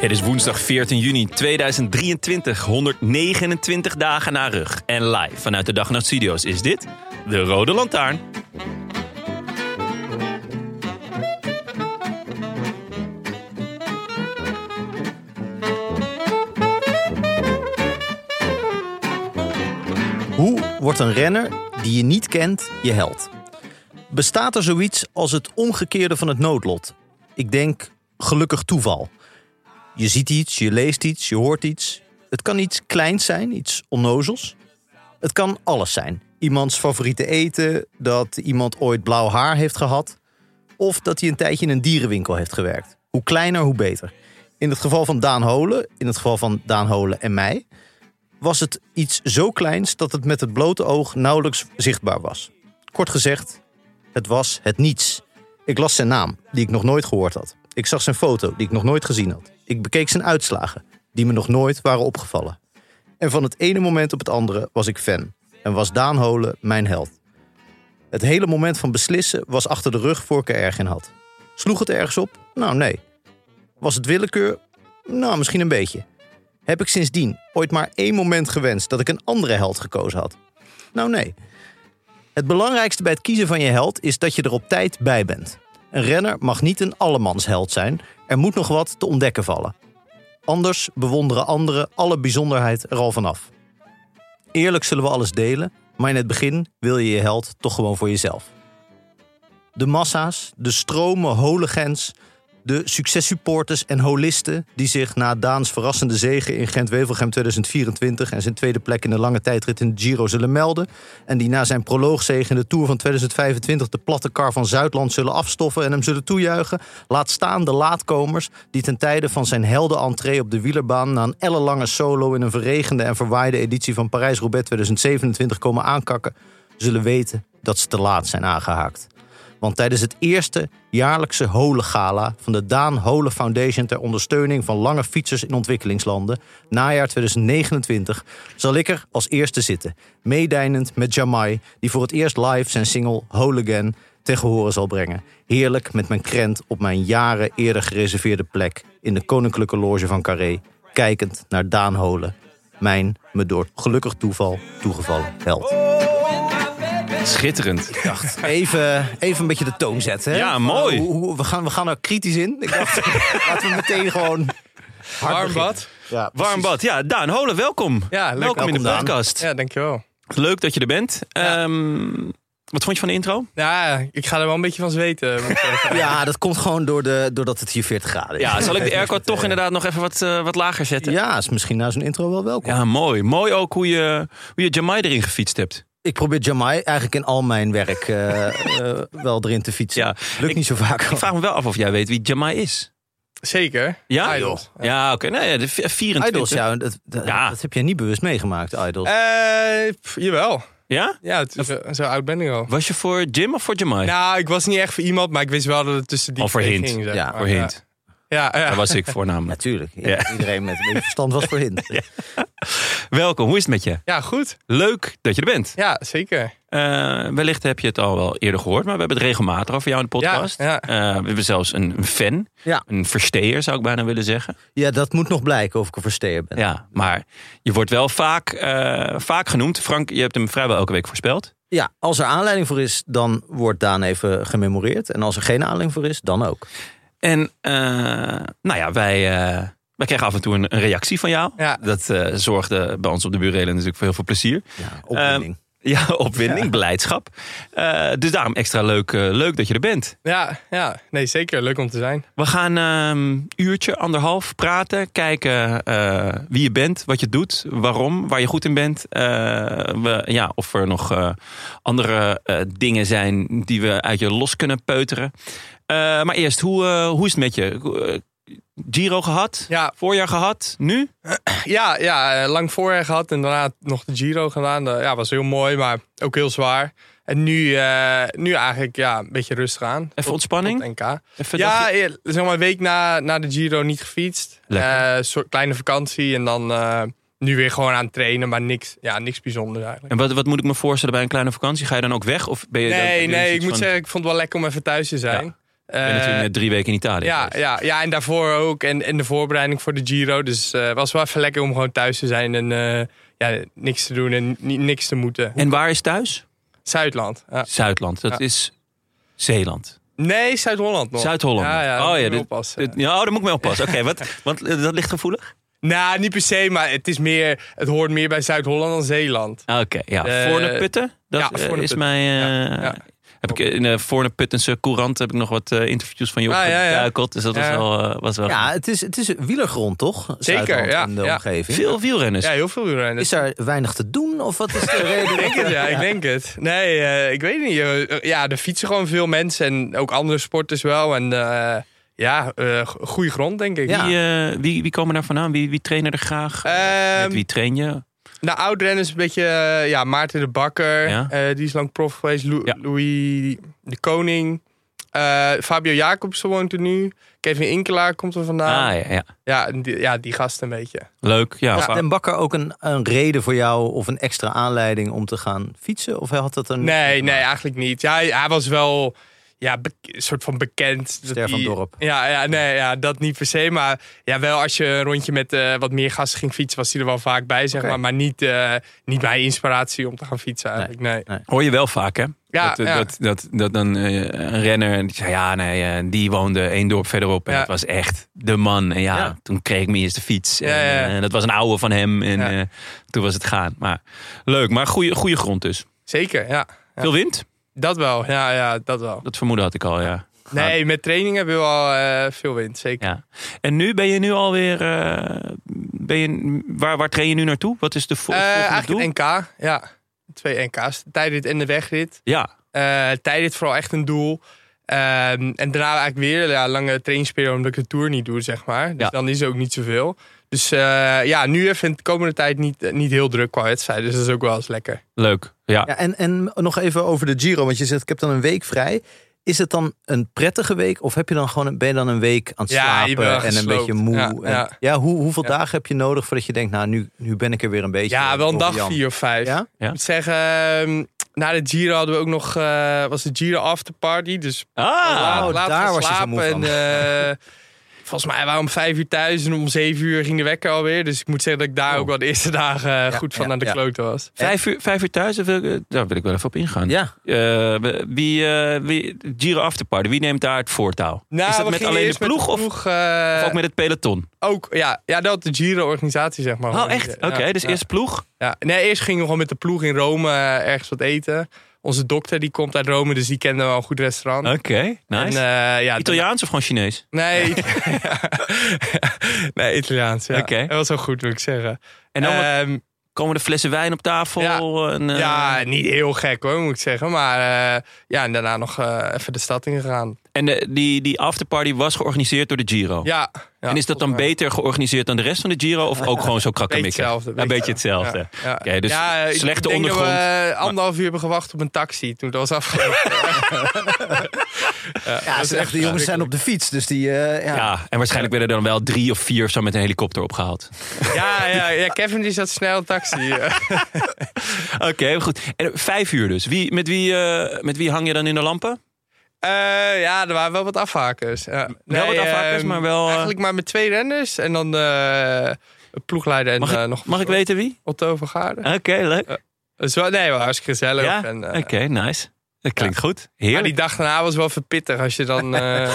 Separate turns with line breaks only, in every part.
Het is woensdag 14 juni 2023, 129 dagen na rug. En live vanuit de Dag en Nacht Studios is dit de Rode Lantaarn.
Hoe wordt een renner die je niet kent je held? Bestaat er zoiets als het omgekeerde van het noodlot? Ik denk gelukkig toeval. Je ziet iets, je leest iets, je hoort iets. Het kan iets kleins zijn, iets onnozels. Het kan alles zijn. Iemands favoriete eten, dat iemand ooit blauw haar heeft gehad. Of dat hij een tijdje in een dierenwinkel heeft gewerkt. Hoe kleiner, hoe beter. In het geval van Daan Holen, in het geval van Daan Holen en mij, was het iets zo kleins dat het met het blote oog nauwelijks zichtbaar was. Kort gezegd, het was het niets. Ik las zijn naam, die ik nog nooit gehoord had. Ik zag zijn foto, die ik nog nooit gezien had. Ik bekeek zijn uitslagen, die me nog nooit waren opgevallen. En van het ene moment op het andere was ik fan en was Daan Holen mijn held. Het hele moment van beslissen was achter de rug voor ik er erg in had. Sloeg het ergens op? Nou, nee. Was het willekeur? Nou, misschien een beetje heb ik sindsdien ooit maar één moment gewenst dat ik een andere held gekozen had? Nou nee. Het belangrijkste bij het kiezen van je held is dat je er op tijd bij bent. Een renner mag niet een allemansheld zijn. Er moet nog wat te ontdekken vallen. Anders bewonderen anderen alle bijzonderheid er al vanaf. Eerlijk zullen we alles delen, maar in het begin wil je je held toch gewoon voor jezelf. De massa's, de stromen hooligans, de successupporters en holisten die zich na Daans verrassende zegen in Gent-Wevelgem 2024 en zijn tweede plek in de lange tijdrit in de Giro zullen melden. En die na zijn proloogzege in de Tour van 2025 de platte kar van Zuidland zullen afstoffen en hem zullen toejuichen. Laat staan de laatkomers die ten tijde van zijn heldenentree op de wielerbaan na een ellenlange solo in een verregende en verwaaide editie van Parijs-Roubaix 2027 komen aankakken, zullen weten dat ze te laat zijn aangehaakt. Want tijdens het eerste jaarlijkse Holengala van de Daan Holen Foundation ter ondersteuning van lange fietsers in ontwikkelingslanden, najaar 2029, zal ik er als eerste zitten. Meedijnend met Jamai, die voor het eerst live zijn single Holigan ten gehore zal brengen. Heerlijk met mijn krent op mijn jaren eerder gereserveerde plek in de Koninklijke Loge van Carré, kijkend naar Daan Holen. Mijn me door gelukkig toeval toegevallen held.
Schitterend.
Even, even een beetje de toon zetten. Hè?
Ja, mooi.
Hoe- hoe- we, gaan, we gaan er kritisch in. Ik dacht, laten we meteen gewoon... hard
Warm
beginnen.
bad.
Ja, precies.
Warm bad. Ja, Daan Holen, welkom.
Ja, leuk.
welkom, in de
Welkom, Daan.
podcast.
Ja, dankjewel.
Leuk dat je er bent. Ehm, wat vond je van de intro?
Ja, ik ga er wel een beetje van zweten. moet ik zeggen.
Ja, dat komt gewoon door de, doordat het hier 40 graden is.
Ja, zal ik de airco toch inderdaad nog even wat, eh, wat lager zetten?
Ja, is misschien na zo'n intro wel welkom.
Ja, mooi. Mooi ook hoe je, hoe je Jamai erin gefietst hebt.
Ik probeer Jamai eigenlijk in al mijn werk eh, eh, wel erin te fietsen.
Ja,
Lukt
ik-
niet zo vaak.
Ik vraag me wel af of jij weet wie Jamai is.
Zeker.
Ja?
Idols.
Ja, oké. Nou ja, de v- 24.
Idols, ja, dat, dat,
Ja.
dat heb jij niet bewust meegemaakt, Idols.
Eh, pff, jawel.
Ja?
Ja, het is, eh, zo, zo oud ben ik al.
Was je voor Jim of voor Jamai?
Nou, ik was niet echt voor iemand, maar ik wist wel dat het tussen die
Al voor
twee
Hint.
ging. zeg
Ja,
maar.
voor Hint.
Ja, ja.
Daar was ik voor namelijk.
Natuurlijk,
Ja.
iedereen met een beetje verstand was voor hint.
Welkom, hoe is het met je?
ja, goed.
Leuk dat je er bent.
Ja, zeker.
Eh, wellicht heb je het al wel eerder gehoord, maar we hebben het regelmatig over jou in de podcast.
Ja, ja.
Eh, we hebben zelfs een, een fan,
Ja.
een versteer zou ik bijna willen zeggen.
Ja, dat moet nog blijken of ik een versteer ben.
Ja, maar je wordt wel vaak, eh, vaak genoemd. Frank, je hebt hem vrijwel elke week voorspeld.
Ja, als er aanleiding voor is, dan wordt Daan even gememoreerd. En als er geen aanleiding voor is, dan ook.
En eh, nou ja, wij, eh, wij kregen af en toe een, een reactie van jou.
Ja.
Dat eh, zorgde bij ons op de buurrelen natuurlijk voor heel veel plezier.
Ja, opwinding.
Ja, opwinding, blijdschap. Eh, dus daarom extra leuk, eh, leuk dat je er bent.
Ja, ja. Nee, zeker. Leuk om te zijn.
We gaan ehm, een uurtje, anderhalf praten. Kijken eh, wie je bent, wat je doet, waarom, waar je goed in bent. Eh, we, ja, of er nog eh, andere eh, dingen zijn die we uit je los kunnen peuteren. Eh, maar eerst, hoe, eh, hoe is het met je? Eh, Giro gehad?
Ja.
Voorjaar gehad? Nu?
Ja, ja eh, lang voorjaar gehad en daarna nog de Giro gedaan. Dat, ja, was heel mooi, maar ook heel zwaar. En nu, eh, nu eigenlijk ja, een beetje rustig aan.
Even
Tot-
ontspanning?
tot NK.
Even
ja,
dagje-
eh, zeg maar een week na, na de Giro niet gefietst.
Lekker.
Eh, soort kleine vakantie en dan eh, nu weer gewoon aan het trainen, maar niks, ja, niks bijzonders eigenlijk.
En wat, wat moet ik me voorstellen bij een kleine vakantie? Ga je dan ook weg? Of ben je dan- heb
Nee,
je iets
nee, ik moet
van-
zeggen, ik vond het wel lekker om even thuis te zijn.
Ik ben
Eh,
natuurlijk net drie weken in Italië
ja,
geweest.
ja, ja, en daarvoor ook. En, en de voorbereiding voor de Giro. Dus eh was wel even lekker om gewoon thuis te zijn en eh, ja, niks te doen en ni- niks te moeten.
En waar is thuis?
Zuidland. ja.
Zuidland. Dat
Ja.
is Zeeland.
Nee, Zuid-Holland nog.
Zuid-Holland.
Ja, ja,
oh ja,
dit,
dit, dit- ja, oh, daar moet ik mee oppassen. Oké, wat? want eh, dat ligt gevoelig?
Nou, niet per se, maar het, is meer, het hoort meer bij Zuid-Holland dan Zeeland.
Ah, Oké, ja.
Eh,
Voorne Putten? Dat
ja,
eh,
Voorne
is
Putten.
mijn... eh,
ja.
Heb ik in de Voorne Puttense Courant heb ik nog wat eh, interviews van je
Ah, ja, ja.
opgeduikeld. Dus dat was
Ja.
wel... eh, was wel
Ja, het is, het is wielergrond, toch? Zuidland
ja,
in de
ja.
omgeving.
Veel wielrenners.
Ja, heel veel wielrennen.
Is er weinig te doen? Of wat is de reden?
Ik
eh,
denk het, ja, ik denk het. Nee, eh, ik weet niet. eh, ja, er fietsen gewoon veel mensen en ook andere sporters wel. En eh, ja, eh, go- goede grond, denk ik.
Ja.
Wie, eh, wie, wie komen daar vandaan? Wie, wie trainen er graag?
Ehm,
Met wie train je?
Nou, oud-renners een beetje... eh, ja, Maarten de Bakker.
Ja.
eh, die is lang prof geweest. Lou-
Ja.
Louis de Koning. eh, Fabio Jacobsen woont er nu. Kevin Inkelaar komt er vandaan.
ah, ja, ja.
Ja, en die, ja, die gasten een beetje.
Leuk. Ja,
Was
Waar-
Den Bakker ook een, een reden voor jou of een extra aanleiding om te gaan fietsen? Of hij had dat een
Nee, nee, eigenlijk niet. Ja, hij, hij was wel ja, be- een soort van bekend.
Ster van
die-
dorp.
Ja, ja, nee, ja, dat niet per se. Maar ja, wel als je een rondje met eh, wat meer gasten ging fietsen, was hij er wel vaak bij, zeg
Oké.
maar. Maar niet, eh, niet mijn inspiratie om te gaan fietsen eigenlijk, nee.
Hoor je wel vaak, hè?
Ja,
dat, eh,
ja.
Dat, dat, dat dan eh, een renner, die zei ja, nee, eh, die woonde één dorp verderop. En
Ja.
dat was echt de man. En ja,
Ja.
toen kreeg ik me eerst de fiets. En,
Ja, ja, ja.
eh, dat was een oude van hem. En
Ja.
eh, toen was het gaan. Maar leuk, maar goede, goede grond dus.
Zeker, ja.
Veel wind?
Dat wel, ja, ja, dat wel.
Dat vermoeden had ik al, ja.
Nee, met training hebben we wel eh, veel wind, zeker.
ja. En nu ben je nu alweer... eh, ben je, waar, waar train je nu naartoe? Wat is de vo-
Eh,
volgende doel?
eigenlijk NK, ja. Twee NK's, de tijdrit en de wegrit.
Ja,
eh tijdrit vooral echt een doel. Ehm, en daarna eigenlijk weer ja, lange trainingsperiode omdat ik de Tour niet doe, zeg maar. Dus
Ja.
dan is er ook niet zoveel. Dus eh, ja, nu even in de komende tijd niet, eh, niet heel druk qua wedstrijden. Dus dat is ook wel eens lekker.
leuk. Ja.
Ja, en, en nog even over de Giro, want je zegt ik heb dan een week vrij. Is het dan een prettige week of heb je dan gewoon, ben je dan een week aan het
Ja,
slapen
je bent wel
en een
gesloopt.
beetje moe?
Ja,
en,
ja.
hoe, hoeveel
Ja.
dagen heb je nodig voordat je denkt, nou nu, nu ben ik er weer een beetje.
Ja, wel een dag
Jan.
vier of vijf.
Ja?
Ja.
Ik moet zeggen, ehm, na de Giro hadden we ook nog, eh, was de Giro afterparty. Dus
Ah,
laat, laat
Oh, daar
gaan
was je zo
slapen.
moe
en,
van.
eh, volgens mij waren we om vijf uur thuis en om zeven uur ging de wekker alweer. Dus ik moet zeggen dat ik daar ook wel de eerste dagen eh, goed van
Oh. ja,
naar de
ja.
klote was.
vijf, uur, vijf uur thuis, daar wil, ik- eh, daar wil ik wel even op ingaan.
Ja,
Eh, we- wie, eh, wie, Giro Afterparty, wie neemt daar het voortouw?
Nou,
is dat
we
met
gingen
alleen de
eerst met
ploeg, of,
eh,
of ook met het peloton?
ook, ja, ja, dat de Giro-organisatie, zeg maar.
Oh, echt? Oké,
Ja,
dus
ja,
eerst ploeg.
ja. Nee, eerst gingen we gewoon met de ploeg in Rome eh, ergens wat eten. Onze dokter, die komt uit Rome, dus die kende wel een goed restaurant.
Oké,
En,
Oh, nice.
eh, ja,
Italiaans of gewoon Chinees?
Nee, nee Italiaans, ja.
Oké.
Dat was wel goed, wil ik zeggen.
En dan wat-
Ehm,
Eh, komen de flessen wijn op tafel?
ja.
en, eh,
ja, niet heel gek hoor, moet ik zeggen. Maar eh, ja, en daarna nog eh, even de stad ingegaan.
en de- die, die afterparty was georganiseerd door de Giro?
Ja, ja.
en is dat dan
volgens mij.
beter georganiseerd dan de rest van de Giro? Of ook gewoon zo krakkemikkig?
Beetje hetzelfde,
Een beetje hetzelfde.
Ja, ja.
Oké, dus
Ja, ik
slechte
denk dat
ondergrond.
we eh, anderhalf uur hebben gewacht op een taxi toen dat was afgelopen.
ja
is
ze-
echt
de jongens zijn op de fiets, dus die... eh, ja.
Ja, en waarschijnlijk werden er dan wel drie of vier of zo met een helikopter opgehaald.
ja, ja, ja, Kevin die zat snel een taxi. eh.
Oké, goed. En vijf uur dus. Wie, met, wie, eh, met wie hang je dan in de lampen?
Eh, ja, er waren wel wat afhakers. Ja.
Wel wat afhakers,
ehm,
maar wel, eh,
Eigenlijk maar met twee renners en dan eh ploegleider en
Mag ik,
eh, nog
mag ik weten wie?
Otto van Gaarden.
Oké, leuk.
Dus wel, nee, wel hartstikke gezellig.
Ja?
En, eh,
Oké, nice. Dat klinkt goed.
Maar
Heerlijk.
die dag daarna was wel verpittig als je dan... eh,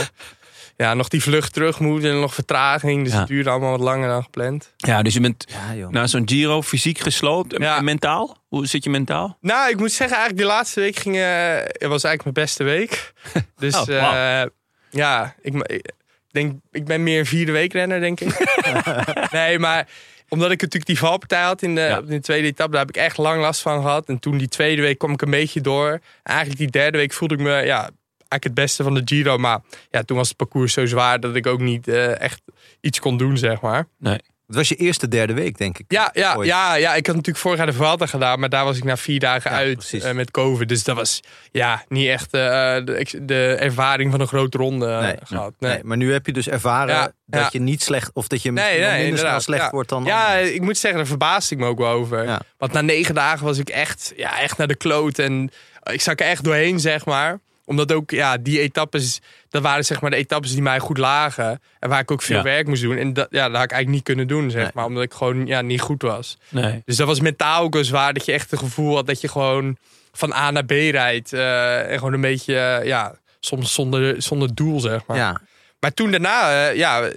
ja, nog die vlucht terug moet en nog vertraging. Dus
Ja.
het duurde allemaal wat langer dan gepland.
Ja, dus je bent
Ja, joh.
na zo'n Giro fysiek gesloopt. En-
Ja.
En mentaal? Hoe zit je mentaal?
Nou, ik moet zeggen, eigenlijk die laatste week ging, eh, het was eigenlijk mijn beste week. Dus
Oh, wauw.
eh, ja, ik, ma- ik denk, ik ben meer een vierde weekrenner, denk ik. nee, maar omdat ik natuurlijk die valpartij had in de,
Ja.
op de tweede etappe, daar heb ik echt lang last van gehad. En toen die tweede week kwam ik een beetje door. Eigenlijk die derde week voelde ik me ja, eigenlijk het beste van de Giro. Maar ja, toen was het parcours zo zwaar dat ik ook niet eh, echt iets kon doen, zeg maar.
Het was je eerste derde week, denk ik.
Ja, ja,
Ooit.
ja, ja, ik had natuurlijk vorig jaar de Vuelta gedaan, maar daar was ik na vier dagen
Ja,
uit
precies.
eh, met COVID. Dus dat was ja, niet echt eh, de, ex- de ervaring van een grote ronde eh,
Nee,
gehad.
Nee.
Nee.
maar nu heb je dus ervaren
Ja,
dat
ja.
je niet slecht of dat je
Nee,
misschien wel
nee,
minder snel
inderdaad,
slecht wordt dan.
Ja,
anderen.
ik moet zeggen, daar verbaasde ik me ook wel over.
Ja.
Want na negen dagen was ik echt, ja, echt naar de kloot. En eh, ik zak er echt doorheen, zeg maar. Omdat ook ja, die etappes, dat waren zeg maar de etappes die mij goed lagen. En waar ik ook veel
Ja.
werk moest doen. En dat, ja, dat had ik eigenlijk niet kunnen doen, zeg
Nee.
maar. Omdat ik gewoon ja, niet goed was.
Nee.
Dus dat was mentaal ook wel zwaar. Dat je echt het gevoel had dat je gewoon van A naar B rijdt. eh, en gewoon een beetje, eh, ja, soms zonder, zonder doel, zeg maar.
ja.
Maar toen daarna, eh, ja,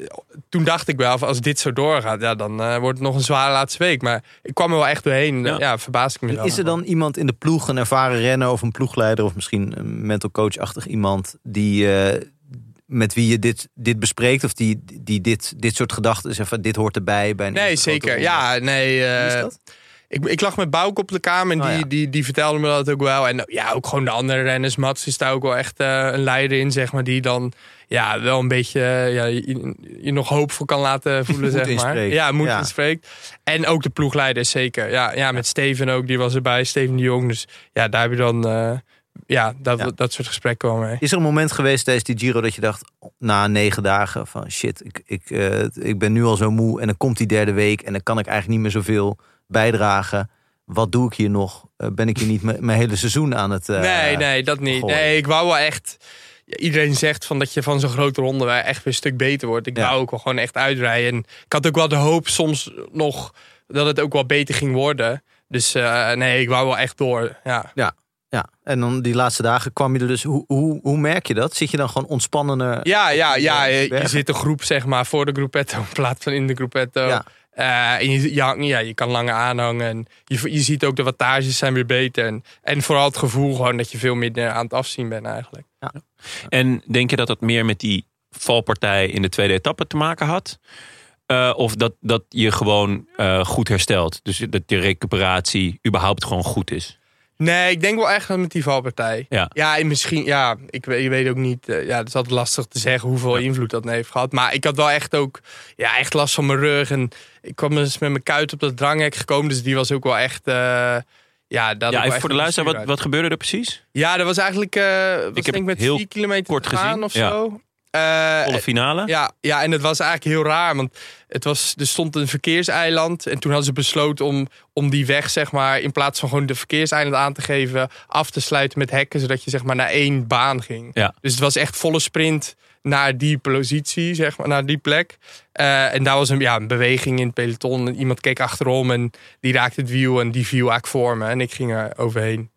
toen dacht ik wel, van als dit zo doorgaat, ja, dan eh, wordt het nog een zware laatste week. Maar ik kwam er wel echt doorheen.
Ja.
Ja, verbaas ik me
En
dan.
Is er dan iemand in de ploeg, een ervaren renner of een ploegleider of misschien een mental coach-achtig iemand die eh, met wie je dit, dit bespreekt of die, die dit, dit soort gedachten zegt van dit hoort erbij bij een
Nee,
eerste grote
zeker.
ronde?
Ja, nee.
Wie is
eh,
dat?
Ik, ik lag met Bouke op de kamer en
Oh,
die,
ja.
die, die vertelde me dat ook wel. En ja, ook gewoon de andere renners. Mats is daar ook wel echt eh, een leider in, zeg maar. Die dan ja, wel een beetje eh, ja, je, je nog hoopvol kan laten voelen,
Moed
zeg maar.
inspreekt.
Ja, moet
Ja.
inspreekt. En ook de ploegleider, zeker. Ja, ja met Steven ook, die was erbij. Steven de Jong. Dus ja, daar heb je dan... eh, ja, dat,
Ja.
dat soort gesprekken wel mee.
Is er een moment geweest tijdens die Giro dat je dacht na negen dagen van shit, ik, ik, eh, ik ben nu al zo moe en dan komt die derde week en dan kan ik eigenlijk niet meer zoveel bijdragen. Wat doe ik hier nog? Eh, ben ik hier niet mijn mijn hele seizoen aan het... eh,
Nee, nee, dat niet.
gooien.
Nee, ik wou wel echt. ja, Iedereen zegt van dat je van zo'n grote ronde wel echt weer een stuk beter wordt. Ik
Ja.
wou ook wel gewoon echt uitrijden. En ik had ook wel de hoop soms nog dat het ook wel beter ging worden. Dus eh, nee, ik wou wel echt door. Ja.
Ja, en dan die laatste dagen kwam je er dus. Hoe, hoe, hoe merk je dat? Zit je dan gewoon eh, ontspannender?
Ja, ja, ja.
die
Je, je
bergen.
zit een groep, zeg maar, voor de groepetto in plaats van in de groepetto.
Ja.
Eh, en je, je, hangt- ja, je kan langer aanhangen. En je, je ziet ook de wattages zijn weer beter. En, en vooral het gevoel gewoon dat je veel minder aan het afzien bent eigenlijk.
En denk je dat dat meer met die valpartij in de tweede etappe te maken had? Eh, of dat, dat je gewoon eh, goed herstelt? Dus dat je recuperatie überhaupt gewoon goed is?
Nee, ik denk wel echt dat met die valpartij.
Ja.
Ja, en misschien, ja, ik, weet- ik weet ook niet. eh, ja, het is altijd lastig te zeggen hoeveel invloed dat heeft gehad. Maar ik had wel echt ook, ja, echt last van mijn rug. En ik kwam eens met mijn kuit op dat dranghek gekomen. Dus die was ook wel echt, eh, ja, dat
ja, even voor de luisteraar, wat, wat gebeurde er precies?
Ja, dat was eigenlijk, eh was
heb
denk ik
het
met
heel
vier kilometer
kort
te gaan
gezien,
of
ja.
zo. Eh,
Volle finale?
ja, ja, en het was eigenlijk heel raar. Want het was, er stond een verkeerseiland. En toen hadden ze besloten om, om die weg, zeg maar, in plaats van gewoon de verkeerseiland aan te geven, af te sluiten met hekken. Zodat je zeg maar naar één baan ging.
Ja.
Dus het was echt volle sprint naar die positie, zeg maar, naar die plek. Eh, en daar was een, ja, een beweging in het peloton. En Iemand keek achterom en die raakte het wiel en die viel eigenlijk voor me. En ik ging er overheen.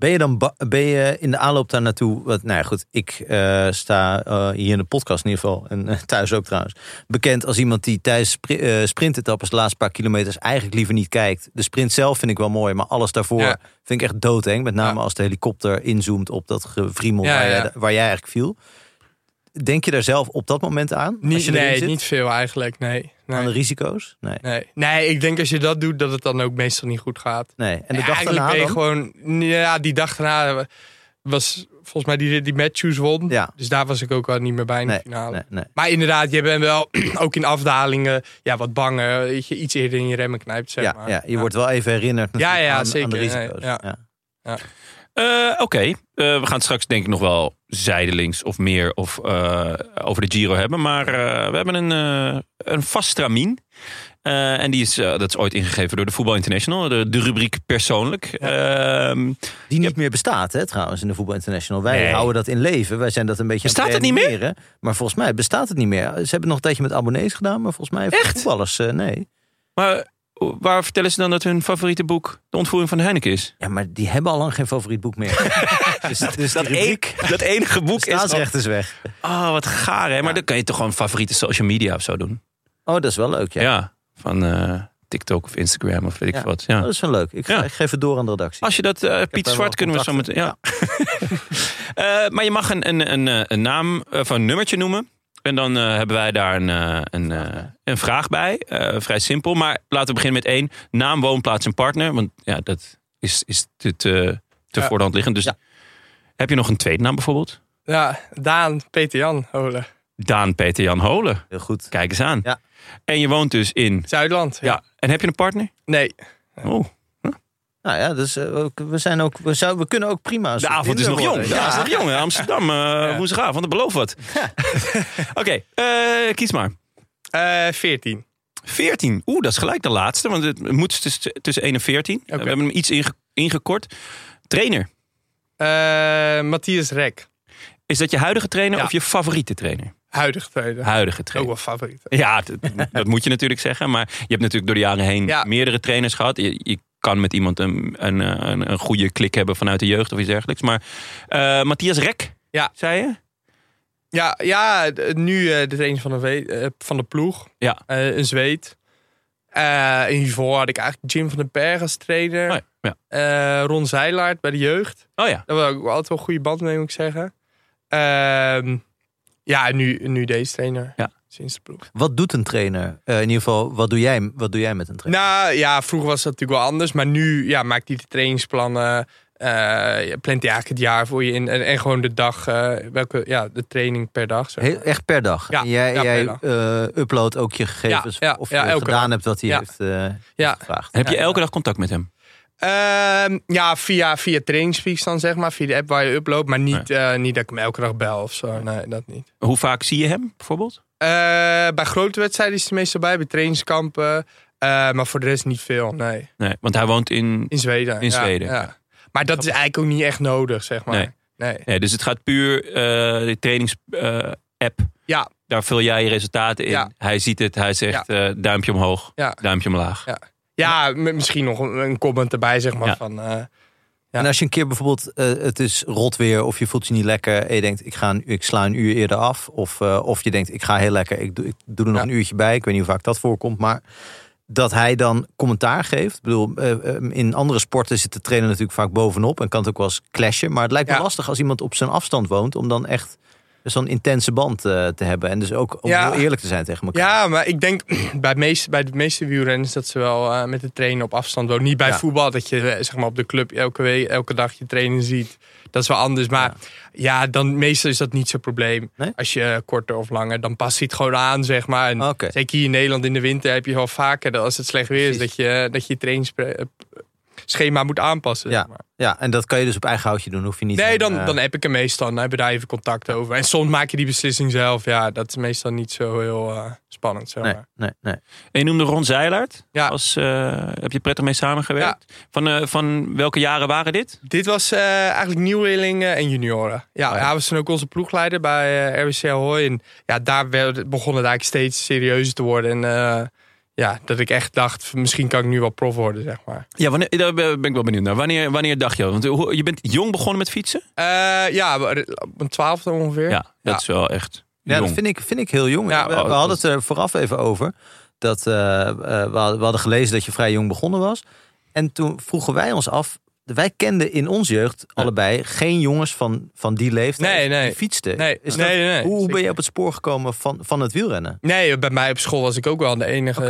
Ben je dan ba- ben je in de aanloop daar naartoe? Want, nou ja, goed, ik eh, sta eh, hier in de podcast in ieder geval en eh, thuis ook trouwens bekend als iemand die tijdens spri eh, sprintetappes de laatste paar kilometers eigenlijk liever niet kijkt. De sprint zelf vind ik wel mooi, maar alles daarvoor
Ja.
vind ik echt doodeng. Met name
Ja.
als de helikopter inzoomt op dat gevriemel
Ja,
waar,
ja.
jij- waar jij eigenlijk viel. Denk je daar zelf op dat moment aan? als
Niet,
je erin
nee,
zit?
niet veel eigenlijk. Nee,
aan de
nee,
risico's? Nee.
nee. nee, ik denk als je dat doet, dat het dan ook meestal niet goed gaat.
nee. En de
Ja,
dag
eigenlijk
daarna
ben je
dan?
gewoon... Ja, die dag daarna was volgens mij die, die Matthews won.
Ja.
Dus daar was ik ook wel niet meer bij in
Nee,
de finale.
nee, nee.
Maar inderdaad, je bent wel ook in afdalingen ja, wat banger. Dat je iets eerder in je remmen knijpt, zeg
ja,
maar.
ja, je wordt wel even herinnerd
Ja,
natuurlijk
ja,
aan, aan de
zeker.
risico's.
Nee, ja.
Ja.
Eh, Oké, Eh, we gaan het straks denk ik nog wel zijdelings of meer of, eh, over de Giro hebben. Maar eh, we hebben een, eh een vast stramien. Eh, en die is, eh, dat is ooit ingegeven door de Voetbal International, de, de rubriek persoonlijk. Ehm,
Die niet meer bestaat, hè, trouwens, in de Voetbal International. Wij
Nee.
houden dat in leven. Wij zijn dat een beetje
Bestaat het niet meer?
reanimeren. Maar volgens mij bestaat het niet meer. Ze hebben het nog een tijdje met abonnees gedaan, maar volgens mij... Echt? Voetballers, eh, nee.
maar oh, waar vertellen ze dan dat hun favoriete boek De Ontvoering van Heineken is?
Ja, maar die hebben al lang geen favoriet boek meer. dus, dus
Dat,
die rubriek
e- dat enige boek is...
staatsrecht is weg.
Oh, wat gaar, hè? Maar dan kan je toch gewoon favoriete social media of zo doen?
Oh, dat is wel leuk, ja.
Ja. Van eh, TikTok of Instagram of weet ik
Ja.
wat. Ja.
Oh, Dat is wel leuk. Ik, ga-
Ja.
ik geef het door aan de redactie.
Als je dat, eh Piet
wel
Zwart, kunnen we zo meteen. Ja. Eh, maar je mag een, een, een, eh, een naam eh, van een nummertje noemen. En dan eh, hebben wij daar een, eh, een, eh, een vraag bij. Eh, vrij simpel. Maar laten we beginnen met één. Naam, woonplaats en partner. Want ja, dat is, is te, te, te
Ja.
voor de hand liggend. Dus
Ja.
heb je nog een tweede naam bijvoorbeeld?
Ja, Daan, Peter Jan, Holen.
Daan Peter Jan Holen.
Heel goed.
Kijk eens aan.
Ja.
En je woont dus in...
Zuidland.
Ja. En heb je een partner?
Nee.
Oh,
Nou ja, dus eh, we- we, zijn ook, we, zou, we kunnen ook prima. een
de
soort
avond is nog
Tinder
jong.
worden.
De avond is nog jong. hè. Amsterdam, eh woensdagavond. Dat belooft wat. Oké, eh, kies maar.
Eh 14.
14. Oeh, dat is gelijk de laatste. Want het moet tussen, tussen 1 en 14. We hebben hem iets inge- ingekort. Trainer.
Eh Matthias Rek.
Is dat je huidige trainer
Ja. Oh,
of je favoriete trainer?
Huidig tweede.
Huidige
Ook
trainer.
wel favoriet.
Ja, dat, dat moet je natuurlijk zeggen. Maar je hebt natuurlijk door de jaren heen
Ja.
meerdere trainers gehad. Je, je kan met iemand een, een, eh, een, een goede klik hebben vanuit de jeugd of iets dergelijks. Maar eh, Matthias Rek,
Ja.
zei je?
Ja, ja d- nu eh, de trainer van de, we- eh, van de ploeg.
Ja.
Eh, een zweet. Eh, en hiervoor had ik eigenlijk Jim van den Berg als trainer.
Oh, ja.
Eh, Ron Zeilaert bij de jeugd.
Oh ja.
Daar was ook altijd wel een goede band mee, moet ik zeggen. Ehm, ja, en nu, nu deze trainer.
Ja.
Sinds de ploeg.
Wat doet een trainer? Eh, in ieder geval, wat doe, jij, wat doe jij met een trainer?
Nou ja, vroeger was dat natuurlijk wel anders. Maar nu ja, maakt hij de trainingsplannen. eh, je plant hij eigenlijk het jaar voor je in. En, en gewoon de dag, eh, welke, ja, de training per dag. Zeg.
Heel- echt per dag.
Nou, Ja,
En jij jij
ja, per dag.
eh, uploadt ook je gegevens
Ja, ja,
of
ja,
je
elke
gedaan
dag.
hebt wat hij
Ja.
heeft eh,
Ja.
gevraagd.
Heb je
Ja.
elke dag contact met hem?
Ehm, ja, via, via Trainingspeaks dan zeg maar. Via de app waar je uploadt. Maar niet, eh, niet dat ik hem elke dag bel of zo. Nee, dat niet.
Hoe vaak zie je hem bijvoorbeeld?
Eh, bij grote wedstrijden is hij er meestal bij. Bij trainingskampen. Eh, maar voor de rest niet veel, nee.
Nee, want hij woont in...
In Zweden.
In
ja,
Zweden,
Ja. Maar dat is eigenlijk ook niet echt nodig, zeg maar.
Nee.
Nee.
Nee, dus het gaat puur eh, de trainings-app.
Ja,
Daar vul jij je resultaten in.
Ja.
Hij ziet het, hij zegt eh, duimpje omhoog,
Ja.
duimpje omlaag.
Ja. ja m- misschien nog een, een comment erbij, zeg maar.
Ja.
Van, eh, Ja.
En als je een keer bijvoorbeeld, eh, het is rot weer of je voelt je niet lekker en je denkt, ik, ga een, ik sla een uur eerder af. Of, eh, of je denkt, ik ga heel lekker, ik doe, ik doe er nog
Ja.
een uurtje bij. Ik weet niet hoe vaak dat voorkomt, maar dat hij dan commentaar geeft. Ik bedoel, eh, eh, in andere sporten zit de trainer natuurlijk vaak bovenop en kan het ook wel eens clashen. Maar het lijkt me
Ja.
lastig als iemand op zijn afstand woont om dan echt zo'n intense band eh, te hebben. En dus ook om
Ja.
heel eerlijk te zijn tegen elkaar.
ja, maar ik denk bij, meest, bij de meeste wielrenners dat ze wel eh, met de trainen op afstand wonen. Niet bij
Ja.
voetbal, dat je eh, zeg maar, op de club elke, week, elke dag je trainen ziet. Dat is wel anders. Maar ja, dan meestal is dat niet zo'n probleem.
Nee?
Als je eh, korter of langer, dan past hij het gewoon aan, zeg maar. En
Oké.
Zeker hier in Nederland in de winter heb je wel vaker dat als het slecht weer is,
Precies.
dat je eh, dat je, je trainingsschema moet aanpassen.
Ja.
zeg maar.
Ja, en dat kan je dus op eigen houtje doen. Hoef je niet.
Nee,
aan,
dan,
eh,
dan heb ik hem meestal. Dan hebben we daar even contact over. En soms maak je die beslissing zelf. Ja, dat is meestal niet zo heel eh, spannend. Zeg maar.
nee, nee, nee.
En je noemde Ron Zeilaert.
Ja.
Als, eh, heb je prettig mee samengewerkt? Van, eh, van welke jaren waren dit?
Dit was eh, eigenlijk nieuwelingen en junioren. Ja, hij was toen ook onze ploegleider bij eh RWC Ahoy. En ja, daar werd, begon het eigenlijk steeds serieuzer te worden. En eh, ja, dat ik echt dacht, misschien kan ik nu wel prof worden, zeg maar.
Ja, wanneer, daar ben ben ik wel benieuwd naar. Wanneer, wanneer dacht je? dat? Want hoe- je bent jong begonnen met fietsen?
Eh, ja, op een twaalfde ongeveer.
Ja, dat is wel echt
Ja,
jong.
dat vind ik, vind ik heel jong.
Ja,
we,
oh,
we
dat
hadden het er vooraf even over. Dat, eh, eh, we, hadden, we hadden gelezen dat je vrij jong begonnen was. En toen vroegen wij ons af. Wij kenden in onze jeugd allebei geen jongens van, van die leeftijd
Nee, nee.
die fietsten.
Nee,
Is
nee,
dat-
nee, nee,
hoe
zeker.
ben je op het spoor gekomen van, van het wielrennen?
Nee, bij mij op school was ik ook wel de enige,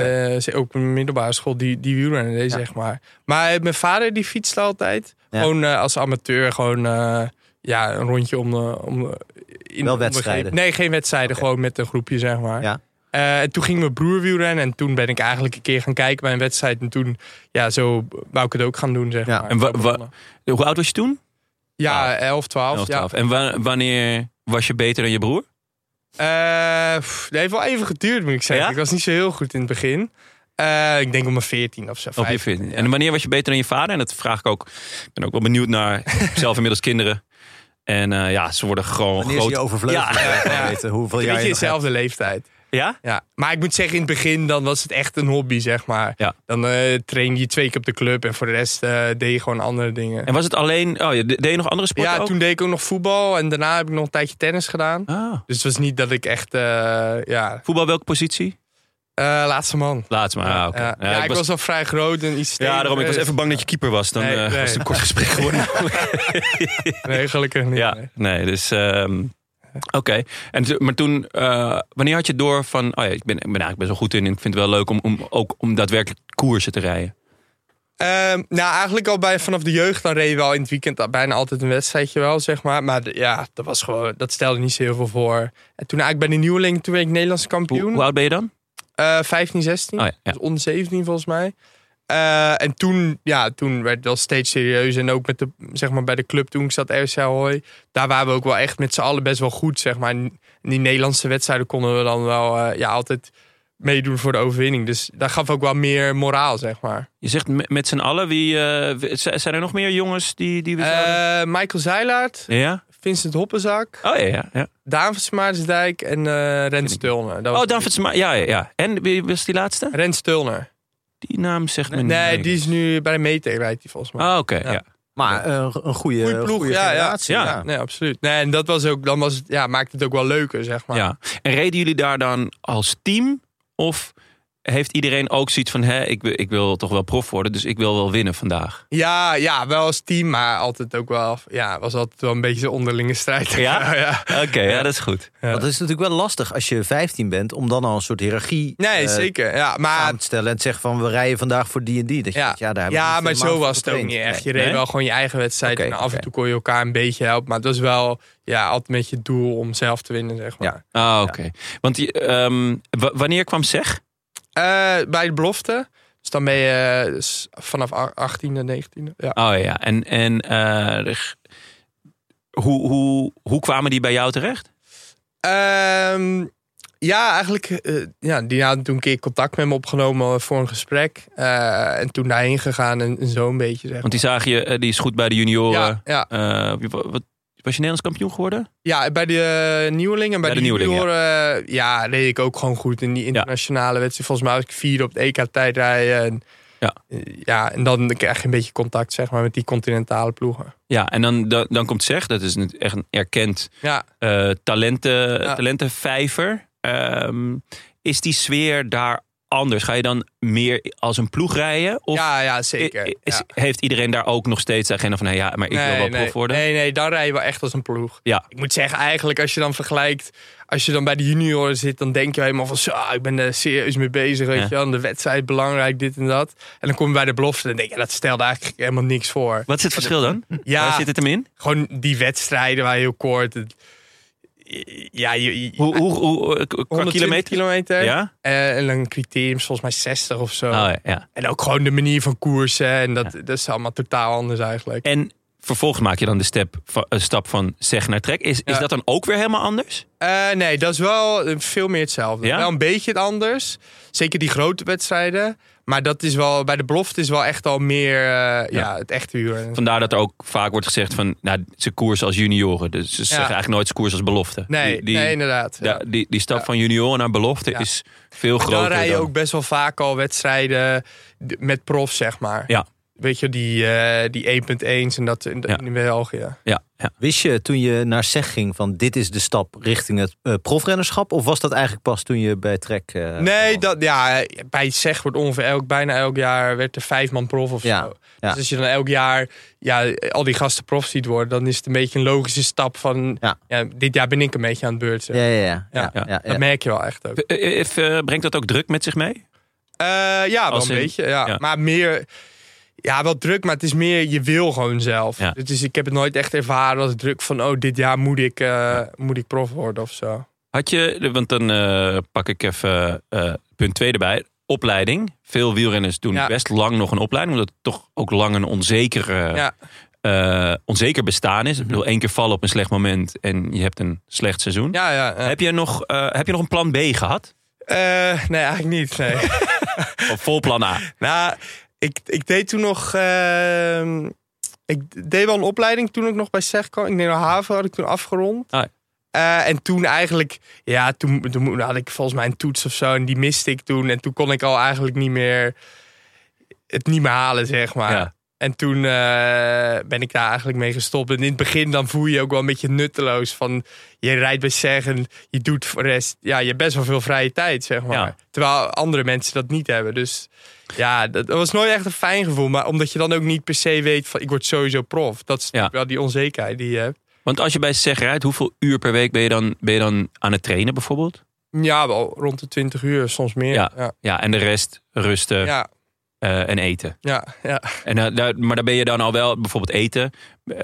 eh, ook op een middelbare school, die, die wielrennen deed, zeg maar. Maar eh, mijn vader die fietste altijd.
Ja.
Gewoon eh, als amateur, gewoon eh, ja, een rondje om de... Om, de- in,
Wel
om de
wedstrijden?
ge- nee, geen wedstrijden, gewoon met een groepje, zeg maar.
Ja.
Eh, en toen ging mijn broer wielrennen en toen ben ik eigenlijk een keer gaan kijken bij een wedstrijd. En toen, ja, zo wou ik het ook gaan doen, zeg
Ja.
maar.
En wa- wa- Hoe oud was je toen?
ja, 11, 12.
11,
ja.
12. En wa- wanneer was je beter dan je broer?
Eh, pff, dat heeft wel even geduurd, moet ik zeggen.
Ja?
Ik was niet zo heel goed in het begin. Eh, ik denk om mijn 14 of zo.
Op je
15,
14.
ja.
En wanneer was je beter dan je vader? En dat vraag ik ook. Ik ben ook wel benieuwd naar. Ik heb zelf inmiddels kinderen. En eh, ja, ze worden gewoon
Wanneer is
groot.
je overvleugeld?
Ja.
Ja, ja. Weten hoeveel
Een
jaar
beetje
je nog hebt.
dezelfde leeftijd.
Ja?
Ja, maar ik moet zeggen, in het begin dan was het echt een hobby, zeg maar.
Ja.
Dan eh train je twee keer op de club en voor de rest eh, deed je gewoon andere dingen.
En was het alleen... Oh, je deed je nog andere sporten
ja,
ook?
toen deed ik ook nog voetbal en daarna heb ik nog een tijdje tennis gedaan.
Ah.
Dus het was niet dat ik echt, eh, ja,
Voetbal welke positie?
eh, laatste man.
Laatst maar. Ah, oké.
Ja, ja, ik was... al vrij groot en iets
Ja, daarom. Ik was even bang dat je keeper was. Dan
Nee,
eh,
nee.
was het een kort gesprek geworden.
Nee, gelukkig niet.
ja,
nee.
nee, dus... ehm, Oké, En t- maar toen, eh, wanneer had je door van, oh ja, ik ben, ik ben eigenlijk best wel goed in en ik vind het wel leuk om, om ook om daadwerkelijk koersen te rijden.
Ehm, nou, eigenlijk al bij, vanaf de jeugd, dan reden we al in het weekend al bijna altijd een wedstrijdje wel, zeg maar. Maar de- ja, dat, was gewoon, dat stelde niet zo heel veel voor. En toen eigenlijk bij de nieuweling, toen werd ik Nederlands
Hoe,
kampioen.
hoe oud ben je dan?
Eh, 15, 16.
Oh ja, ja.
Dus onder 17 volgens mij. Eh, en toen, ja, toen werd het wel steeds serieus. En ook met de, zeg maar, bij de club toen ik zat, RC Ahoy. Daar waren we ook wel echt met z'n allen best wel goed, zeg maar. En die Nederlandse wedstrijden konden we dan wel eh, ja, altijd meedoen voor de overwinning. Dus dat gaf ook wel meer moraal, zeg maar.
Je zegt me- met z'n allen, wie, eh, w- z- zijn er nog meer jongens die, die we zouden-
Eh, Michael Zeilaert,
Ja?
Vincent Hoppenzak,
Oh ja, ja. ja.
Daan van Smaardsdijk en eh Rens Stulner. Dat was
Oh, David Sma, ja, ja, ja. En wie was die laatste?
Rens Stulner.
Die naam zegt me niet.
Nee, die is nu bij de Metek rijdt hij volgens mij.
Oh, oké,
Ja.
ja.
Maar eh, een goede,
Goeie ploeg,
goede
ja, ja.
generatie.
Ja.
Ja, nee, absoluut. Nee, en dat was ook, dan was het, ja, maakt het ook wel leuker, zeg maar.
Ja. En reden jullie daar dan als team? Of heeft iedereen ook zoiets van: hè, ik, wil- ik wil toch wel prof worden, dus ik wil wel winnen vandaag?
ja, ja, wel als team, maar altijd ook wel, ja, was altijd wel een beetje de onderlinge strijd.
Ja?
ja.
Oké, ja, dat is goed.
Want Dat is natuurlijk wel lastig als je 15 bent om dan al een soort hiërarchie
Nee,
eh,
zeker. Ja, maar,
aan te stellen en te zeggen van we rijden vandaag voor die en die. Dat je
ja,
denkt, ja, daar hebben we
ja,
niet
maar
helemaal
zo
voor
was het ook
getraind.
niet echt. Je
Nee.
reed
Nee?
wel gewoon je eigen wedstrijd
Oké,
en af
oké.
en toe kon je elkaar een beetje helpen. Maar het was wel, ja, altijd met je doel om zelf te winnen, zeg maar.
Ah, oké. Want die, ehm, wa- wanneer kwam zeg?
Eh, bij de belofte, dus dan ben je eh, s- vanaf a- 18e, 19e. Ja.
Oh ja, en, en eh, de g- hoe, hoe, hoe kwamen die bij jou terecht?
Ehm, ja, eigenlijk. eh, ja, die had toen een keer contact met me opgenomen voor een gesprek. Eh, en toen daarheen gegaan en, en zo een beetje. Zeg.
Want die zagen je, eh, die is goed bij de junioren.
ja, ja,
Eh, wie wa- wat, was je Nederlands kampioen geworden?
ja, bij de eh, nieuweling en bij,
Bij
de,
de nieuweling, ja.
junioren ja. ja, reed ik ook gewoon goed in die internationale wedstrijd. Volgens mij was ik vierde op het EK tijdrijden. En,
Ja.
eh, ja, en dan krijg je een beetje contact zeg maar, met die continentale ploegen.
Ja, en dan, dan, dan komt zeg, dat is een, echt een erkend
Ja,
eh, talenten,
Ja.
talentenvijver. Ehm, is die sfeer daar anders? Ga je dan meer als een ploeg rijden? Of
ja, ja
i-
zeker.
is-
ja.
heeft iedereen daar ook nog steeds de agenda van... Hey, ja, maar ik wil wel
nee.
prof worden?
Nee, nee, dan rij je wel echt als een ploeg.
Ja.
Ik moet zeggen, eigenlijk als je dan vergelijkt... als je dan bij de junioren zit, dan denk je helemaal van... zo, ik ben er serieus mee bezig, weet
Ja.
je wel. En De wedstrijd, belangrijk, dit en dat. En dan kom je bij de belofte en denk je... dat stelde eigenlijk helemaal niks voor.
Wat is het verschil dan? Waar
Ja,
zit het hem in?
gewoon die wedstrijden waar je heel kort... het- ja, je, je-
Hoe, hoe, hoe, eh, qua
120
kilometer?
kilometer.
Ja?
Eh, en dan criteriums volgens mij 60 of zo.
Oh, ja, ja.
En ook gewoon de manier van koersen. En dat, dat is allemaal totaal anders eigenlijk.
En vervolgens maak je dan de step, va- een stap van zeg naar trek. Is, is
Ja.
dat dan ook weer helemaal anders?
Eh, nee, dat is wel eh, veel meer hetzelfde.
Ja?
Wel een beetje het anders. Zeker die grote wedstrijden. Maar dat is wel, bij de belofte is wel echt al meer eh, ja. het echte huur.
Vandaar dat er ook vaak wordt gezegd van... Nou, ze koersen als junioren. Dus ze zeggen eigenlijk nooit ze koersen als belofte.
Nee,
Die- die-
nee, inderdaad.
Ja.
Ja.
Da- die, die stap
Ja.
van junior naar belofte
Ja.
is veel groter.
Dan rij je
dan-
ook best wel vaak al wedstrijden d- met profs, zeg maar.
Ja.
Weet je, die, eh, die 1.1's en dat in,
Ja.
in België.
Ja, ja.
Wist je toen je naar SEG ging van dit is de stap richting het eh, profrennerschap? Of was dat eigenlijk pas toen je bij Trek... eh,
Nee,
begon?
dat, ja, bij SEG wordt ongeveer elk, bijna elk jaar werd er vijf man prof of
Ja,
zo.
ja.
Dus als je dan elk jaar ja, al die gasten prof ziet worden, dan is het een beetje een logische stap van
Ja.
ja. dit jaar ben ik een beetje aan het beurt. zeg.
Ja, ja, ja. ja,
Ja.
ja, ja.
Dat merk je wel echt ook.
Eh, eh, eh, brengt dat ook druk met zich mee?
Eh, ja, wel
Als
een
in-
beetje. Ja.
ja.
Maar meer, ja, wel druk, maar het is meer je wil gewoon zelf.
Ja.
Dus ik heb het nooit echt ervaren als druk van, oh, dit jaar moet ik, eh, moet ik prof worden of zo.
Had je, want dan eh, pak ik even eh, punt 2 erbij. Opleiding. Veel wielrenners doen
Ja.
best lang nog een opleiding. Omdat het toch ook lang een onzekere,
Ja.
eh, onzeker bestaan is. Ik bedoel, één keer vallen op een slecht moment en je hebt een slecht seizoen.
Ja, ja. ja.
Heb, je nog, eh, heb je nog een plan B gehad?
Eh, nee, eigenlijk niet. Nee.
Of vol plan A?
Nou, ik, ik deed toen nog. ehm, nou, ik deed wel een opleiding toen ik nog bij SEG kwam. Ik deed nog haven, had ik toen afgerond.
Ah.
Eh, Eh, en toen eigenlijk, ja, toen, toen had ik volgens mij een toets of zo. En die miste ik toen. En toen kon ik al eigenlijk niet meer het niet meer halen, zeg maar.
Ja.
En toen eh, ben ik daar eigenlijk mee gestopt. En in het begin dan voel je je ook wel een beetje nutteloos. Van je rijdt bij zeggen, je doet voor de rest. Ja, je hebt best wel veel vrije tijd, zeg maar.
Ja.
Terwijl andere mensen dat niet hebben. Dus ja, dat, dat was nooit echt een fijn gevoel. Maar omdat je dan ook niet per se weet van ik word sowieso prof. Dat is
Ja.
natuurlijk wel die onzekerheid die je hebt.
Want als je bij SEG rijdt, hoeveel uur per week ben je dan, ben je dan aan het trainen bijvoorbeeld?
Ja, wel rond de 20 uur, soms meer.
Ja.
ja,
Ja, en de rest rusten
ja,
eh, en eten.
ja. ja.
En, eh, daar- maar daar ben je dan al wel, bijvoorbeeld eten, eh,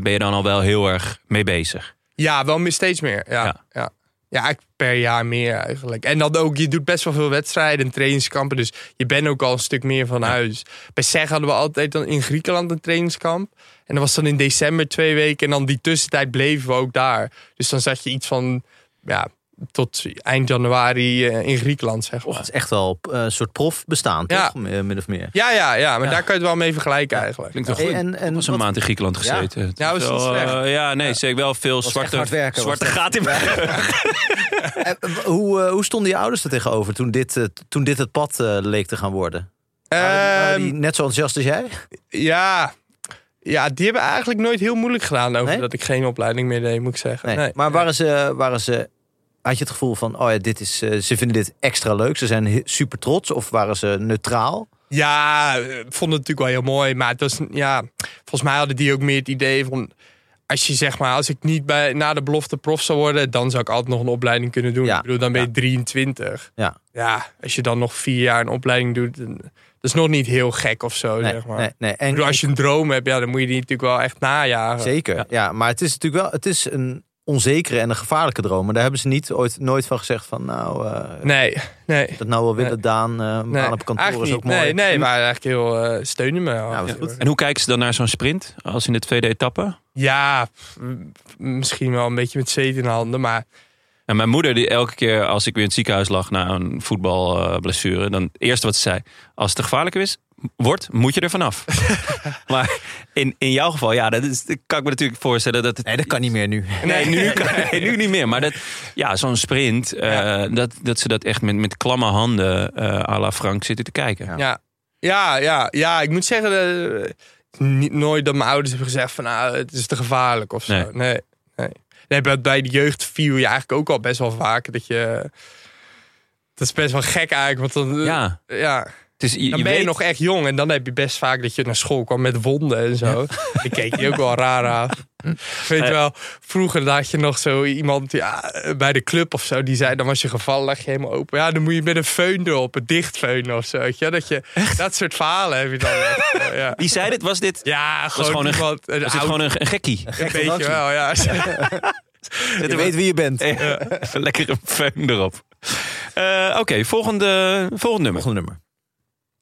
ben je dan al wel heel erg mee bezig.
Ja, wel meer, steeds meer. Ja,
Ja.
ja. ja. ik- per jaar meer eigenlijk. En dan ook, je doet best wel veel wedstrijden en trainingskampen. Dus je bent ook al een stuk meer van huis. Bij SEG hadden we altijd dan in Griekenland een trainingskamp. En dat was dan in december twee weken. En dan die tussentijd bleven we ook daar. Dus dan zat je iets van, ja, tot eind januari eh, in Griekenland, zeg
Het
maar.
is echt wel eh, een soort prof bestaan,
Ja.
toch? Eh, Min of meer.
Ja, ja, ja. Maar
Ja.
daar kan je het wel mee vergelijken eigenlijk.
Klinkt wel goed.
Hey, en- en
Ik was een
wat-
maand in Griekenland gezeten. Het
Nou, is niet
wel,
slecht.
eh, ja, nee, zeker wel veel
echt
zwarte,
hard werken, was
zwarte
het.
gaten in mijn
En, eh, hoe, eh, hoe stonden je ouders er tegenover toen dit, eh, toen dit het pad eh, leek te gaan worden? Waren- waren die
Ehm,
net zo enthousiast als jij?
ja. ja, die hebben eigenlijk nooit heel moeilijk gedaan over
Nee?
dat ik geen opleiding meer deed, moet ik zeggen.
Nee.
Nee.
Maar waren ze, waren ze, had je het gevoel van, oh ja, dit is, eh, ze vinden dit extra leuk, ze zijn he- super trots, of waren ze neutraal?
Ja, eh, vond het natuurlijk wel heel mooi. Maar het was, ja, volgens mij hadden die ook meer het idee van... Als je zeg maar, als ik niet bij, na de belofte prof zou worden... dan zou ik altijd nog een opleiding kunnen doen.
Ja.
Ik bedoel, dan ben je
Ja.
23.
Ja.
Ja, als je dan nog vier jaar een opleiding doet... dan- dat is nog niet heel gek of zo,
Nee,
zeg maar.
nee, nee.
Ik
En,
bedoel, als je een droom hebt, ja, dan moet je die natuurlijk wel echt najagen.
Zeker, ja. Maar het is natuurlijk wel, het is een onzekere en een gevaarlijke droom. Maar daar hebben ze niet ooit nooit van gezegd van, nou, eh,
Nee, nee.
dat nou wel willen,
Nee.
Daan, eh
nee.
aan op kantoor
Eigenlijk
is ook
niet.
mooi.
Nee, nee, maar eigenlijk heel eh, steunen me.
Ja, wat
Ja,
goed.
En hoe kijken ze dan naar zo'n sprint als in de tweede etappe?
pff, m- misschien wel een beetje met zeet in de handen, maar...
En mijn moeder, die elke keer als ik weer in het ziekenhuis lag na een voetbalblessure, dan het eerste wat ze zei: als het te gevaarlijk is, wordt, moet je er vanaf. maar in, in jouw geval, ja, dat, is, dat kan ik me natuurlijk voorstellen dat het.
Nee, dat kan niet meer nu.
Nee, nu, kan, nee, nu niet meer. Maar dat, ja, zo'n sprint, eh, dat, dat ze dat echt met, met klamme handen eh à la Frank zitten te kijken. Ja.
Ja, ja, ja, ja. Ik moet zeggen, eh, niet, nooit dat mijn ouders hebben gezegd van nou, het is te gevaarlijk of zo.
Nee.
Nee, nee. nee. bij, bij de jeugd viel je eigenlijk ook al best wel vaak dat je... Dat is best wel gek eigenlijk, want dan, eh, ja.
het is, je,
dan ben je nog echt jong en dan heb je best vaak dat je naar school kwam met wonden en zo. Dan keek je ook wel raar aan. Weet je wel, vroeger had je nog zo iemand ja, bij de club of zo, die zei, dan was je gevallen, lag je helemaal open. Ja, dan moet je met een föhn erop, een dichtfeun of zo. Weet je? wel. Dat, je, dat soort verhalen heb je dan. echt, eh, ja.
Wie zei dit? Was dit,
ja, gewoon,
gewoon een-
iemand, een,
was dit
oud-
gewoon een, een gekkie?
een beetje wel, ja.
Je weet wie je bent.
Even lekker een feun erop. Eh, Oké, volgende, volgend nummer.
Volgende nummer.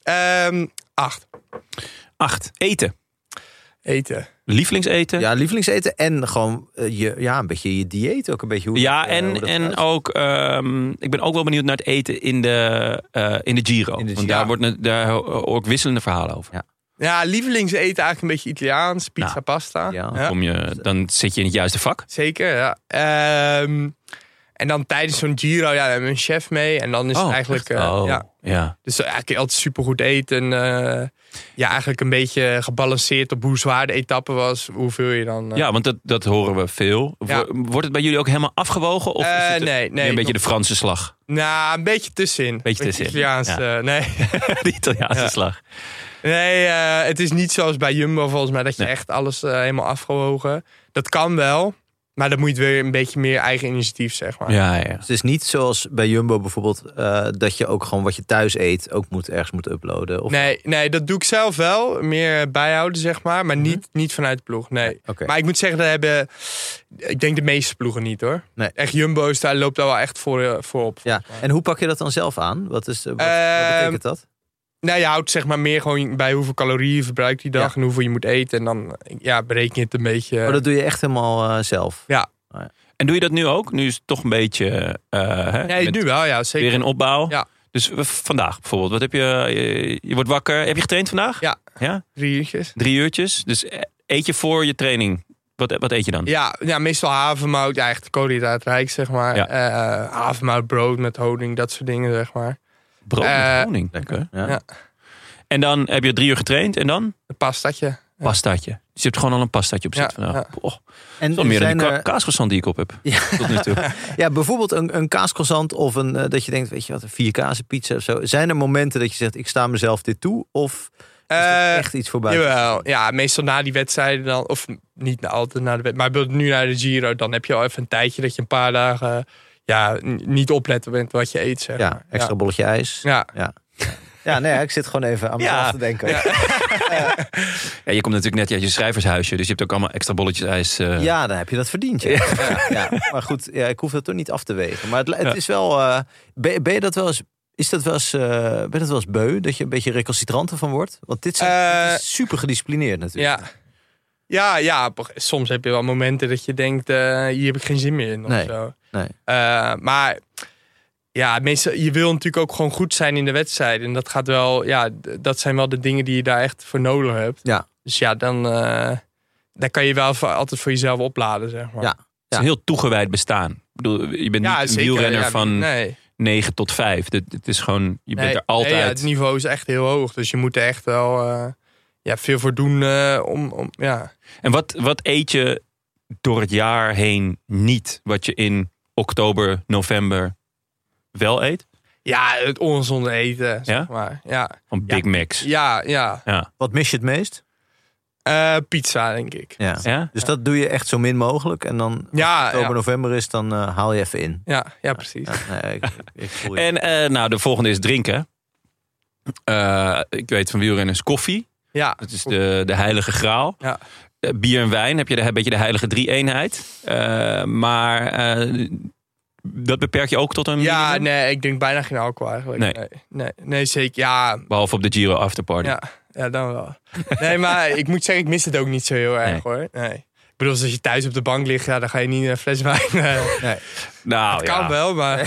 Ehm, acht,
Acht. Eten.
eten.
Lievelingseten. Ja,
Ja, lievelingseten en gewoon eh, je, ja, een beetje je dieet ook een beetje. Hoe dat, eh, hoe
en,
dat
en
gaat.
ook, ehm, ik ben ook wel benieuwd naar het eten in de, eh, in de Giro.
In de
Want
Giro.
daar, wordt, ne- daar ho- ook wisselende verhalen over.
Ja, lievelingseten eigenlijk een beetje Italiaans, pizza,
Nou,
pasta.
ja.
ja.
Kom je, dan zit je in het juiste vak.
Zeker, ja. Ehm, en dan tijdens zo'n Giro, ja, we hebben een chef mee. En dan is het eigenlijk...
echt?
eh,
oh,
ja,
ja.
dus eigenlijk altijd supergoed eten. eh, ja, eigenlijk een beetje gebalanceerd op hoe zwaar de etappe was. Hoeveel je dan... eh,
Ja, want dat, dat horen we veel.
Ja.
Wo- Wordt het bij jullie ook helemaal afgewogen? Of is
Eh,
het een-
nee,
meer
nee,
een beetje
nog-
de Franse slag?
Nou, een beetje tussenin.
Beetje tussenin,
Italiaans,
ja.
eh, nee,
de Italiaanse
Ja.
slag.
nee eh, het is niet zoals bij Jumbo volgens mij. Dat je
Nee.
echt alles eh, helemaal afgewogen. Dat kan wel. Maar dan moet je het weer een beetje meer eigen initiatief, zeg maar.
Ja, ja.
Dus het is niet zoals bij Jumbo bijvoorbeeld eh, dat je ook gewoon wat je thuis eet ook moet, ergens moet uploaden. Of,
Nee, nee, dat doe ik zelf wel. Meer bijhouden, zeg maar.
Mhm.
Maar niet, niet vanuit de ploeg, nee.
Oké.
Maar ik moet zeggen, dat hebben... Ik denk de meeste ploegen niet, hoor.
Nee.
Echt Jumbo's, daar loopt daar wel echt voor, eh, voor op.
Ja. En hoe pak je dat dan zelf aan? Wat, is, eh, wat, wat
Ehm,
betekent dat?
Nou, je houdt zeg maar meer gewoon bij hoeveel calorieën je verbruikt die dag... en hoeveel je moet eten. En dan ja, bereken je het een beetje...
Oh, dat doe je echt helemaal eh, zelf.
En doe je dat nu ook? Nu is het toch een beetje... eh, hè,
nee,
met-
nu wel, ja, zeker.
Weer in opbouw.
Ja.
Dus v- vandaag bijvoorbeeld. Wat heb je, je? je wordt wakker. Heb je getraind vandaag?
Ja.
ja?
Drie uurtjes.
Drie uurtjes. Dus e- eet je eh, voor je training. Wat, wat eet je dan?
Ja, ja, meestal havermout. Ja, echt koolhydraatrijk, zeg maar.
Ja.
Eh, havermoutbrood met honing, dat soort dingen, zeg maar.
Brood
eh,
met honing. Oké.
Ja.
Ja.
En dan heb je drie uur getraind en dan?
Een pastatje.
Pastaatje. Dus je hebt gewoon al een pastaatje op
Ja,
zitten vandaag.
ja.
Oh, dat
En
is wel meer dan
zijn
die ka-
er-
kaascroissant die ik op heb. Tot nu toe.
ja, bijvoorbeeld een, een kaascroissant of een, eh, dat je denkt, weet je wat, een vier kazen pizza of zo. Zijn er momenten dat je zegt, ik sta mezelf dit toe? Of is
Eh,
er echt iets voorbij?
Jawel, ja, meestal na die wedstrijden dan, of niet na- altijd na de wedstrijd, maar bijvoorbeeld nu naar de Giro, dan heb je al even een tijdje dat je een paar dagen ja, n- niet opletten bent wat je eet, zeg
Ja,
maar.
extra bolletje ijs. Ja,
Ja.
nee, ik zit gewoon even aan mezelf
Ja.
te denken.
Ja.
Ja, je komt natuurlijk net uit je schrijvershuisje, dus je hebt ook allemaal extra bolletjes ijs. eh,
Ja, dan heb je dat verdiend. Ja. Ja, ja. Maar goed, ja, ik hoef dat toch niet af te wegen. Maar het, het
Ja.
is wel. eh, ben, ben je dat wel eens. Is dat wel eens, eh, ben je dat wel eens beu? Dat je een beetje recalcitrant ervan wordt? Want dit, zijn,
Eh,
dit is super gedisciplineerd natuurlijk.
Ja. Ja, ja, op- soms heb je wel momenten dat je denkt, eh, hier heb ik geen zin meer in of
Nee,
zo.
nee.
Eh, maar ja, meestal, je wil natuurlijk ook gewoon goed zijn in de wedstrijd. En dat gaat wel, ja, d- dat zijn wel de dingen die je daar echt voor nodig hebt.
Ja.
Dus ja, dan eh, daar kan je wel voor- altijd voor jezelf opladen, zeg maar.
Ja.
Het is een heel toegewijd bestaan. Ik bedoel, je bent niet een wielrenner
ja,
van
nee,
9 tot 5. Dit- Het is gewoon, je bent
nee,
er altijd.
nee, ja, het niveau is echt heel hoog. Dus je moet er echt wel eh, ja, veel voor doen eh, om, om, ja.
En wat, wat eet je door het jaar heen niet, wat je in oktober, november wel eet?
ja, het ongezonde eten,
Ja?
zeg maar. Ja,
Van Big Macs. Ja.
ja, ja.
Wat mis je het meest?
Eh, pizza, denk ik.
Ja.
Ja?
Dus dat doe je echt zo min mogelijk. En dan als
Ja,
oktober,
ja,
november is, dan eh, haal je even in.
ja, ja, precies.
Ja, nee, ik, ik voel je.
En eh, nou, de volgende is drinken. Eh, ik weet van wielrenners koffie.
Ja,
Dat is de, de heilige graal.
Ja.
Eh, bier en wijn heb je de, een beetje de heilige drie-eenheid. Eh, maar eh, dat beperk je ook tot een
ja
minimum?
nee, ik denk bijna geen alcohol eigenlijk.
Nee.
nee, nee, nee zeker. Ja,
Behalve op de Giro Afterparty.
Ja, ja, dan wel. Nee, maar ik moet zeggen, ik mis het ook niet zo heel erg hoor. Nee. Ik bedoel, als je thuis op de bank ligt, ja, dan ga je niet een fles wijn. eh,
Nou,
kan
ja.
wel, maar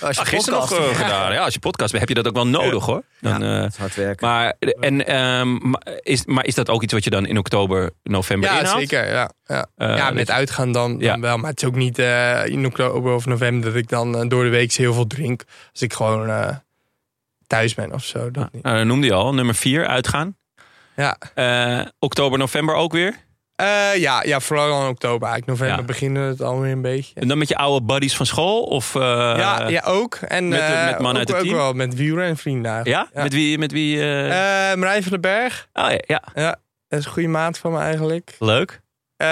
als je
Ah, gisteren nog
podcast-
eh, gedaan. Ja, als je podcast bent, heb je dat ook wel nodig hoor. Dan, eh,
Het is hard werken.
maar, en, ehm, maar is, maar is dat ook iets wat je dan in oktober, november
ja,
inhoudt?
zeker. Ja, ja.
nou. Eh,
ja,
dat
met
je-
uitgaan dan, dan
Ja.
wel. Maar het is ook niet eh, in oktober of november dat ik dan eh, door de week heel veel drink. Als ik gewoon eh, thuis ben of zo. Dat niet.
Nou, dat noemde je al. Nummer vier, uitgaan.
Ja.
Eh, oktober, november ook weer.
Eh, ja, ja, vooral dan in oktober. Eigenlijk november
Ja.
beginnen het alweer een beetje.
En dan met je oude buddies van school? Of, eh,
ja, ja, ook. En
met-
eh,
met mannen uit het
ook, ook
team?
wel met wielrenvrienden eigenlijk.
ja?
Ja.
Met wie? Met wie eh,
Eh, Marijn van den Berg,
oh, ja, ja,
dat is een goede maat van me eigenlijk.
leuk.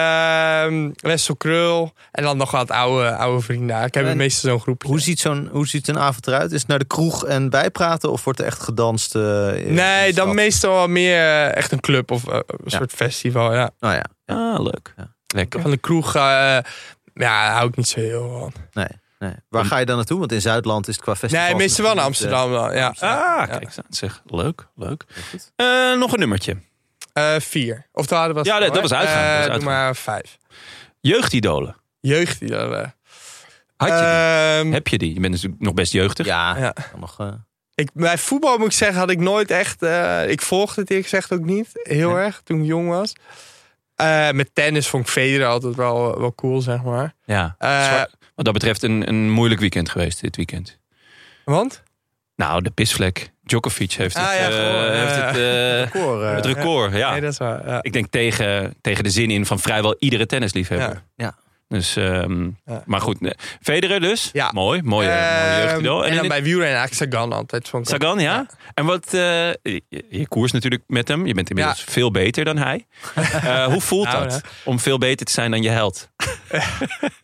Ehm Wessel Krul. En dan nog wat oude, oude vrienden. Ik heb
En
meestal zo'n groepje.
Hoe ziet, zo'n, hoe ziet een avond eruit? Is het naar de kroeg en bijpraten of wordt er echt gedanst? eh, in de
nee, dan
stad?
meestal wel meer eh, echt een club of eh, een
Ja.
soort festival. Ja.
Nou ja,
Ah, leuk.
Ja.
Lekker.
Van de kroeg, eh, ja, daar hou ik niet zo heel van.
nee. Waar ga je dan naartoe? Want in Zuidland is het qua festival.
Nee, meestal wel naar Amsterdam dan. Ja.
Ah,
Ja.
kijk, zeg. Leuk, leuk. Eh, nog een nummertje.
Eh, vier. Of daar hadden we
Ja, dat- dat was uitgaan, dat was
Eh,
uitgaan.
Doe maar vijf.
Jeugdidolen.
Jeugd die dan. eh.
Had je die?
Ehm,
Heb je die? Je bent natuurlijk nog best jeugdig.
Ja,
Ja.
dan nog. eh,
Ik, bij voetbal moet ik zeggen, had ik nooit echt. eh, ik volgde het eerlijk gezegd ook niet heel
Nee.
erg toen ik jong was. Eh, met tennis vond ik Federer altijd wel, wel cool, zeg maar.
Ja.
Eh,
Zwart- Wat dat betreft een, een moeilijk weekend geweest dit weekend.
Want?
Nou, de pisvlek. Djokovic heeft het,
Ah, ja,
eh,
gewoon,
heeft
ja.
het, eh,
koor, eh,
het record. Ja.
Nee, dat is waar. ja.
Ik denk tegen, tegen de zin in van vrijwel iedere tennisliefhebber.
Ja. Ja.
Dus, ehm,
Ja.
Maar goed, nee. Federer dus.
Ja.
Mooi, mooi, eh, mooi
Ehm,
jeugdidool.
en
in
dan
het-
bij wielrennen eigenlijk Sagan altijd. Vond ik
Sagan, ja.
Ja.
En wat, eh, je, je koers natuurlijk met hem. Je bent inmiddels
Ja.
veel beter dan hij. Eh, hoe voelt
Nou,
dat? Om veel beter te zijn dan je held.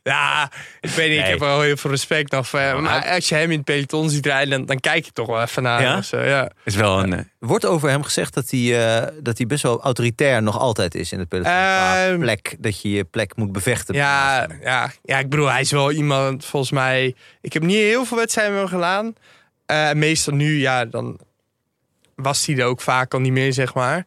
Ja, ik weet niet, ik
Nee.
heb wel heel veel respect nog. voor hem.
Ja,
maar als je hem in het peloton ziet rijden, dan, dan kijk je toch wel even naar
Ja?
hem of zo, ja.
Is wel een... eh,
Wordt over hem gezegd dat hij, eh, dat hij best wel autoritair nog altijd is in het peloton. Qua
Ehm,
plek, dat je je plek moet bevechten.
Ja, ja, ja, ik bedoel, hij is wel iemand, volgens mij... Ik heb niet heel veel wedstrijden met hem gedaan. Eh, meestal nu, ja, dan was hij er ook vaak al niet meer, zeg maar.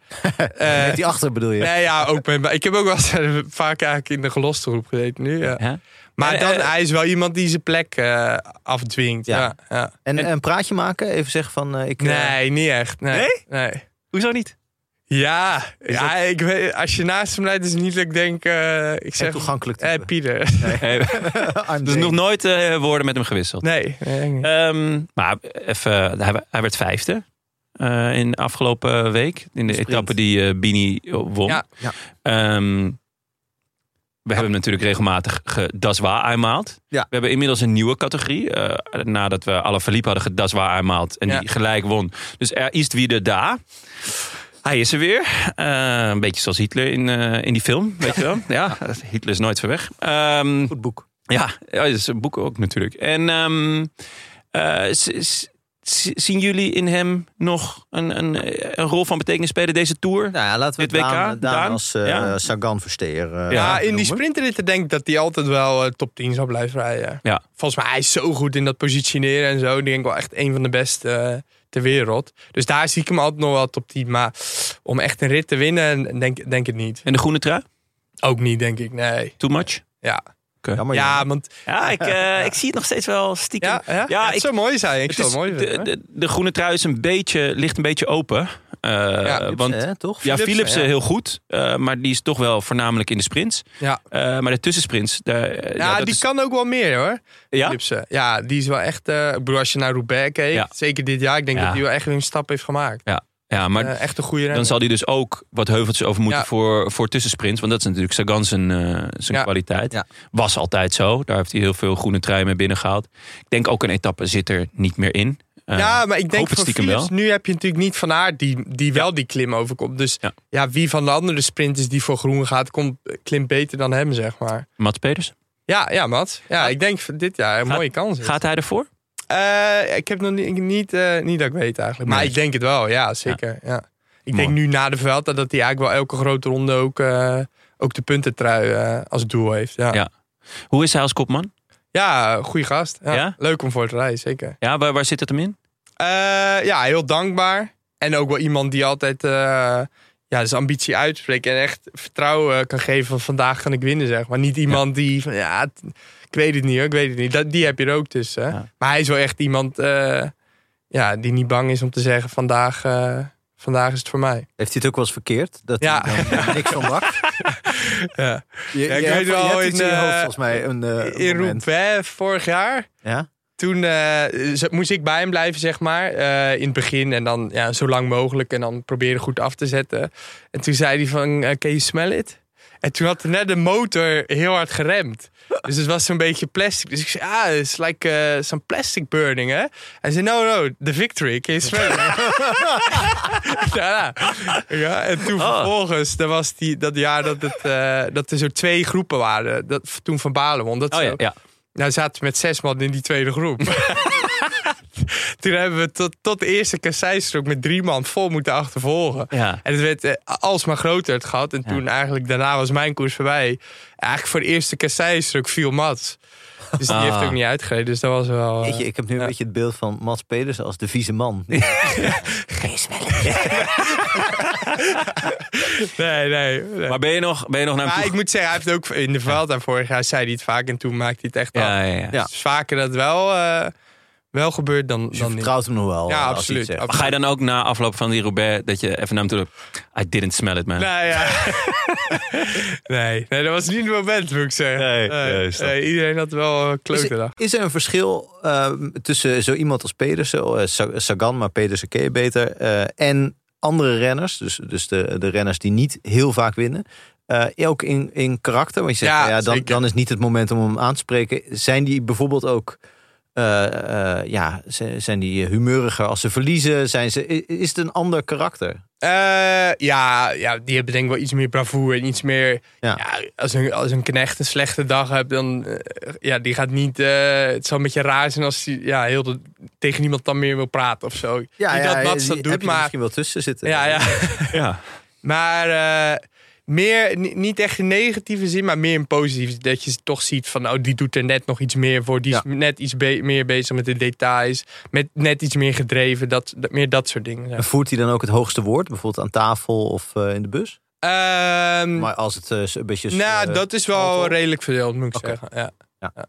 Eh,
Met die achter bedoel je?
nee, ja, ook met, ik heb ook wel eens, eh, vaak eigenlijk in de geloste groep gezeten nu, ja.
hè?
Maar
Eh,
dan,
eh,
hij is wel iemand die zijn plek eh, afdwingt,
Ja.
ja. ja,
En, en een praatje maken? Even zeggen van eh, ik. eh,
Nee, niet echt. Nee?
Nee?
Nee.
Hoezo niet?
Ja, ja ik weet, als je naast hem rijdt is het niet dat ik denk... eh, ik zeg,
toegankelijk
eh,
type.
Pieter.
Nee, dus nog nooit eh, woorden met hem gewisseld.
Nee. nee, nee.
Ehm, maar even, hij, hij werd vijfde. eh, in de afgelopen week. In de
Sprint.
etappe die eh, Bini won.
Ja.
Ja.
Ehm, we hebben hem natuurlijk regelmatig gedaswa uitmaald.
Ja.
We hebben inmiddels een nieuwe categorie. eh, nadat we alle verliep hadden gedaswa uitmaald. En
Ja.
die gelijk won. Dus er is wieder da. Hij is er weer. Eh, een beetje zoals Hitler in, eh, in die film. Weet je wel? Ja, Hitler is nooit ver weg. Ehm,
Goed boek.
ja, ja, dat is een boek ook natuurlijk. En ehm, eh, s- s- s- zien jullie in hem nog een, een, een rol van betekenis spelen deze Tour?
Nou ja, laten we
Dit
Daan,
WK?
Daan
Daan?
als eh,
Ja.
Sagan versteer. eh,
Ja,
Ja, in die
noemen.
sprintritten denk ik dat hij altijd wel eh, top 10 zal blijven rijden.
Ja.
Volgens mij hij is zo goed in dat positioneren en zo. Ik denk wel echt een van de beste eh, ter wereld. Dus daar zie ik hem altijd nog wel top 10. Maar om echt een rit te winnen, denk, denk het niet.
En de groene trui?
Ook niet, denk ik. Nee.
Too much?
Ja,
Jammer,
ja
jammer.
want
Ja, ik, eh, ik zie het nog steeds wel stiekem.
ja, ja? Ja, het
ik-
zou mooi zijn. Ik
Het
zou
is-
het mooi
de, de,
vinden.
de groene trui is een beetje, ligt een beetje open. Eh,
Philipsen,
want
Hè, toch?
ja,
Philipsen,
Philipsen
ja.
heel goed, eh, maar die is toch wel voornamelijk in de sprints.
Ja.
Eh, maar de tussensprints, daar, eh,
Ja,
dat
die
is-
kan Eh, ook wel meer hoor.
ja?
Philipsen. Ja, die is wel echt. eh, ik bedoel, als je naar Roubaix keek,
Ja.
zeker dit jaar, ik denk
Ja.
dat hij wel echt weer een stap heeft gemaakt.
ja, maar
Eh, echt een goede renner.
Dan zal hij dus ook wat heuveltjes over moeten
Ja.
voor, voor tussensprints. Want dat is natuurlijk Sagan zijn, eh, zijn
Ja.
kwaliteit.
Ja.
Was altijd zo. Daar heeft hij heel veel groene trui mee binnengehaald. Ik denk ook een etappe zit er niet meer in. Eh,
ja, maar ik
hoop
denk
het
van
stiekem
Philips,
wel.
nu heb je natuurlijk niet Van Aert die, die wel die klim overkomt. Dus
Ja.
ja. wie van de andere sprinters die voor groen gaat, komt, klimt beter dan hem, zeg maar.
Mats Peters,
Ja, ja Mats. Ja, ik denk voor dit jaar een
Gaat-
mooie kans. is.
gaat hij ervoor?
Eh, ik heb nog niet, niet, eh, niet dat ik weet eigenlijk. Maar
Nee.
ik denk het wel, ja, zeker. Ja. Ik denk
Mooi.
nu na de Vuelta dat hij eigenlijk wel elke grote ronde ook, eh, ook de puntentrui eh als doel heeft. Ja,
Ja.
ja.
Hoe is hij als kopman?
goede gast. Ja.
Ja?
Leuk om voor te rijden, zeker.
Ja, waar, waar zit het hem in?
Eh, ja, heel dankbaar. En ook wel iemand die altijd eh, ja, zijn ambitie uitspreekt. En echt vertrouwen eh, kan geven van vandaag kan ik winnen, zeg maar. Niet iemand die van, ja, t- ik weet het niet hoor, ik weet het niet. Dat, die heb je er ook tussen. hè.
Ja.
Maar hij is wel echt iemand eh, ja, die niet bang is om te zeggen vandaag... eh, Vandaag is het voor mij.
Heeft hij het ook wel eens verkeerd? Dat
Ja.
hij dan eh, niks van bakt?
Ja.
Je,
ik
hebt-
weet wel
hebt
in,
iets in je
eh,
hoofd, volgens mij. Een, eh, een
In
moment.
Roubaix vorig jaar,
Ja?
toen eh, ze- moest ik bij hem blijven, zeg maar. eh, in het begin en dan ja, zo lang mogelijk en dan proberen goed af te zetten. En toen zei hij van, eh, can you smell it? En toen had net de motor heel hard geremd. Dus het was zo'n beetje plastic. Dus ik zei, ah, it's like eh, some plastic burning, hè? Hij zei, no, no, the victory, can you smell it? ja, ja. Ja, en toen
Oh.
vervolgens, dat was die, dat jaar dat, het, eh, dat er zo twee groepen waren. Dat, toen Van Balen won, dat
Oh
zo.
ja, ja.
Nou, zaten we met zes man in die tweede groep. Toen hebben we tot, tot de eerste kasseistrook met drie man vol moeten achtervolgen.
ja.
En het werd eh, alsmaar groter het gat. En toen eigenlijk, daarna was mijn koers voorbij. Eigenlijk voor de eerste kasseistrook viel Mats. Dus die
Ah.
heeft ook niet uitgereden. Dus dat was wel... eh,
Weet je, ik heb nu een beetje het beeld van Mats Pedersen als de vieze man.
nee, nee. nee.
Maar
Maar,
ben je nog, ben je nog naar hem toe?
ik moet zeggen, hij heeft ook in de Vuelta vorig jaar zei hij het vaak. En toen maakte hij het echt af.
Ja, ja, ja.
Ja.
Dus vaker dat wel, eh, wel gebeurt dan,
Dus je
dan niet.
vertrouwt hem nog wel.
Ja,
eh, als hij
absoluut.
het zegt.
Maar ga je dan ook na afloop van die Roubaix dat je even naar hem toe loopt? I didn't smell it, man.
Nou ja. nee, nee, dat was niet het moment, moet ik zeggen.
Nee, nee, is dat-
nee, iedereen had wel een
Is
klote dag.
er, is er een verschil eh, tussen zo iemand als Pedersen, eh, Sa- Sagan, maar Pedersen ken je beter, eh, en andere renners, dus, dus de, de renners die niet heel vaak winnen, eh, ook in, in karakter? Want je zegt,
Ja,
nou ja, dan,
zeker.
dan is niet het moment om hem aan te spreken. Zijn die bijvoorbeeld ook, eh, eh, ja, z- zijn die humeuriger als ze verliezen? Zijn ze, i- is het een ander karakter?
Eh, ja, ja, die hebben denk ik wel iets meer bravoure en iets meer...
Ja.
Ja. als, een, als een knecht een slechte dag hebt, dan... eh, ja, die gaat niet... eh, het zou een beetje raar zijn als hij ja, heel de- tegen niemand dan meer wil praten of zo. niet dat Mats
die
dat
heb
doet,
je er
maar...
misschien wel tussen zitten.
Ja, ja.
Ja.
Maar eh, meer, ni- niet echt in negatieve zin, maar meer in positieve. Dat je toch ziet van, nou, die doet er net nog iets meer voor. Die
Ja.
is net iets be- meer bezig met de details. Met net iets meer gedreven. Dat, dat- meer dat soort dingen.
En voert hij dan ook het hoogste woord, bijvoorbeeld aan tafel of eh, in de bus?
Ehm,
Maar als het eh, een beetje...
nou,
eh,
dus,
dat is wel
alcohol?
redelijk verdeeld, moet ik
Oké.
zeggen. Ja.
Ja.
Ja.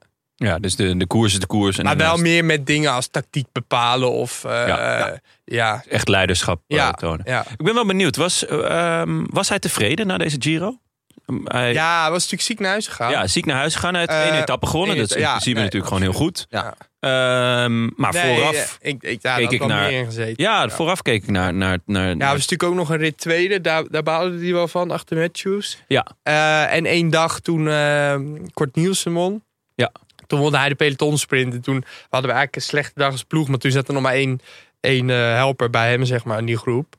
Ja, dus de, de koers is de koers. En
Maar wel
daarnaast
meer met dingen als tactiek bepalen of eh,
Ja.
ja. Ja.
echt leiderschap eh,
Ja.
tonen.
Ja.
Ik ben wel benieuwd. Was, eh, ehm, was hij tevreden na deze Giro? Ehm, Hij, ja.
hij was natuurlijk ziek naar huis gegaan.
ziek naar huis gegaan. Hij heeft
Eh,
één etappe gewonnen.
één
Dat is in
etappe,
principe
ja, nee,
natuurlijk gewoon heel goed.
Ja.
Ehm, maar
Nee,
vooraf...
eh, ik, ik, daar
keek
had
ik
wel
naar-
meer in gezeten.
Ja, vooraf keek ik naar... naar, naar,
Ja, Nou, er was natuurlijk ook nog een rit tweede. Daar, daar baalde hij wel van, achter Matthews.
Ja.
Eh, en één dag toen eh, Kort Nielsen won.
Ja.
Toen won hij de pelotonsprint. En toen hadden we eigenlijk een slechte dag als ploeg. Maar toen zat er nog maar één, één eh, helper bij hem, zeg maar, in die groep.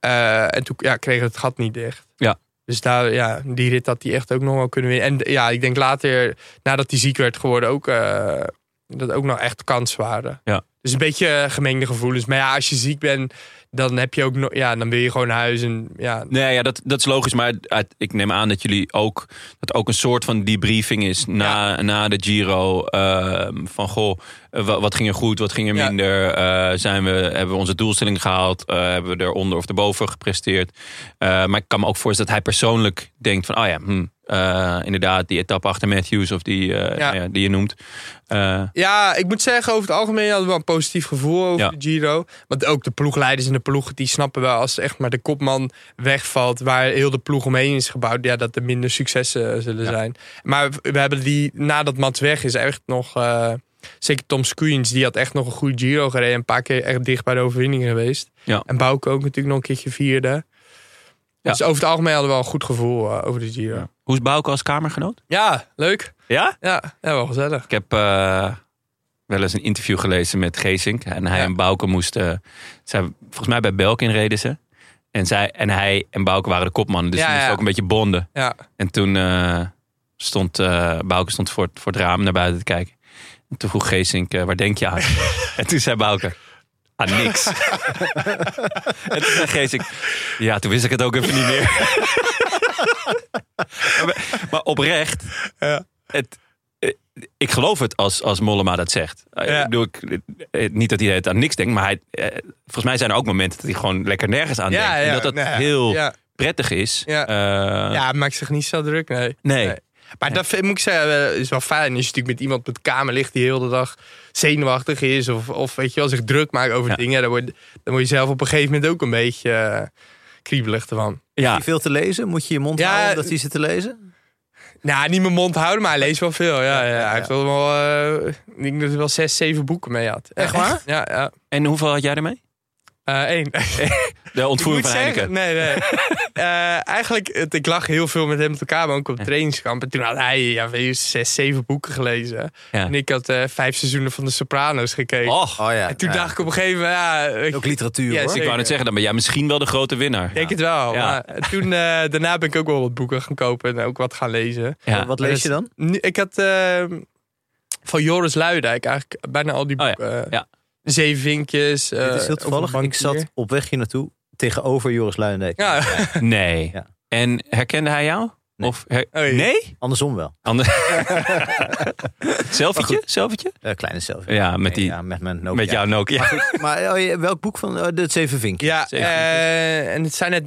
Eh, en toen ja, kreeg het gat niet dicht.
Ja.
Dus daar, ja, die rit had hij echt ook nog wel kunnen winnen. En ja, ik denk later, nadat hij ziek werd geworden, ook... eh, dat ook nog echt kans waren.
Ja.
Dus een beetje eh, gemengde gevoelens. Maar ja, als je ziek bent, dan heb je ook nog, ja, dan wil je gewoon naar huis en ja.
Nee, ja, dat, dat is logisch. Maar uit- ik neem aan dat jullie ook dat ook een soort van debriefing is na, na de Giro. ehm, van goh, eh, wa- wat ging er goed, wat ging er
Ja.
minder? Eh, zijn we, hebben we onze doelstelling gehaald? Eh, hebben we eronder of erboven gepresteerd? Eh, maar ik kan me ook voorstellen dat hij persoonlijk denkt van, oh ja, hm, eh, inderdaad, die etappe achter Matthews of die, eh,
Ja.
nou ja, die je noemt. Eh,
Ja, ik moet zeggen, over het algemeen hadden we wel een positief gevoel over
Ja.
de Giro. Want ook de ploegleiders en de ploeg, die snappen wel als echt maar de kopman wegvalt, waar heel de ploeg omheen is gebouwd, ja, dat er minder successen eh, zullen zijn. Maar we- we hebben die, nadat Mats weg is, echt nog, eh, zeker Tom Squeens, die had echt nog een goede Giro gereden. Een paar keer echt dicht bij de overwinning geweest.
Ja.
En Bouke ook natuurlijk nog een keertje vierde.
Ja.
Dus over het algemeen hadden we wel een goed gevoel eh, over de Giro. Ja,
Hoe is Bouke als kamergenoot?
leuk.
Ja?
Ja, ja, wel gezellig.
Ik heb eh, wel eens een interview gelezen met Geesink. En hij
Ja.
en Bouke moesten... eh, zij, volgens mij bij Belkin reden ze. En, zij, en hij en Bouke waren de kopman. Dus
Ja,
ze moesten
ja.
ook een beetje bonden.
Ja.
En toen eh, stond eh, Bouke stond voor, het- voor het raam naar buiten te kijken. En toen vroeg Geesink, eh, waar denk je aan? en toen zei Bouke... Aan niks. en toen zei Geesink... Ja, toen wist ik het ook even niet meer. maar, maar oprecht...
Ja.
Het, eh, ik geloof het als, als Mollema dat zegt. Eh,
Ja.
Ik bedoel, ik, eh, niet dat hij het aan niks denkt, maar hij, eh, volgens mij zijn er ook momenten dat hij gewoon lekker nergens aan denkt. en dat dat
nou ja,
heel
Ja,
prettig is.
Ja.
Eh,
ja het maakt zich niet zo druk, nee.
nee.
Nee. Maar dat vind, moet ik zeggen, eh, is wel fijn. Als je natuurlijk met iemand op de kamer ligt die heel de dag zenuwachtig is. Of, of weet je wel, zich druk maakt over
Ja.
dingen. Dan word, dan word je zelf op een gegeven moment ook een beetje eh, kriebelig ervan.
Ja.
Ah, Heb je veel te lezen? Moet je je mond
Ja,
houden dat hij zit te lezen?
Nou, niet mijn mond houden, maar hij leest wel veel. Ja, ja,
ja,
Hij
ja.
heeft wel, wel, eh, ik denk dat hij wel zes, zeven boeken mee had.
Echt waar?
Ja, ja. Eh,
En hoeveel had jij ermee?
Eén.
De ontvoering
Ik
van
moet
Heineken.
zeggen- Nee, nee. Eh, eigenlijk, het, ik lag heel veel met hem met elkaar, maar ook op trainingskamp. En toen had hij ja, weet je, zes, zeven boeken gelezen.
Ja.
En ik had eh, vijf seizoenen van De Sopranos gekeken.
Och,
Oh ja.
en toen
ja.
dacht ik op een gegeven moment, ja, weet je,
Ook literatuur
Ja,
hoor.
zeker.
ik wou net zeggen, dan ben jij misschien wel de grote winnaar.
denk het wel.
Ja.
Maar toen, eh, daarna ben ik ook wel wat boeken gaan kopen en ook wat gaan lezen.
Ja.
Wat lees je dan?
Nu- Ik had eh, van Joris Luidijk eigenlijk bijna al die
Oh ja,
boeken.
ja.
Zeven vinkjes. eh,
Dit is heel
over
toevallig. Ik
bankier.
zat op weg hier naartoe tegenover Joris Luijendijk.
Ja, oh
Nee.
Ja.
En herkende hij jou?
Nee.
Of her-
Oh, jee.
nee?
Andersom wel.
Ander... Selfietje? Selfietje?
Eh, kleine zelf.
Ja, met, die,
Oh, Ja, met mijn Nokia.
met jou Nokia.
Maar oh, ja, welk boek van eh, de Zeven Vinkjes?
ja
Zeven
eh, en het zijn net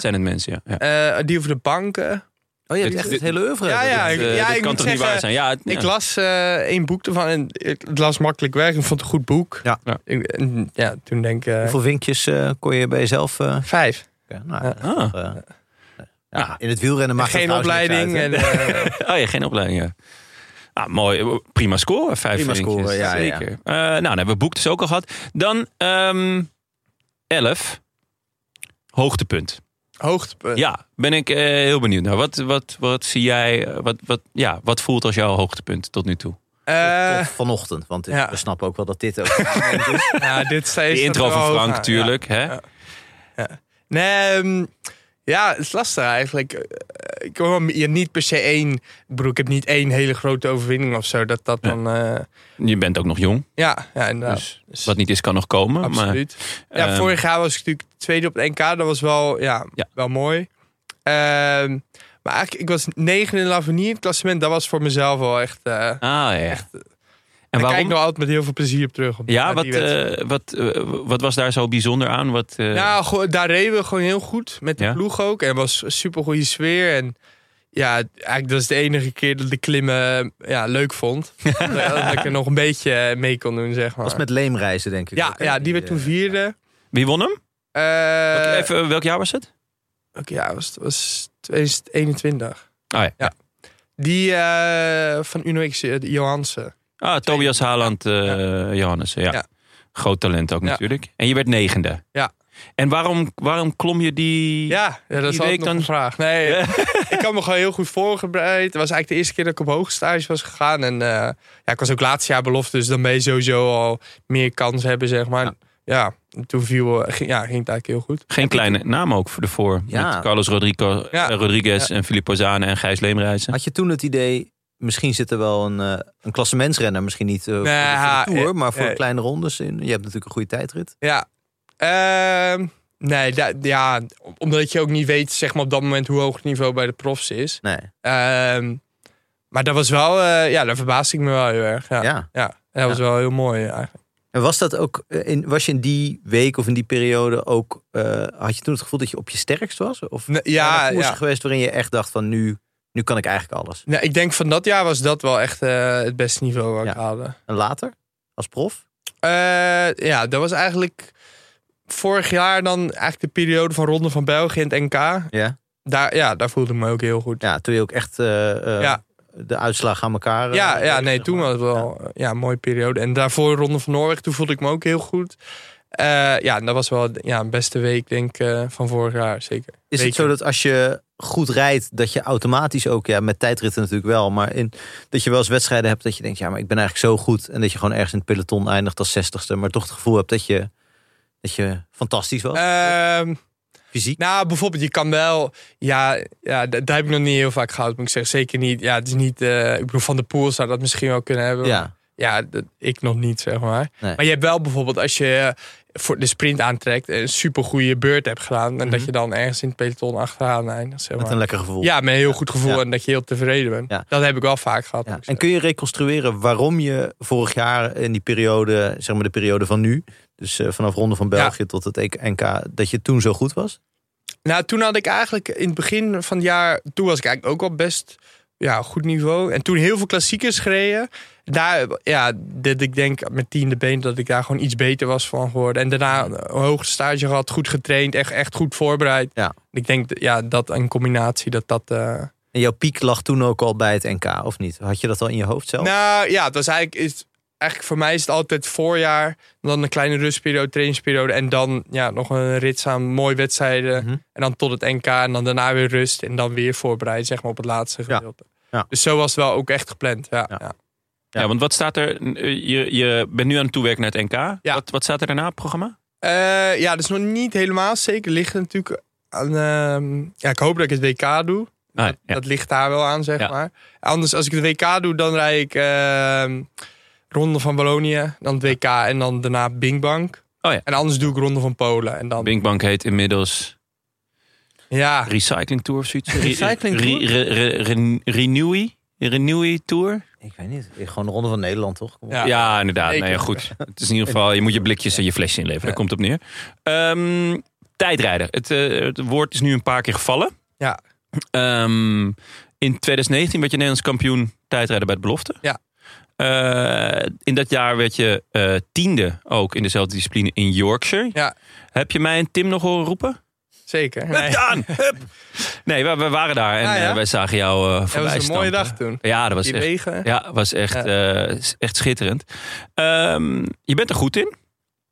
Zijn het mensen, ja. ja.
eh, die over de banken.
Oh, je hebt
Dit-
echt
dit-
het hele oeuvre. Dus
Ja, ja,
Eh,
ik- ja,
dit
ik
kan
moet
toch niet waar
zeggen,
zijn? Ja, het-
Ik
ja.
las eh, één boek ervan en ik het las makkelijk weg. Ik vond het een goed boek.
Ja.
Ja.
Ik- en, ja toen denk ik... eh,
Hoeveel vinkjes eh, kon je bij jezelf... eh,
vijf.
Ja, nou,
Ja.
dat is toch, eh, ja.
Ah. Ja.
In het wielrennen maakt het
Geen
trouwens niks
opleiding.
uit,
en,
hè.
eh,
Oh ja, geen opleiding. Ja. Ah, mooi, prima score. Vijf
Prima
vinkjes.
score, ja, ja, ja.
Zeker. Eh, nou, dan hebben we boek dus ook al gehad. Dan ehm elf. Hoogtepunt.
hoogtepunt.
Ja, ben ik eh, heel benieuwd naar. Wat, wat, wat zie jij, eh, wat, wat, ja, wat voelt als jouw hoogtepunt tot nu toe?
Eh,
Tot vanochtend, want
ja.
we snappen ook wel dat dit ook het moment is.
ja, dit is-
De
is
intro
dat wel
van
hoog
Frank
aan,
natuurlijk. Hè?
Ja. ja. Nee, ehm, ja, het is lastig eigenlijk. Eh, Ik hoor hem- je niet per se één... Ik bedoel, ik heb niet één hele grote overwinning of zo. Dat dat dan... eh,
Je bent ook nog jong,
ja, ja, inderdaad.
dus wat niet is kan nog komen. Maar,
Absoluut. ja,
ehm,
vorig jaar was ik natuurlijk tweede op het NK. Dat was wel, ja,
Ja.
wel mooi. Ehm, maar eigenlijk, ik was negende in Lavenier in het klassement. Dat was voor mezelf wel echt... eh
ah
en
ja. En
daar kijk
waarom?
ik nog altijd met heel veel plezier op terug. Op
Ja,
naar
wat,
die wedstrijd.
eh, wat, eh, wat was daar zo bijzonder aan? Wat, eh,
Nou, gewoon- daar reden we gewoon heel goed. Met de
Ja.
ploeg ook. En het was een supergoeie sfeer. En ja, eigenlijk dat is de enige keer dat ik klimmen ja, leuk vond. dat ik er nog een beetje mee kon doen, zeg maar.
was met leemreizen, denk ik.
ja,
ook, hè?
ja, die werd
eh,
toen vierde.
Wie won hem?
Eh,
Welk- Even, welk jaar was het?
Oké, ja, was, was 2021.
Oh ja.
ja. Die eh, van Uno X, eh, de Johansen.
Ah, Tobias Haaland, eh, Johannes. Ja.
Ja.
Groot talent ook
Ja.
natuurlijk. En je werd negende.
Ja.
En waarom, waarom klom je die...
Ja, ja dat is
Die
altijd
week
nog
dan-
een vraag. Nee, ik had me gewoon heel goed voorgebreid. Het was eigenlijk de eerste keer dat ik op hoogstage was gegaan. En eh, ja, ik was ook laatste jaar belofte, dus dan ben je sowieso al meer kans hebben, zeg maar.
Ja.
Ja, toen viel, eh, ging, ja, ging het eigenlijk heel goed.
Geen kleine naam ook voor de voor.
Ja.
Met Carlos Rodrigo,
Ja.
eh, Rodriguez en Filippo Zane en Gijs Leemreizen.
Had je toen het idee, misschien zit er wel een, eh een klassementsrenner, misschien niet eh, voor, de- voor
ha,
de Tour,
eh,
maar voor
eh.
kleine rondes. In, je hebt natuurlijk een goede tijdrit.
Ja. Ehm, nee, da- ja, omdat je ook niet weet zeg maar, op dat moment hoe hoog het niveau bij de profs is.
Nee,
Ehm, maar dat was wel, eh, ja, daar verbaasde ik me wel heel erg. Ja,
ja.
ja. En dat was wel heel mooi eigenlijk.
En was dat ook, eh, in, was je in die week of in die periode ook, eh, had je toen het gevoel dat je op je sterkst was? Of
Nee,
zijn
ja,
er koersen
ja.
geweest waarin je echt dacht van nu, nu kan ik eigenlijk alles.
Nou, ik denk van dat jaar was dat wel echt eh, het beste niveau wat ik
Ja.
haalde.
En later, als prof?
Eh, ja, dat was eigenlijk vorig jaar dan eigenlijk de periode van Ronde van België in het NK.
Ja.
Daar, ja, daar voelde ik me ook heel goed.
Ja, toen je ook echt eh, eh,
Ja.
de uitslag aan elkaar... eh,
Ja, ja,
zeg
nee,
maar.
toen was het wel eh, ja, een mooie periode. En daarvoor Ronde van Noorwegen, toen voelde ik me ook heel goed. Eh, ja, en dat was wel ja, een beste week, denk ik, eh, van vorig jaar, zeker.
Is het
Weken.
zo dat als je goed rijdt, dat je automatisch ook, ja, met tijdritten natuurlijk wel, maar in, dat je wel eens wedstrijden hebt dat je denkt, ja, maar ik ben eigenlijk zo goed. En dat je gewoon ergens in het peloton eindigt als zestigste, maar toch het gevoel hebt dat je, dat je fantastisch was,
Ehm,
fysiek.
Nou, bijvoorbeeld, je kan wel. Ja, ja d- daar heb ik nog niet heel vaak gehouden, moet ik zeggen. Zeker niet. Ja, het is niet. eh, ik bedoel, van de pool zou dat misschien wel kunnen hebben.
Ja,
Ja, dat, ik nog niet, zeg maar.
Nee.
Maar je hebt wel bijvoorbeeld als je eh, voor de sprint aantrekt. een supergoeie beurt hebt gedaan. en dat je dan ergens in het peloton achteraan eindigt, zeg
Mhm. met
maar.
een lekker gevoel.
Ja, met een heel goed gevoel
Ja.
en dat je heel tevreden bent.
Ja.
Dat heb ik wel vaak gehad.
Ja.
moet ik
En kun je reconstrueren waarom je vorig jaar in die periode, zeg maar de periode van nu, dus eh, vanaf Ronde van België tot het NK, dat je toen zo goed was?
Nou, toen had ik eigenlijk in het begin van het jaar... Toen was ik eigenlijk ook al best ja, goed niveau. En toen heel veel klassiekers gereden. Daar, ja, dat ik denk met tiende been dat ik daar gewoon iets beter was van geworden. En daarna een hoger stage gehad, goed getraind, echt, echt goed voorbereid.
Ja.
Ik denk ja, dat in combinatie dat dat... eh,
En jouw piek lag toen ook al bij het NK, of niet? Had je dat al in je hoofd zelf?
Nou ja, het was eigenlijk, is, eigenlijk voor mij is het altijd voorjaar. Dan een kleine rustperiode, trainingsperiode. En dan ja, nog een rits aan mooie wedstrijden.
Mhm.
En dan tot het NK. En dan daarna weer rust. En dan weer voorbereid zeg maar, op het laatste
Ja.
gedeelte.
Ja.
Dus zo was het wel ook echt gepland. Ja,
Ja.
ja.
Ja. want wat staat er... eh, Je, je bent nu aan het toewerken naar het NK.
Ja.
Wat, wat staat er daarna op het programma?
Eh, ja, dat is nog niet helemaal zeker. Ligt er natuurlijk aan... ehm, ja, ik hoop dat ik het WK doe.
Ah, ja.
Dat ligt daar wel aan, zeg
Ja.
maar. Anders, als ik het WK doe, dan rijd ik ehm, Ronde van Wallonië, dan het WK en dan daarna Bing Bang.
Oh ja.
En anders doe ik Ronde van Polen. En dan,
Binkbank heet inmiddels
Ja,
Recycling Tour of zoiets.
Recycling
Re-
Tour?
re- re- re- Renewy? Renewy Tour?
Ik weet niet. Gewoon de Ronde van Nederland, toch? Kom op.
Ja.
Ja, inderdaad.
Nee,
Nee,
ik-
ja, goed. Het is in ieder geval, je moet je blikjes en je flesjes inleveren. Daar komt het op neer. Ehm, tijdrijden. Het, eh, het woord is nu een paar keer gevallen.
Ja.
Ehm, in 2019 werd je Nederlands kampioen tijdrijden bij het belofte.
Ja.
Eh, in dat jaar werd je eh, tiende ook in dezelfde discipline in Yorkshire.
Ja.
Heb je mij en Tim nog horen roepen?
zeker. Nee.
Hup Daan, hup! Nee, we, we waren daar en
Ja, ja.
eh, wij zagen jou eh
Dat
voorbij
was een mooie
stampen.
dag toen.
Ja, dat was
Die
echt
wegen.
ja, was echt, eh, s- echt schitterend. Ehm, je bent er goed in.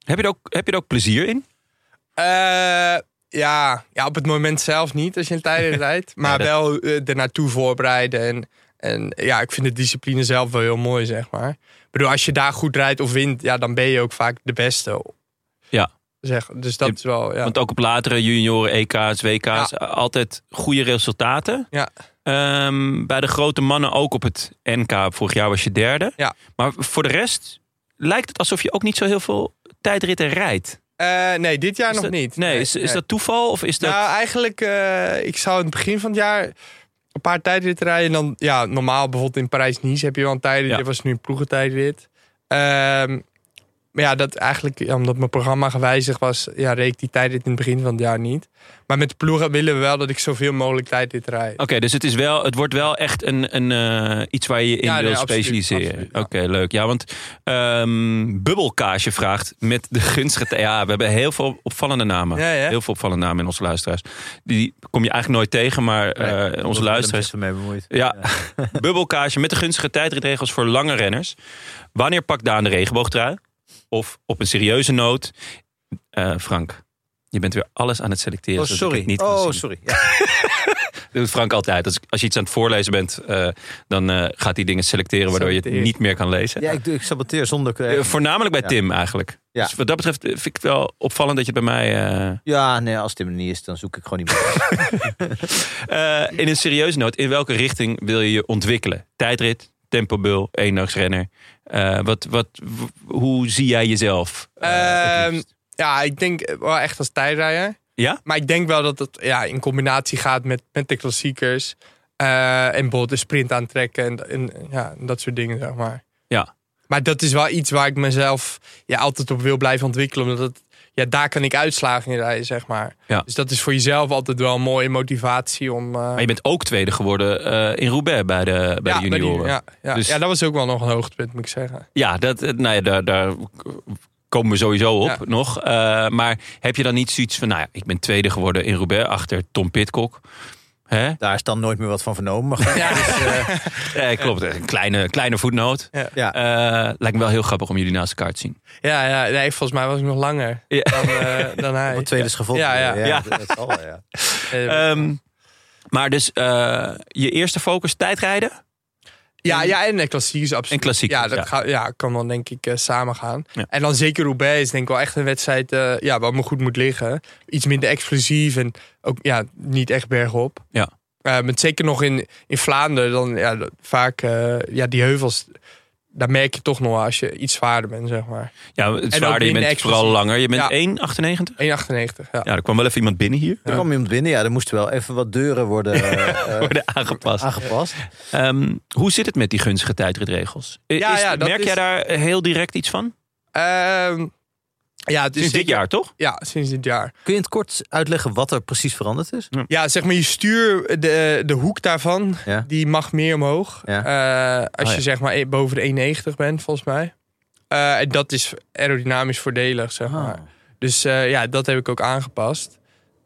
Heb je er ook, heb je er ook plezier in?
Eh, ja, ja, op het moment zelf niet, als je een tijden rijdt. Maar
dat-
wel eh, ernaartoe voorbereiden. En, en ja, ik vind de discipline zelf wel heel mooi, zeg maar. Ik bedoel, als je daar goed rijdt of wint, ja, dan ben je ook vaak de beste.
Ja.
Zeg, dus dat is wel, ja.
Want ook op latere junioren, E EK's, WK's,
Ja.
eh, altijd goede resultaten.
Ja.
Ehm, bij de grote mannen ook op het NK. Vorig jaar was je derde.
Ja.
Maar voor de rest lijkt het alsof je ook niet zo heel veel tijdritten rijdt.
Eh, nee, dit jaar
Is
nog
dat-
niet.
Nee, is, is dat toeval of is dat...
Nou, eigenlijk, eh, ik zou in het begin van het jaar een paar tijdritten rijden. En dan, ja, normaal bijvoorbeeld in Parijs-Nice heb je wel een tijdrit.
Ja.
Dit was nu een ploegentijdrit. Ehm, Maar ja, dat eigenlijk, ja, omdat mijn programma gewijzigd was, ja, reed ik die tijdrit in het begin van het jaar niet. Maar met de ploegen willen we wel dat ik zoveel mogelijk tijdrit rijd.
Oké, dus het, is wel, het wordt wel echt een, een, eh, iets waar je je in
Ja, nee,
wil
absoluut,
specialiseren.
absoluut,
Oké,
ja.
leuk. Ja, want ehm Bubbelkaasje vraagt met de gunstige... Ja, we hebben heel veel opvallende namen.
Ja, ja.
Heel veel opvallende namen in onze luisteraars. Die kom je eigenlijk nooit tegen, maar eh, onze luisteraars...
ermee bemoeid.
Ja, bubbelkaasje met de gunstige tijdritregels voor lange renners. Wanneer pakt Daan de regenboogtrui? Of op een serieuze noot? Eh, Frank, je bent weer alles aan het selecteren.
Oh,
zodat ik
sorry.
het niet kan
oh,
zien.
sorry. Ja.
Dat doet Frank altijd. Als, als je iets aan het voorlezen bent, eh, dan eh, gaat hij dingen selecteren waardoor je het
Selecteer.
niet meer kan lezen.
Ja, ik, doe- ik saboteer zonder...
Eh,
eh,
Voornamelijk bij
Ja.
Tim eigenlijk.
Ja.
Dus wat dat betreft eh, vind ik het wel opvallend dat je het bij mij... eh,
Ja, nee, als Tim er niet is, dan zoek ik gewoon niet meer.
Eh, in een serieuze noot, in welke richting wil je je ontwikkelen? Tijdrit, tempobul, eendagsrenner. Eh, wat, wat, w- hoe zie jij jezelf? eh, het
Ehm,
liefst?
Ja, ik denk eh, wel echt als tijdrijder.
Ja?
Maar ik denk wel dat het ja, in combinatie gaat met, met de klassiekers. Eh, en bijvoorbeeld de sprint aantrekken en, en ja, dat soort dingen, zeg maar.
Ja.
Maar dat is wel iets waar ik mezelf ja, altijd op wil blijven ontwikkelen. Omdat het- ja, daar kan ik uitslagen in rijden, zeg maar.
Ja.
Dus dat is voor jezelf altijd wel een mooie motivatie om... eh,
Maar je bent ook tweede geworden eh, in Roubaix bij de, bij
ja,
de
bij
junioren.
die- ja, ja.
Dus-
ja, dat was ook wel nog een hoogtepunt, moet ik zeggen.
Ja, dat, eh, nou ja, daar, daar komen we sowieso op
Ja.
nog. Eh, maar heb je dan niet zoiets van, nou ja, ik ben tweede geworden in Roubaix achter Tom Pitcock. Hè?
Daar is dan nooit meer wat van vernomen. Maar goed,
Eh, klopt, eh, een kleine, kleine voetnoot.
Ja.
ja.
Eh, lijkt me wel heel grappig om jullie naast elkaar te zien.
Ja, ja nee, volgens mij was ik nog langer
Ja.
dan, eh, dan hij.
Wat Oh, tweede is gevonden.
Ja, ja.
Ja.
Dat, dat zal wel, ja.
Eh,
Ehm, maar dus eh, je eerste focus tijdrijden.
Ja, ja, en eh, klassiekers
En
absoluut.
klassiekers,
Ja, dat
ja.
Ga, ja, kan dan denk ik eh, samen gaan.
Ja.
En dan zeker Roubaix is denk ik wel echt een wedstrijd eh, ja, waar me goed moet liggen. Iets minder explosief en ook ja, niet echt bergop.
Ja.
Eh, met zeker nog in, in Vlaanderen, dan ja, dat- vaak eh, ja, die heuvels, daar merk je toch nog wel als je iets zwaarder bent, zeg maar.
Ja, het zwaarder, je
minder
bent
explosief.
vooral langer. Je bent
Ja.
1,98?
1,98. Ja.
Ja, er kwam wel even iemand binnen hier.
Er kwam iemand binnen. Ja, er moesten wel even wat deuren worden eh, eh,
Worden aangepast.
aangepast.
Ehm, hoe zit het met die gunstige tijdritregels? I-
Ja,
is-
ja, dat
merk
is-
jij daar heel direct iets van?
Ehm, ja, het
Sinds
is
dit
zeker-
jaar, toch?
Ja, sinds dit jaar.
Kun je in het kort uitleggen wat er precies veranderd is?
Ja, zeg maar, je stuur, de, de hoek daarvan,
Ja.
die mag meer omhoog.
Ja.
Eh, als
Oh,
je
ja.
zeg maar e- boven de 1,90 bent, volgens mij. Eh, en dat is aerodynamisch voordelig, zeg
Oh.
maar. Dus eh, ja, dat heb ik ook aangepast.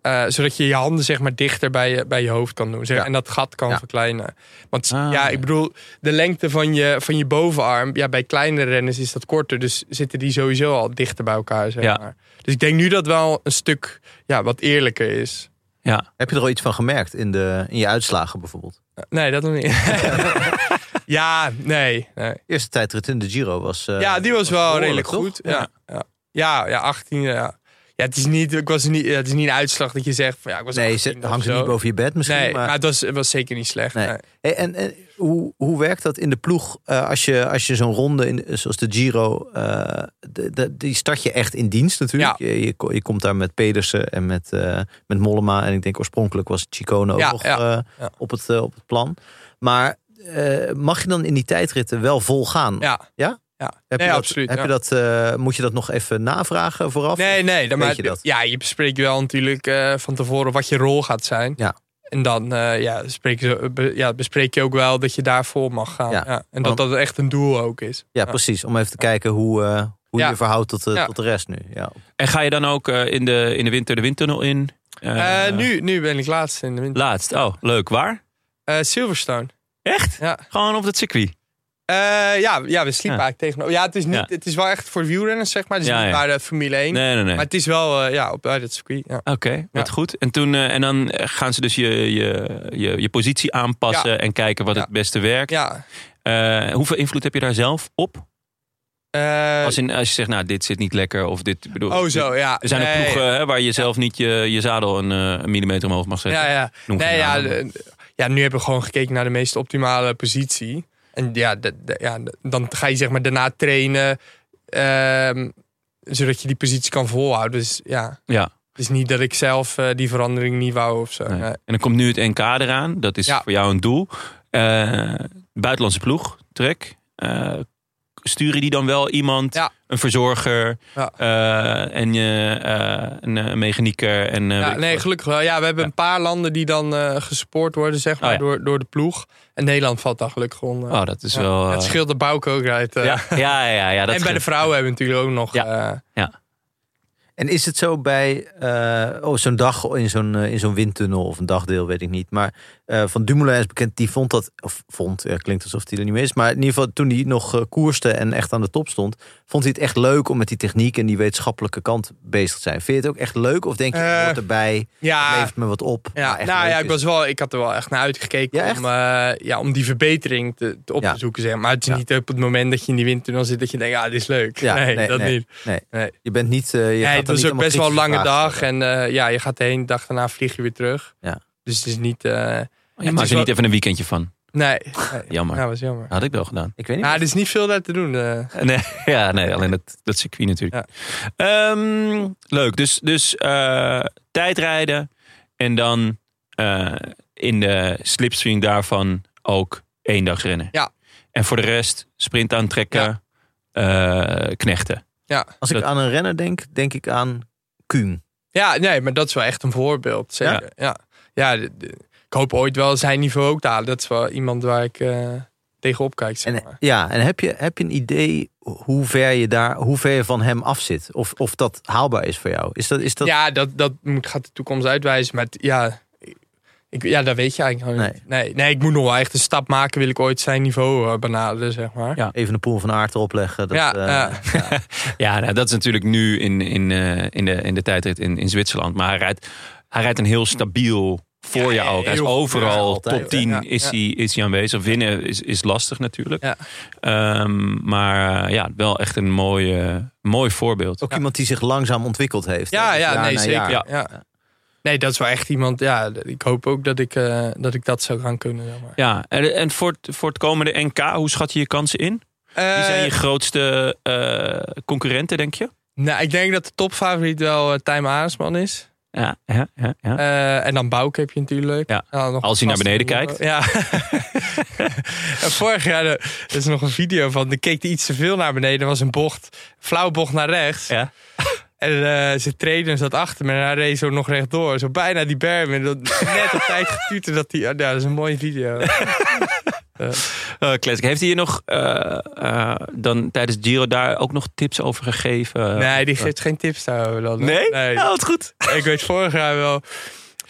Eh, zodat je je handen zeg maar dichter bij je, bij je hoofd kan doen. Zeg,
Ja.
En dat gat kan
Ja.
verkleinen. Want
Ah,
ja,
ja.
ik bedoel, de lengte van je, van je bovenarm... Ja, bij kleinere renners is dat korter. Dus zitten die sowieso al dichter bij elkaar, zeg
Ja.
maar. Dus ik denk nu dat wel een stuk ja, wat eerlijker is.
Ja.
Heb je er al iets van gemerkt in, de, in je uitslagen bijvoorbeeld?
Nee, dat nog niet. ja, nee. nee.
Eerste tijdrit in de Giro was... eh,
Ja, die was wel
behoorlijk,
redelijk
toch?
goed. Ja, ja. ja, ja 18. Ja. Ja, het is niet, ik was niet, ja, het is niet een uitslag dat je zegt van ja, ik was
Nee,
18
ze-
of
hangt er
zo.
niet boven je bed misschien.
Nee,
maar...
maar, het, was, het was zeker niet slecht.
Nee.
Nee.
Hey, en en hoe, hoe werkt dat in de ploeg eh, als je, als je zo'n ronde, in, zoals de Giro, eh, de, de- die start je echt in dienst natuurlijk. Je, je, ko- je komt daar met Pedersen en met, eh, met Mollema. En ik denk oorspronkelijk was Chicone ook
Ja,
nog
ja,
eh,
ja.
Op, het, eh, op het plan. Maar eh, mag je dan in die tijdritten wel vol gaan?
Ja.
Ja?
ja.
Heb je
nee,
dat,
absoluut.
Heb
ja.
je dat, eh, moet je dat nog even navragen vooraf?
nee, nee. Dan,
Weet
maar,
je dat?
Ja, je bespreekt wel natuurlijk eh, van tevoren wat je rol gaat zijn.
Ja.
En dan eh, ja, bespreek, je, be- ja, bespreek je ook wel dat je daarvoor mag gaan.
Ja.
Ja. En dat dat echt een doel ook is.
Ja, precies. Om even te kijken hoe, eh, hoe
Ja.
je je verhoudt tot, de-
Ja.
tot de rest nu. Ja.
En ga je dan ook eh, in, de, in de winter de windtunnel in? Eh,
Eh, nu, nu ben ik laatste in de winter.
Laatst. Oh, leuk. Waar?
Eh, Silverstone.
Echt?
Ja.
Gewoon op dat circuit.
Eh, ja, ja, we sliepen
Ja.
eigenlijk tegenover. Ja, het is, niet,
Ja.
het is wel echt voor wielrenners, zeg maar. Het is
Ja,
niet
ja.
waar de Formule 1.
Nee, nee, nee.
Maar het is wel eh, ja, op uit het circuit. Ja.
Oké, wat
Ja.
goed. En, toen, eh, en dan eh, gaan ze dus je, je, je, je positie aanpassen en kijken wat
Ja.
het beste werkt.
ja.
Eh, hoeveel invloed heb je daar zelf op?
Eh,
Als, in, als je zegt, nou, dit zit niet lekker of dit... ik Bedoel,
oh, zo, ja.
Er zijn ook
Nee.
ploegen hè, waar je zelf niet je, je zadel een, eh, een millimeter omhoog mag zetten.
Ja, ja.
Noem geen
Nee, ja,
namen.
de- ja, nu hebben we gewoon gekeken naar de meest optimale positie. En ja, de- de- ja de- dan ga je zeg maar daarna trainen. ehm, zodat je die positie kan volhouden. Dus ja,
Ja.
het is niet dat ik zelf eh, die verandering niet wou of zo.
Nee.
Nee.
En dan komt nu het NK eraan. Dat is
Ja.
voor jou een doel. Eh, buitenlandse ploeg, trek. Eh, sturen die dan wel iemand,
Ja.
een verzorger
Ja.
eh, en je, eh, een, eh, mechanieker. En, eh, weet
Ja,
ik
nee,
wat.
gelukkig wel. Ja, we hebben een paar landen die dan eh gesupport worden, zeg maar,
Oh ja.
door, door de ploeg. En Nederland valt daar gelukkig onder.
oh, dat is wel... eh,
het scheelt de Bouke ook uit. eh.
ja, ja, ja, ja, dat
en bij de
scheelt.
vrouwen hebben we natuurlijk ook nog... eh, Ja,
En is het zo bij eh, oh, zo'n dag in zo'n, eh, in zo'n windtunnel of een dagdeel, weet ik niet. Maar eh, Van Dumoulin is bekend, die vond dat, of vond, eh, klinkt alsof hij er niet meer is. Maar in ieder geval toen hij nog eh, koerste en echt aan de top stond, vond hij het echt leuk om met die techniek en die wetenschappelijke kant bezig te zijn. Vind je het ook echt leuk of denk je,
Eh,
ik hoort erbij, het
ja,
levert me wat op.
ja,
maar echt
nou
leuk
ja,
is
ik, was wel, ik had er wel echt naar uitgekeken
Ja, echt?
Om, eh, ja, om die verbetering te, te op
Ja.
te zoeken. Zeg. Maar het is
Ja.
niet op het moment dat je in die windtunnel zit dat je denkt, ah, dit is leuk.
Ja,
nee,
nee,
dat
nee.
niet.
Nee.
Nee.
Je bent niet. eh, je gaat
Nee,
er
het was
niet
ook best wel een
allemaal
lange
kritische
dag.
vragen
En eh, ja, je gaat heen, de dag daarna vlieg je weer terug.
Ja.
Dus het is niet... eh,
Je maakt er
wel-
niet even een weekendje van.
nee, nee.
Jammer.
Ja, was jammer.
Had ik wel gedaan.
Ik weet niet.
Nou, er is niet veel daar te doen. eh.
Nee, ja, nee alleen dat, dat circuit natuurlijk. Ehm, leuk, dus, dus eh, tijdrijden en dan eh, in de slipstream daarvan ook één dag rennen.
Ja.
En voor de rest sprint aantrekken, eh, knechten.
Als ik
dat-
aan een renner denk, denk ik aan Kuhn.
Ja, nee, maar dat is wel echt een voorbeeld. Zeker. Ja, ja. d- d- ik hoop ooit wel zijn niveau ook te halen. Dat is wel iemand waar ik eh tegenop kijk. Zeg
En, eh,
maar.
ja, en heb je, heb je een idee hoe ver je, daar, hoe ver je van hem af zit? Of, of dat haalbaar is voor jou? Is dat, is dat
Ja, dat, dat moet, gaat de toekomst uitwijzen. Maar het- ja, ik, ja, dat weet je eigenlijk nog niet. Nee. Nee, ik moet nog wel echt een stap maken. Wil ik ooit zijn niveau eh, benaderen, zeg maar.
Ja.
even een poel van aard erop leggen? Dat,
Ja,
eh,
ja.
Ja, nou, dat is natuurlijk nu in, in, eh, in, de, in de tijdrit in, in Zwitserland. Maar hij rijdt, hij rijdt een heel stabiel voor
Ja,
je ook. Hij is
heel goed.
overal
Ja, altijd,
top 10
ja.
is,
Ja.
Hij, is hij aanwezig. Winnen is, is lastig natuurlijk.
Ja.
Ehm, maar eh, ja, wel echt een mooie, mooi voorbeeld.
Ook iemand die zich langzaam ontwikkeld heeft.
Ja,
hè? Dus
ja,
jaar
nee,
na
zeker.
jaar.
Ja. Nee, dat is wel echt iemand. Ja, d- ik hoop ook dat ik, eh, dat, ik dat zou gaan kunnen. Zeg maar.
Ja, en, en voor, het, voor het komende NK, hoe schat je je kansen in? Wie zijn je
Eh,
grootste eh, concurrenten, denk je?
nou, ik denk dat de topfavoriet wel eh Tijmen Aresman is.
Ja, ja, ja, ja.
Eh, en dan Bouke heb je natuurlijk.
Ja,
En dan nog
als hij naar
gasten
beneden
die-
kijkt.
Ja. en vorig jaar eh, er is nog een video van. Die keek hij iets te veel naar beneden. Er was een bocht, flauw bocht naar rechts.
Ja.
En eh, zijn trainer zat achter me. En hij reed zo nog rechtdoor. Zo bijna die berm. En dat, net op tijd getuten dat hij... Ja, dat is een mooie video.
Eh, classic. Heeft hij je nog eh, eh, dan tijdens Giro daar ook nog tips over gegeven?
nee, die geeft geen tips daarover dan.
Nee? Oh, wat goed.
Ik weet vorig jaar wel.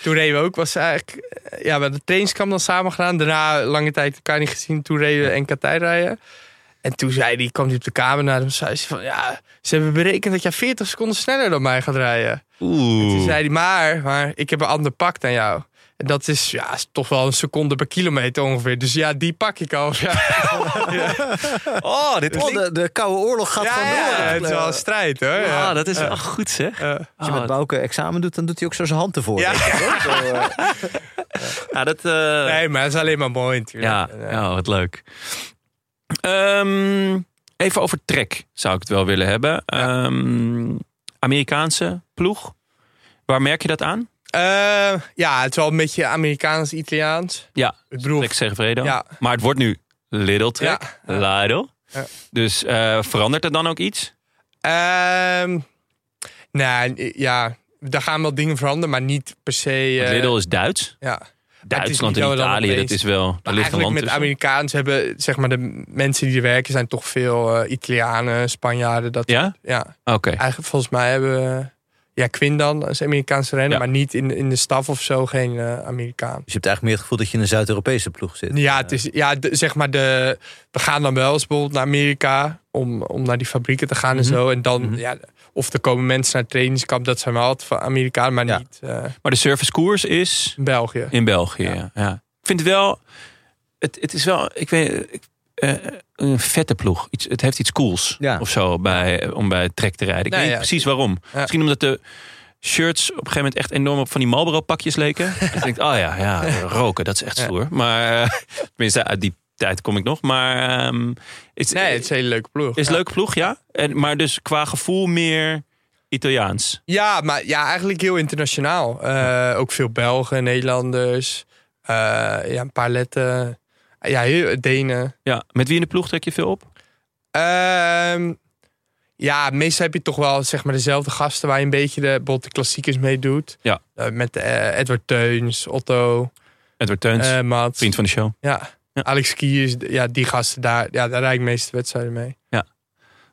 Toen reden we ook, was eigenlijk. eh, Ja, we hadden de trainingskamp dan samen gedaan. Daarna lange tijd elkaar niet gezien. Toen reden we NK tijdrijden. En toen zei die, kwam hij op de kamer naar hem. Zei ze van ja, ze hebben berekend dat jij 40 seconden sneller dan mij gaat rijden. Toen
Oeh.
zei hij, maar, maar ik heb een ander pak dan jou. En dat is, ja, is toch wel een seconde per kilometer ongeveer. Dus ja, die pak ik al. Ja,
Oh, dit
Oh, de, de Koude Oorlog gaat
ja,
van
ja,
door.
het is wel een strijd hoor.
Ah,
Ja.
dat is wel goed zeg.
Eh,
Als je met
Ah,
Bouke examen doet, dan doet hij ook zo zijn hand ervoor.
Ja.
denk ik, hoor. Zo, eh,
ja, dat, eh,
nee, maar het is alleen maar mooi natuurlijk.
ja,
Eh,
ja, wat leuk. Ehm, even over Trek zou ik het wel willen hebben. Ehm, Amerikaanse ploeg. Waar merk je dat aan?
Eh, ja, het is wel een beetje Amerikaans-Italiaans.
Ja,
Ik bedoel,
Trek Segafredo.
ja.
Maar het wordt nu Little Trek. Lidl.
Ja.
Dus eh, verandert er dan ook iets?
Ehm nou, ja, daar gaan wel dingen veranderen, maar niet per se...
Want
eh,
Lidl is Duits.
ja.
Duitsland
niet
en
dat we dan
Italië, dat
opeens-
is wel. Daar
Maar
ligt een land dus-
eigenlijk met
tussen.
Amerikaans hebben, zeg maar, de mensen die er werken zijn toch veel eh, Italianen, Spanjaarden. Dat,
Ja?
ja,
Oké.
eigenlijk volgens mij hebben we- Ja, Quinn dan, als Amerikaanse renner,
Ja.
maar niet in, in de staf of zo, geen eh, Amerikaan.
Dus je hebt eigenlijk meer het gevoel dat je in een Zuid-Europese ploeg zit.
Ja, het is, ja de- zeg maar, de, we gaan dan wel eens bijvoorbeeld naar Amerika om, om naar die fabrieken te gaan en zo. En dan, ja, of er komen mensen naar het trainingskamp, dat zijn wel altijd van Amerikanen, maar
Ja.
niet eh,
Maar de servicekoers is
in België.
in België. Ja. ja. Ik vind het wel. Het, het is wel. Ik weet. ik- eh, een vette ploeg. Iets, het heeft iets cools
Ja.
of zo bij, om bij trek te rijden. Ik
Nou
weet niet
ja.
precies waarom.
Ja.
Misschien omdat de shirts op een gegeven moment echt enorm op van die Marlboro pakjes leken. ik denk, oh ja, ja, roken, dat is echt
Ja.
stoer. Maar eh, tenminste, uit die tijd kom ik nog. Maar ehm, is,
Nee, het is een hele leuke ploeg.
is
ja.
leuk ploeg, ja. En, maar dus qua gevoel meer Italiaans.
Ja, maar ja, eigenlijk heel internationaal. Eh, Ook veel Belgen, Nederlanders, eh, ja, een paar Letten, ja, heel, Denen.
Ja, met wie in de ploeg trek je veel op?
Ehm, ja, meestal heb je toch wel zeg maar dezelfde gasten waar je een beetje de, bijvoorbeeld de klassiekers mee doet.
Ja.
Eh, met eh, Edward Teuns, Otto,
Edward Teuns,
eh Mats.
vriend van de show.
Ja.
Ja.
Alex Kiers, d- ja, die gasten daar, ja, daar rijd ik de meeste wedstrijden mee.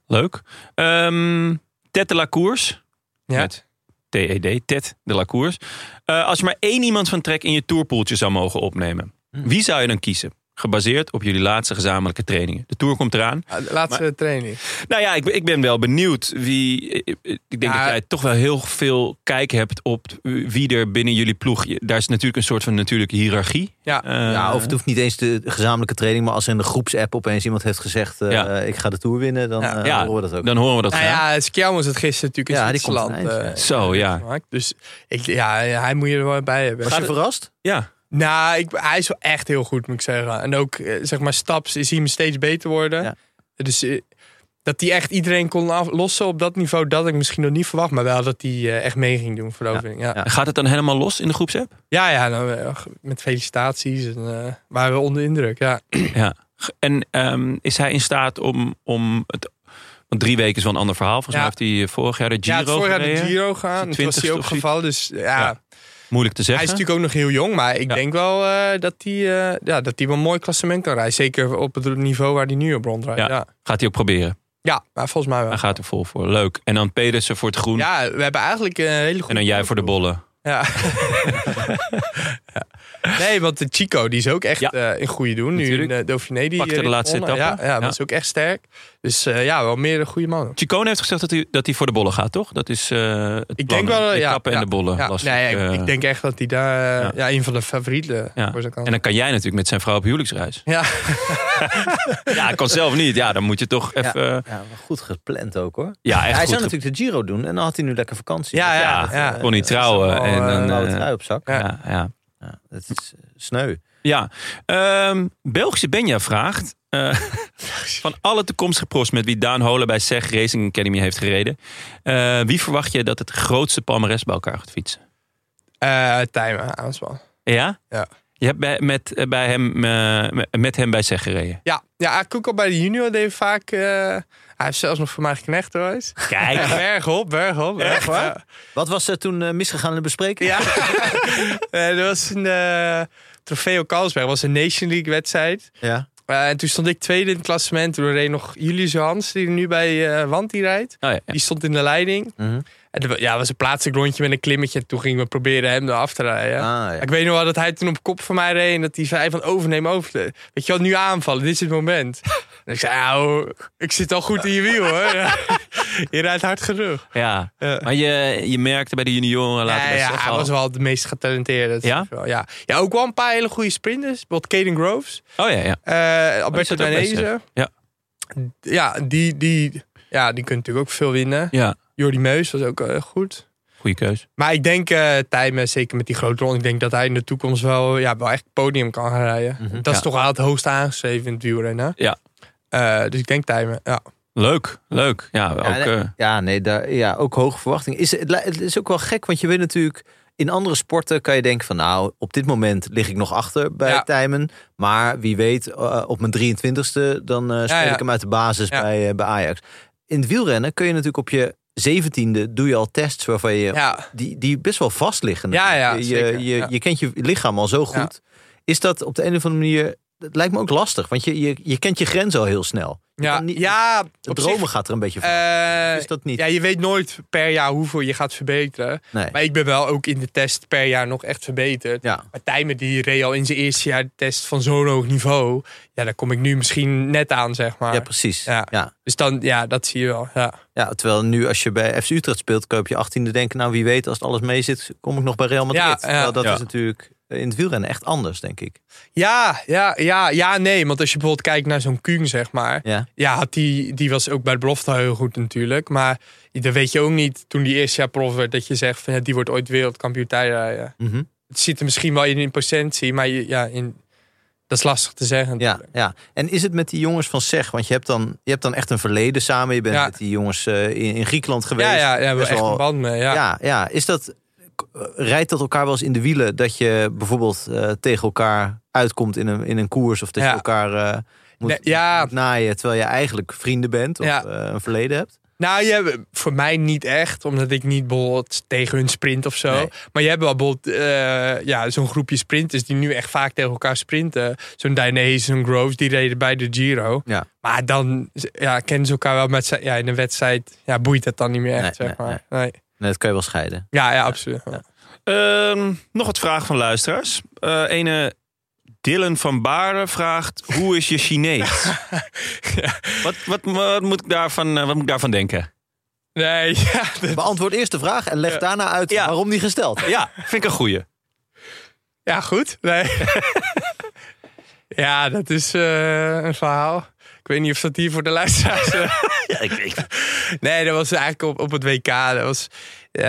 Leuk. Ehm Ted de la Cours.
Ja.
Met TED, Ted de la Cours. Eh, als je maar één iemand van Trek in je tourpoeltje zou mogen opnemen. Wie zou je dan kiezen? Gebaseerd op jullie laatste gezamenlijke trainingen. De tour komt eraan.
Ah, de Laatste training.
Nou ja, ik, ben- ik ben wel benieuwd wie. eh, Ik denk
Ja.
dat jij toch wel heel veel kijk hebt op wie er binnen jullie ploeg. Daar is natuurlijk een soort van natuurlijke hiërarchie.
Ja.
Eh,
Ja, of het hoeft niet eens de gezamenlijke training, maar als in de groepsapp opeens iemand heeft gezegd: eh,
Ja.
Ik ga de tour winnen, dan
Ja.
eh,
Ja,
horen we dat ook.
dan horen we dat
Nou
graag.
ja, Skjelmans het gisteren natuurlijk in
Ja, die komt
Zwitserland.
van
eh,
eind,
Zo, ja.
gemaakt. Dus ik, ja, hij moet je er wel bij hebben.
Was je verrast?
Ja,
Nou, ik, hij is wel echt heel goed, moet ik zeggen. En ook, eh, zeg maar, staps is hij steeds beter worden.
Ja.
Dus eh, dat hij echt iedereen kon aflossen op dat niveau, dat had ik misschien nog niet verwacht. Maar wel dat hij eh, echt mee ging doen voor de overwinning. Ja, ja.
gaat het dan helemaal los in de groepsapp?
ja, nou, eh, met felicitaties. En, eh, waren we onder indruk, ja.
Ja. En ehm, is hij in staat om, om het. Want drie weken is wel een ander verhaal. Volgens mij
Ja.
heeft hij eh, vorig jaar de Giro.
ja, het vorig jaar de
gereden.
Giro gaan. Toen was
20ste
hij ook
of zoiets.
gevallen. Dus ja,
Ja. Moeilijk te
hij
zeggen.
is natuurlijk ook nog heel jong. Maar ik
Ja.
denk wel eh, dat hij eh, ja, dat hij wel een mooi klassement kan rijden. Zeker op het niveau waar hij nu op rondrijdt.
Ja.
Ja. Ja.
Gaat hij ook proberen.
maar volgens mij wel.
Hij gaat er vol voor. Leuk. En dan Pedersen voor het groen.
Ja, we hebben eigenlijk een hele goede...
en dan jij voor de bollen.
Ja. Ja. Nee, want de Chico die is ook echt
Ja.
eh, in goede doen. Nu in
Natuurlijk.
de Dauphiné. Die
Pakte de
erin
laatste
gewonnen.
etappe.
Ja, ja,
Ja.
dat is ook echt sterk. Dus eh, ja, wel meer goede mannen.
Chicone heeft gezegd dat hij, dat hij voor de bollen gaat, toch? Dat is eh, het
Ik
plan,
denk wel...
de
ja,
etappe
ja,
en de bollen.
ja.
las
nee,
ik,
ik,
eh.
ik denk echt dat hij daar eh,
ja.
ja. een van de favorieten eh,
Ja.
voor zijn kant
En dan kan jij natuurlijk met zijn vrouw op huwelijksreis.
Ja.
ja, ik kan zelf niet. Ja, dan moet je toch even... Ja,
Ja, maar goed gepland ook hoor.
echt
hij
goed.
zou natuurlijk de Giro doen en dan had hij nu lekker vakantie.
Ja,
Dus
ja,
dat,
ja.
eh,
Kon niet trouwen
dat is
en
wel, eh,
dan,
nou, het
eh,
trui op zak. Ja.
ja, ja.
dat is eh, sneu.
ja. Ehm, Belgische Benja vraagt... eh, van alle toekomstige pros met wie Daan Holen bij SEG Racing Academy heeft gereden... eh, wie verwacht je dat het grootste palmares bij elkaar gaat fietsen?
Eh Tijmen, aanspan.
Ja?
Ja.
Je hebt bij, met, eh, bij hem, eh, met hem bij SEG gereden.
Ja, ja, Koek al bij de junior deed vaak... eh, hij heeft zelfs nog voor mij geknecht hoor. eens.
Kijk. Oh
Berg op, berg op. berg op. Ja.
Wat was er toen eh, misgegaan in de bespreking?
Ja. Eh, er was een eh, trofeo Carlsberg. was een Nation League wedstrijd.
Ja.
Eh, en toen stond ik tweede in het klassement. Toen reed nog Julius Hans, die nu bij eh Wanti rijdt.
Oh, ja, ja.
Die stond in de leiding.
Mhm.
En er wa- ja, was een plaatselijk rondje met een klimmetje. En toen gingen we proberen hem eraf te rijden.
Ah, ja.
Ik weet nog wel dat hij toen op kop van mij reed. En dat hij zei van overneem, overneem. Weet je wel, nu aanvallen. Dit is het moment. en ik zei, nou, ik zit al goed in je wiel hoor. Ja. je rijdt hard genoeg.
Ja,
Ja.
maar je, je merkte bij de junioren later
Ja,
bij
ja,
Sef
hij
al-
was wel de meest getalenteerde. dat
Ja?
zeg ik wel, ja. ja, ook wel een paar hele goede sprinters. Bijvoorbeeld Caden Groves.
Oh ja, ja.
Eh
die
Alberto
zit ook bij
Danese.
Ja.
Ja, die, die, ja, die kunt natuurlijk ook veel winnen.
ja.
Jordi Meus was ook eh, goed.
Goeie keus.
Maar ik denk, eh Tijmen, zeker met die grote rol, ik denk dat hij in de toekomst wel, ja, wel echt podium kan gaan rijden.
Mhm.
Dat is
Ja.
toch wel het hoogste aangeschreven in het wielrennen.
Ja.
Eh, dus ik denk Tijmen, ja.
Leuk, leuk. Ja, ook,
Ja, nee,
eh,
ja, nee, daar, ja, ook hoge verwachtingen. Is, het li- het is ook wel gek, want je weet natuurlijk... In andere sporten kan je denken van... nou, op dit moment lig ik nog achter bij
Ja.
Tijmen. Maar wie weet, eh, op mijn 23e... dan eh, speel
ja.
ik hem uit de basis
Ja.
bij, eh, bij Ajax. In het wielrennen kun je natuurlijk op je 17e... doe je al tests waarvan je...
Ja,
Die, die best wel vast liggen.
Ja, ja,
je,
zeker,
je,
ja.
je kent je lichaam al zo goed. Is dat op de een of andere manier... Het lijkt me ook lastig, want je, je, je kent je grens al heel snel. Je
ja,
kan niet-
ja
Het
op
dromen
zich,
gaat er een beetje van.
eh,
is dat niet?
Ja, je weet nooit per jaar hoeveel je gaat verbeteren.
nee.
Maar ik ben wel ook in de test per jaar nog echt verbeterd.
Ja.
Maar Tijmen die reed al in zijn eerste jaar de test van zo'n hoog niveau. Ja, daar kom ik nu misschien net aan, zeg maar.
Ja, precies. Ja.
Ja.
Ja.
dus dan, ja, dat zie je wel. Ja,
terwijl nu als je bij FC Utrecht speelt, koop je 18e denken, nou wie weet, als het alles mee zit, kom ik nog bij Real Madrid.
Ja, ja.
Terwijl dat
Ja.
is natuurlijk eh, in het wielrennen echt anders, denk ik.
ja, ja, ja, ja nee. Want als je bijvoorbeeld kijkt naar zo'n Kuhn, zeg maar.
Ja,
Ja, had die, die was ook bij de belofte heel goed natuurlijk. Maar dan weet je ook niet, toen die eerste jaar prof werd, dat je zegt van ja, die wordt ooit wereldkampioen tijdrijden.
Mhm.
Het zit er misschien wel in in potentie, maar je- ja, in, dat is lastig te zeggen.
ja, ja. En is het met die jongens van SEG? Want je hebt dan, je hebt dan echt een verleden samen. Je bent
Ja.
met die jongens eh, in, in Griekenland geweest.
Ja, ja, ja, we hebben
Best
echt
wel-
een band mee. Ja.
ja, ja. Is dat, rijdt dat elkaar wel eens in de wielen? Dat je bijvoorbeeld eh, tegen elkaar uitkomt in een, in een koers of dat
Ja.
je elkaar... eh, moet,
Nee, ja.
moet naaien terwijl je eigenlijk vrienden bent of
Ja.
eh, een verleden hebt.
Nou, je, hebt- voor mij niet echt, omdat ik niet bijvoorbeeld tegen hun sprint of zo.
Nee.
Maar je hebt wel bijvoorbeeld eh, ja, zo'n groepje sprinters die nu echt vaak tegen elkaar sprinten. Zo'n Dainese, zo'n Groves, die reden bij de Giro.
Ja.
Maar dan ja, kennen ze elkaar wel met z'n- ja, in een wedstrijd. Ja, boeit het dan niet meer echt,
Nee,
zeg
nee,
maar. Nee.
Nee, dat kan je wel scheiden.
Ja, ja, absoluut.
Ehm, nog wat vraag van luisteraars. Eh ene Dylan van Baarden vraagt: Hoe is je Chinees? wat, wat, wat, moet ik daarvan, eh, wat moet ik daarvan denken?
Nee, ja, dat-
Beantwoord eerst de vraag en leg
Ja.
daarna uit
Ja.
waarom die gesteld.
Ja, Ah, vind ik een goeie.
ja goed. Nee. ja, dat is eh, een verhaal. Ik weet niet of dat hier voor de luisteraars... eh, Nee, dat was eigenlijk op, op het WK. Dat was, eh,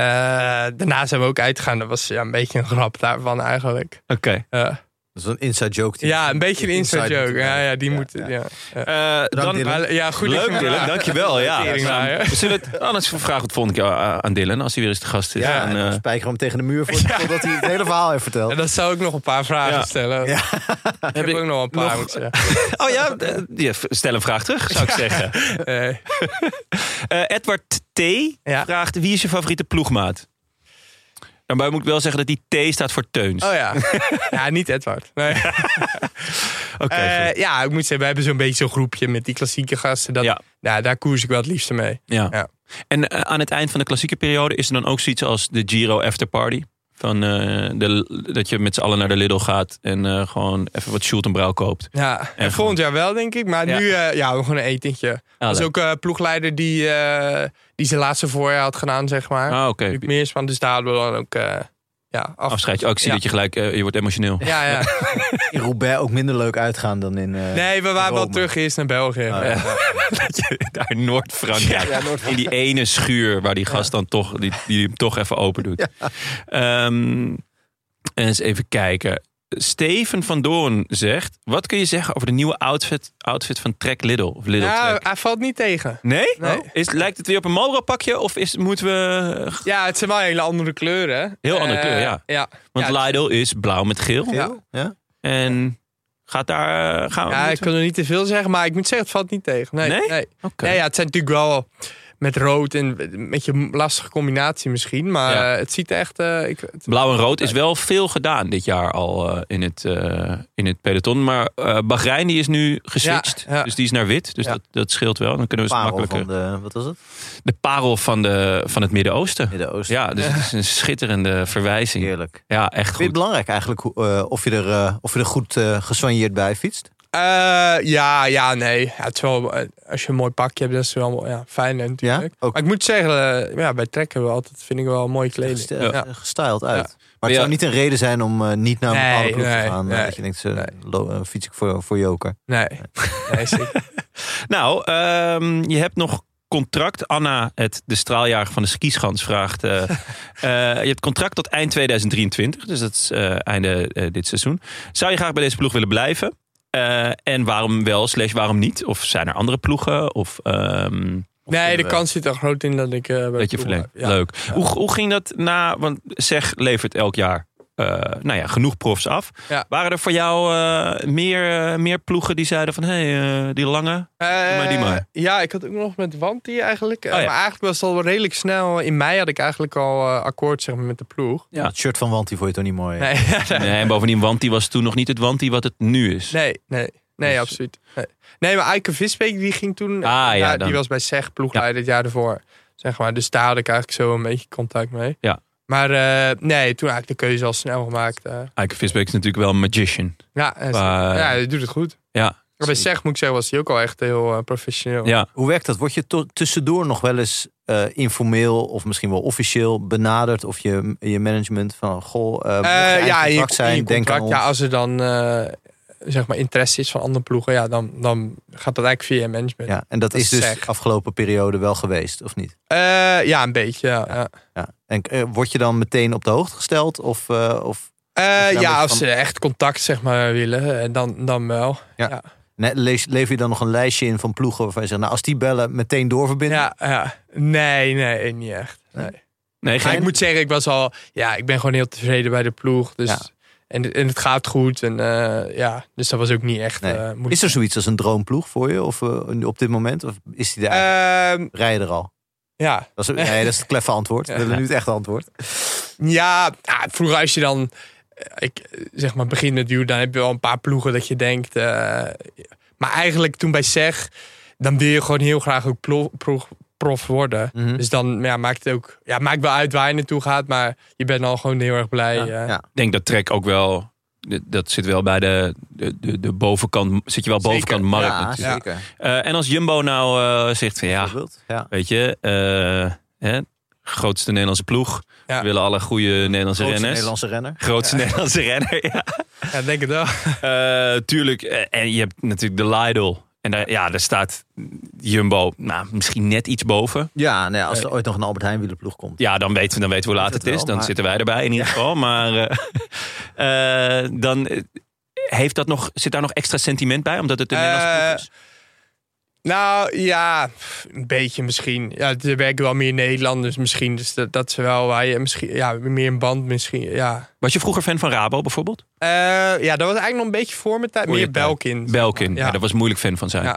daarna zijn we ook uitgegaan. Dat was ja, een beetje een grap daarvan eigenlijk.
Oké.
Ja.
Dat is een inside joke. die-
ja, een beetje een inside,
moet
joke.
erbij.
Ja, ja, die moet... Ja. Ja.
Eh, dan,
Dylan.
Maar, ja, goed.
Leuk Dylan, dankjewel. Ja.
Tering maar, hè.
We zullen het oh, anders vragen het volgende keer eh, aan Dylan als hij weer eens te gast is.
Ja,
En,
en
eh,
dan spijker hem tegen de muur voor, voordat hij het hele verhaal heeft verteld.
En dan zou ik nog een paar vragen
Ja.
stellen.
Ja.
Ik heb ook nog een paar.
nog-
moet ik zeggen.
oh ja, eh, ja, stel een vraag terug, zou ik zeggen.
Nee.
Eh, Edward T.
Ja.
vraagt: wie is je favoriete ploegmaat? Daarbij moet ik wel zeggen dat die T staat voor Teuns.
Oh ja. Ja, niet Edward. Nee.
Oké.
Eh,
goed.
ja, ik moet zeggen, we hebben zo'n beetje zo'n groepje met die klassieke gasten. Dat,
Ja.
nou, daar koers ik wel het liefste mee.
ja.
ja.
En eh, aan het eind van de klassieke periode is er dan ook zoiets als de Giro Afterparty. Van, eh, de, dat je met z'n allen naar de Lidl gaat en eh, gewoon even wat Schult en Brouw koopt.
Ja, en
gewoon-
volgend jaar wel, denk ik. Maar
Ja.
nu, eh, ja, gewoon een etentje.
Ah,
Dat is
leuk.
ook eh ploegleider die, eh, die zijn laatste voorjaar had gedaan, zeg maar.
Ah, oké.
Luc Meersman, dus daar hadden we dan ook eh, ja, af...
Afscheid. Oh, ik zie
Ja.
dat je gelijk, eh, je wordt emotioneel.
Ja, ja.
In Roubaix ook minder leuk uitgaan dan in... eh,
Nee, we
Oh,
waren wel
Rome.
terug eerst naar België.
Ah,
ja.
Dat je daar in Noord-Frankrijk, in die ene schuur waar die gast dan toch, die, die hem toch even open doet. Ehm, eens even kijken. Steven van Doorn zegt, wat kun je zeggen over de nieuwe outfit, outfit van Trek Lidl? Of Lidl
Ja,
Trek?
hij valt niet tegen.
Nee? Oh.
Nee.
Is, lijkt het weer op een Marlboro pakje of is, moeten we...
Ja, het zijn wel hele andere kleuren. hè.
Heel andere
Eh,
kleuren, ja.
Ja,
Want
ja,
Lidl is blauw met geel.
Ja.
Ja?
En gaat daar... eh, Gaan we,
ja, ik
moeten
kan er niet te veel zeggen, maar ik moet zeggen, het valt niet tegen. Nee?
Nee?
Nee,
we- Oké.
Nee, ja, het zijn natuurlijk wel met rood en een beetje een lastige combinatie misschien. Maar
Ja.
eh, het ziet er echt... eh, ik, het-
Blauw en rood is wel veel gedaan dit jaar al eh, in, het, eh, in het peloton. Maar eh Bahrein die is nu geswitcht.
Ja, ja.
Dus die is naar wit. Dus
Ja.
dat, dat scheelt wel. Dan kunnen we ze
Parel
makkelijker.
van
De...
de... Wat was het?
parel van, de, van het Midden-Oosten.
Midden-Oosten.
Ja, dus het is een schitterende verwijzing.
Heerlijk.
Ja, echt
Vind je het
goed.
belangrijk eigenlijk hoe, eh, of, je er, eh, of je er goed eh gesoigneerd bij fietst?
Eh, ja, ja, nee. Ja, het is wel, eh, als je een mooi pakje hebt, dat is wel ja, fijn hè, natuurlijk.
Ja, ook.
Maar ik moet zeggen, eh, ja, bij trekken we altijd, vind ik wel mooie kleding.
Geste-
Ja.
eh, Gestyled uit. Maar
Ja.
het zou niet een reden zijn om eh, niet naar een
Nee,
bepaalde ploeg te
nee,
gaan. eh,
nee.
dat je denkt, eh,
Nee.
lo- eh, fiets ik voor, voor Joker.
Nee, nee zeker.
Nou, ehm, je hebt nog contract. Anna, het, de straaljager van de skischans, vraagt. eh, eh, je hebt contract tot eind 2023. Dus dat is eh, einde eh, dit seizoen. Zou je graag bij deze ploeg willen blijven? Eh, en waarom wel, slash waarom niet? Of zijn er andere ploegen? Of ehm,
nee de
kunnen we-
kans zit er groot in dat ik eh, bij
dat je
de ploeg
verlengt?
blijf. Ja.
Leuk. Hoe, hoe ging dat na? Want zeg levert elk jaar. eh, nou ja, genoeg profs af.
Ja.
Waren er voor jou eh, meer, eh, meer ploegen die zeiden van... hé, hey, eh, die lange,
Eh,
maar die maar.
Ja, ik had ook nog met Wanti eigenlijk. eh,
Oh, ja.
Maar eigenlijk was het al redelijk snel. In mei had ik eigenlijk al eh, akkoord zeg maar, met de ploeg.
Ja.
Het shirt van Wanti vond je toch niet mooi?
Nee,
Nee, en bovendien, Wanti was toen nog niet het Wanti wat het nu is.
nee, nee. Nee,
Dus- Ah,
absoluut. Nee, nee maar Eike Visbeek die ging toen...
ja,
ja,
dan-
die was bij SEG ploegleider het jaar ervoor. Zeg maar. Dus daar had ik eigenlijk zo een beetje contact mee.
Ja.
Maar eh, nee, toen had ik de keuze al snel gemaakt. eh.
Eike Visbeek is natuurlijk wel een magician.
ja, en-
Maar-
ja, hij doet het goed.
Ja.
Maar bij SEG moet ik zeggen, was hij ook al echt heel eh, professioneel.
Ja.
Hoe werkt dat? Word je to- tussendoor nog wel eens eh, informeel of misschien wel officieel benaderd? Of je, je management van, goh, eh mocht je
Eh,
eind
ja, in je-
contract zijn,
in je
denk aan
contract,
ons.
ja, als er dan eh, zeg maar interesse is van andere ploegen, ja, dan, dan gaat dat eigenlijk via je management. Ja,
Ja, en dat,
Dat
is dus
zeg.
afgelopen periode wel geweest, of niet?
Eh, ja een beetje. Ja, ja.
Ja. En eh, word je dan meteen op de hoogte gesteld? Of, eh, of
Eh,
je daar
ja
met
als
van-
ze echt contact zeg maar, willen, eh, dan, dan wel.
ne- lees, lever je dan nog een lijstje in van ploegen waarvan je zegt, nou als die bellen, meteen doorverbinden?
Ja, ja. Nee, nee, eh, niet echt. Nee.
Nee,
Maar
geen...
ik moet zeggen, ik was al. Ja, ik ben gewoon heel tevreden bij de ploeg. Dus
Ja.
ja, En, en het gaat goed. En eh, ja, dus dat was ook niet echt
Nee.
eh, moeilijk.
Is er zoiets als een droomploeg voor je of, eh, op dit moment? Of is die daar? eigenlijk?
Ehm,
Rij je er al?
ja.
Dat is, nee, dat is het kleffe antwoord. We willen nu het echte antwoord.
Ja, ah, vroeger als je dan, eh, ik, eh, zeg maar, begin met duur, dan heb je wel een paar ploegen dat je denkt. eh, maar eigenlijk toen bij SEG, dan wil je gewoon heel graag ook plo- pro- prof worden.
Mhm.
Dus dan ja, maakt het ook, ja, maakt wel uit waar je naartoe gaat, maar je bent al gewoon heel erg blij. eh.
ja.
Ik denk dat Trek ook wel. d- Dat zit wel bij de, de, de, de bovenkant. Zit je wel
Zeker,
bovenkant markt.
Ja,
natuurlijk.
zeker.
Eh, en als Jumbo nou eh, zegt van ja,
Bijvoorbeeld. Ja.
weet je, eh, hè, grootste Nederlandse ploeg.
Ja.
We willen alle goede Nederlandse
Grootste
renners.
Nederlandse renner.
Grootste Nederlandse renner. Ja.
Ja, denk het wel.
Eh, tuurlijk. eh, en je hebt natuurlijk de Lidl. En daar, ja, daar staat Jumbo nou, misschien net iets boven.
Ja, nou ja, als er ooit nog een Albert Heijn wielerploeg komt.
Ja, dan weten we, dan weten we hoe laat
Weet
het
het
is.
wel,
Dan
maar-
zitten wij erbij in ieder geval. Maar eh, eh, dan eh, heeft dat nog, zit daar nog extra sentiment bij? Omdat het een Nederlandse ploeg is?
Nou ja, pff, een beetje misschien. Ja, er werken wel meer Nederlanders misschien. Dus dat, dat is wel waar je misschien, ja, meer een band misschien. Ja.
Was je vroeger fan van Rabo bijvoorbeeld?
Eh, ja, dat was eigenlijk nog een beetje voor mijn tijd.
Voor je
Meer
tijd.
Belkin.
Belkin. Ja.
Ja.
daar was moeilijk fan van zijn. Ja,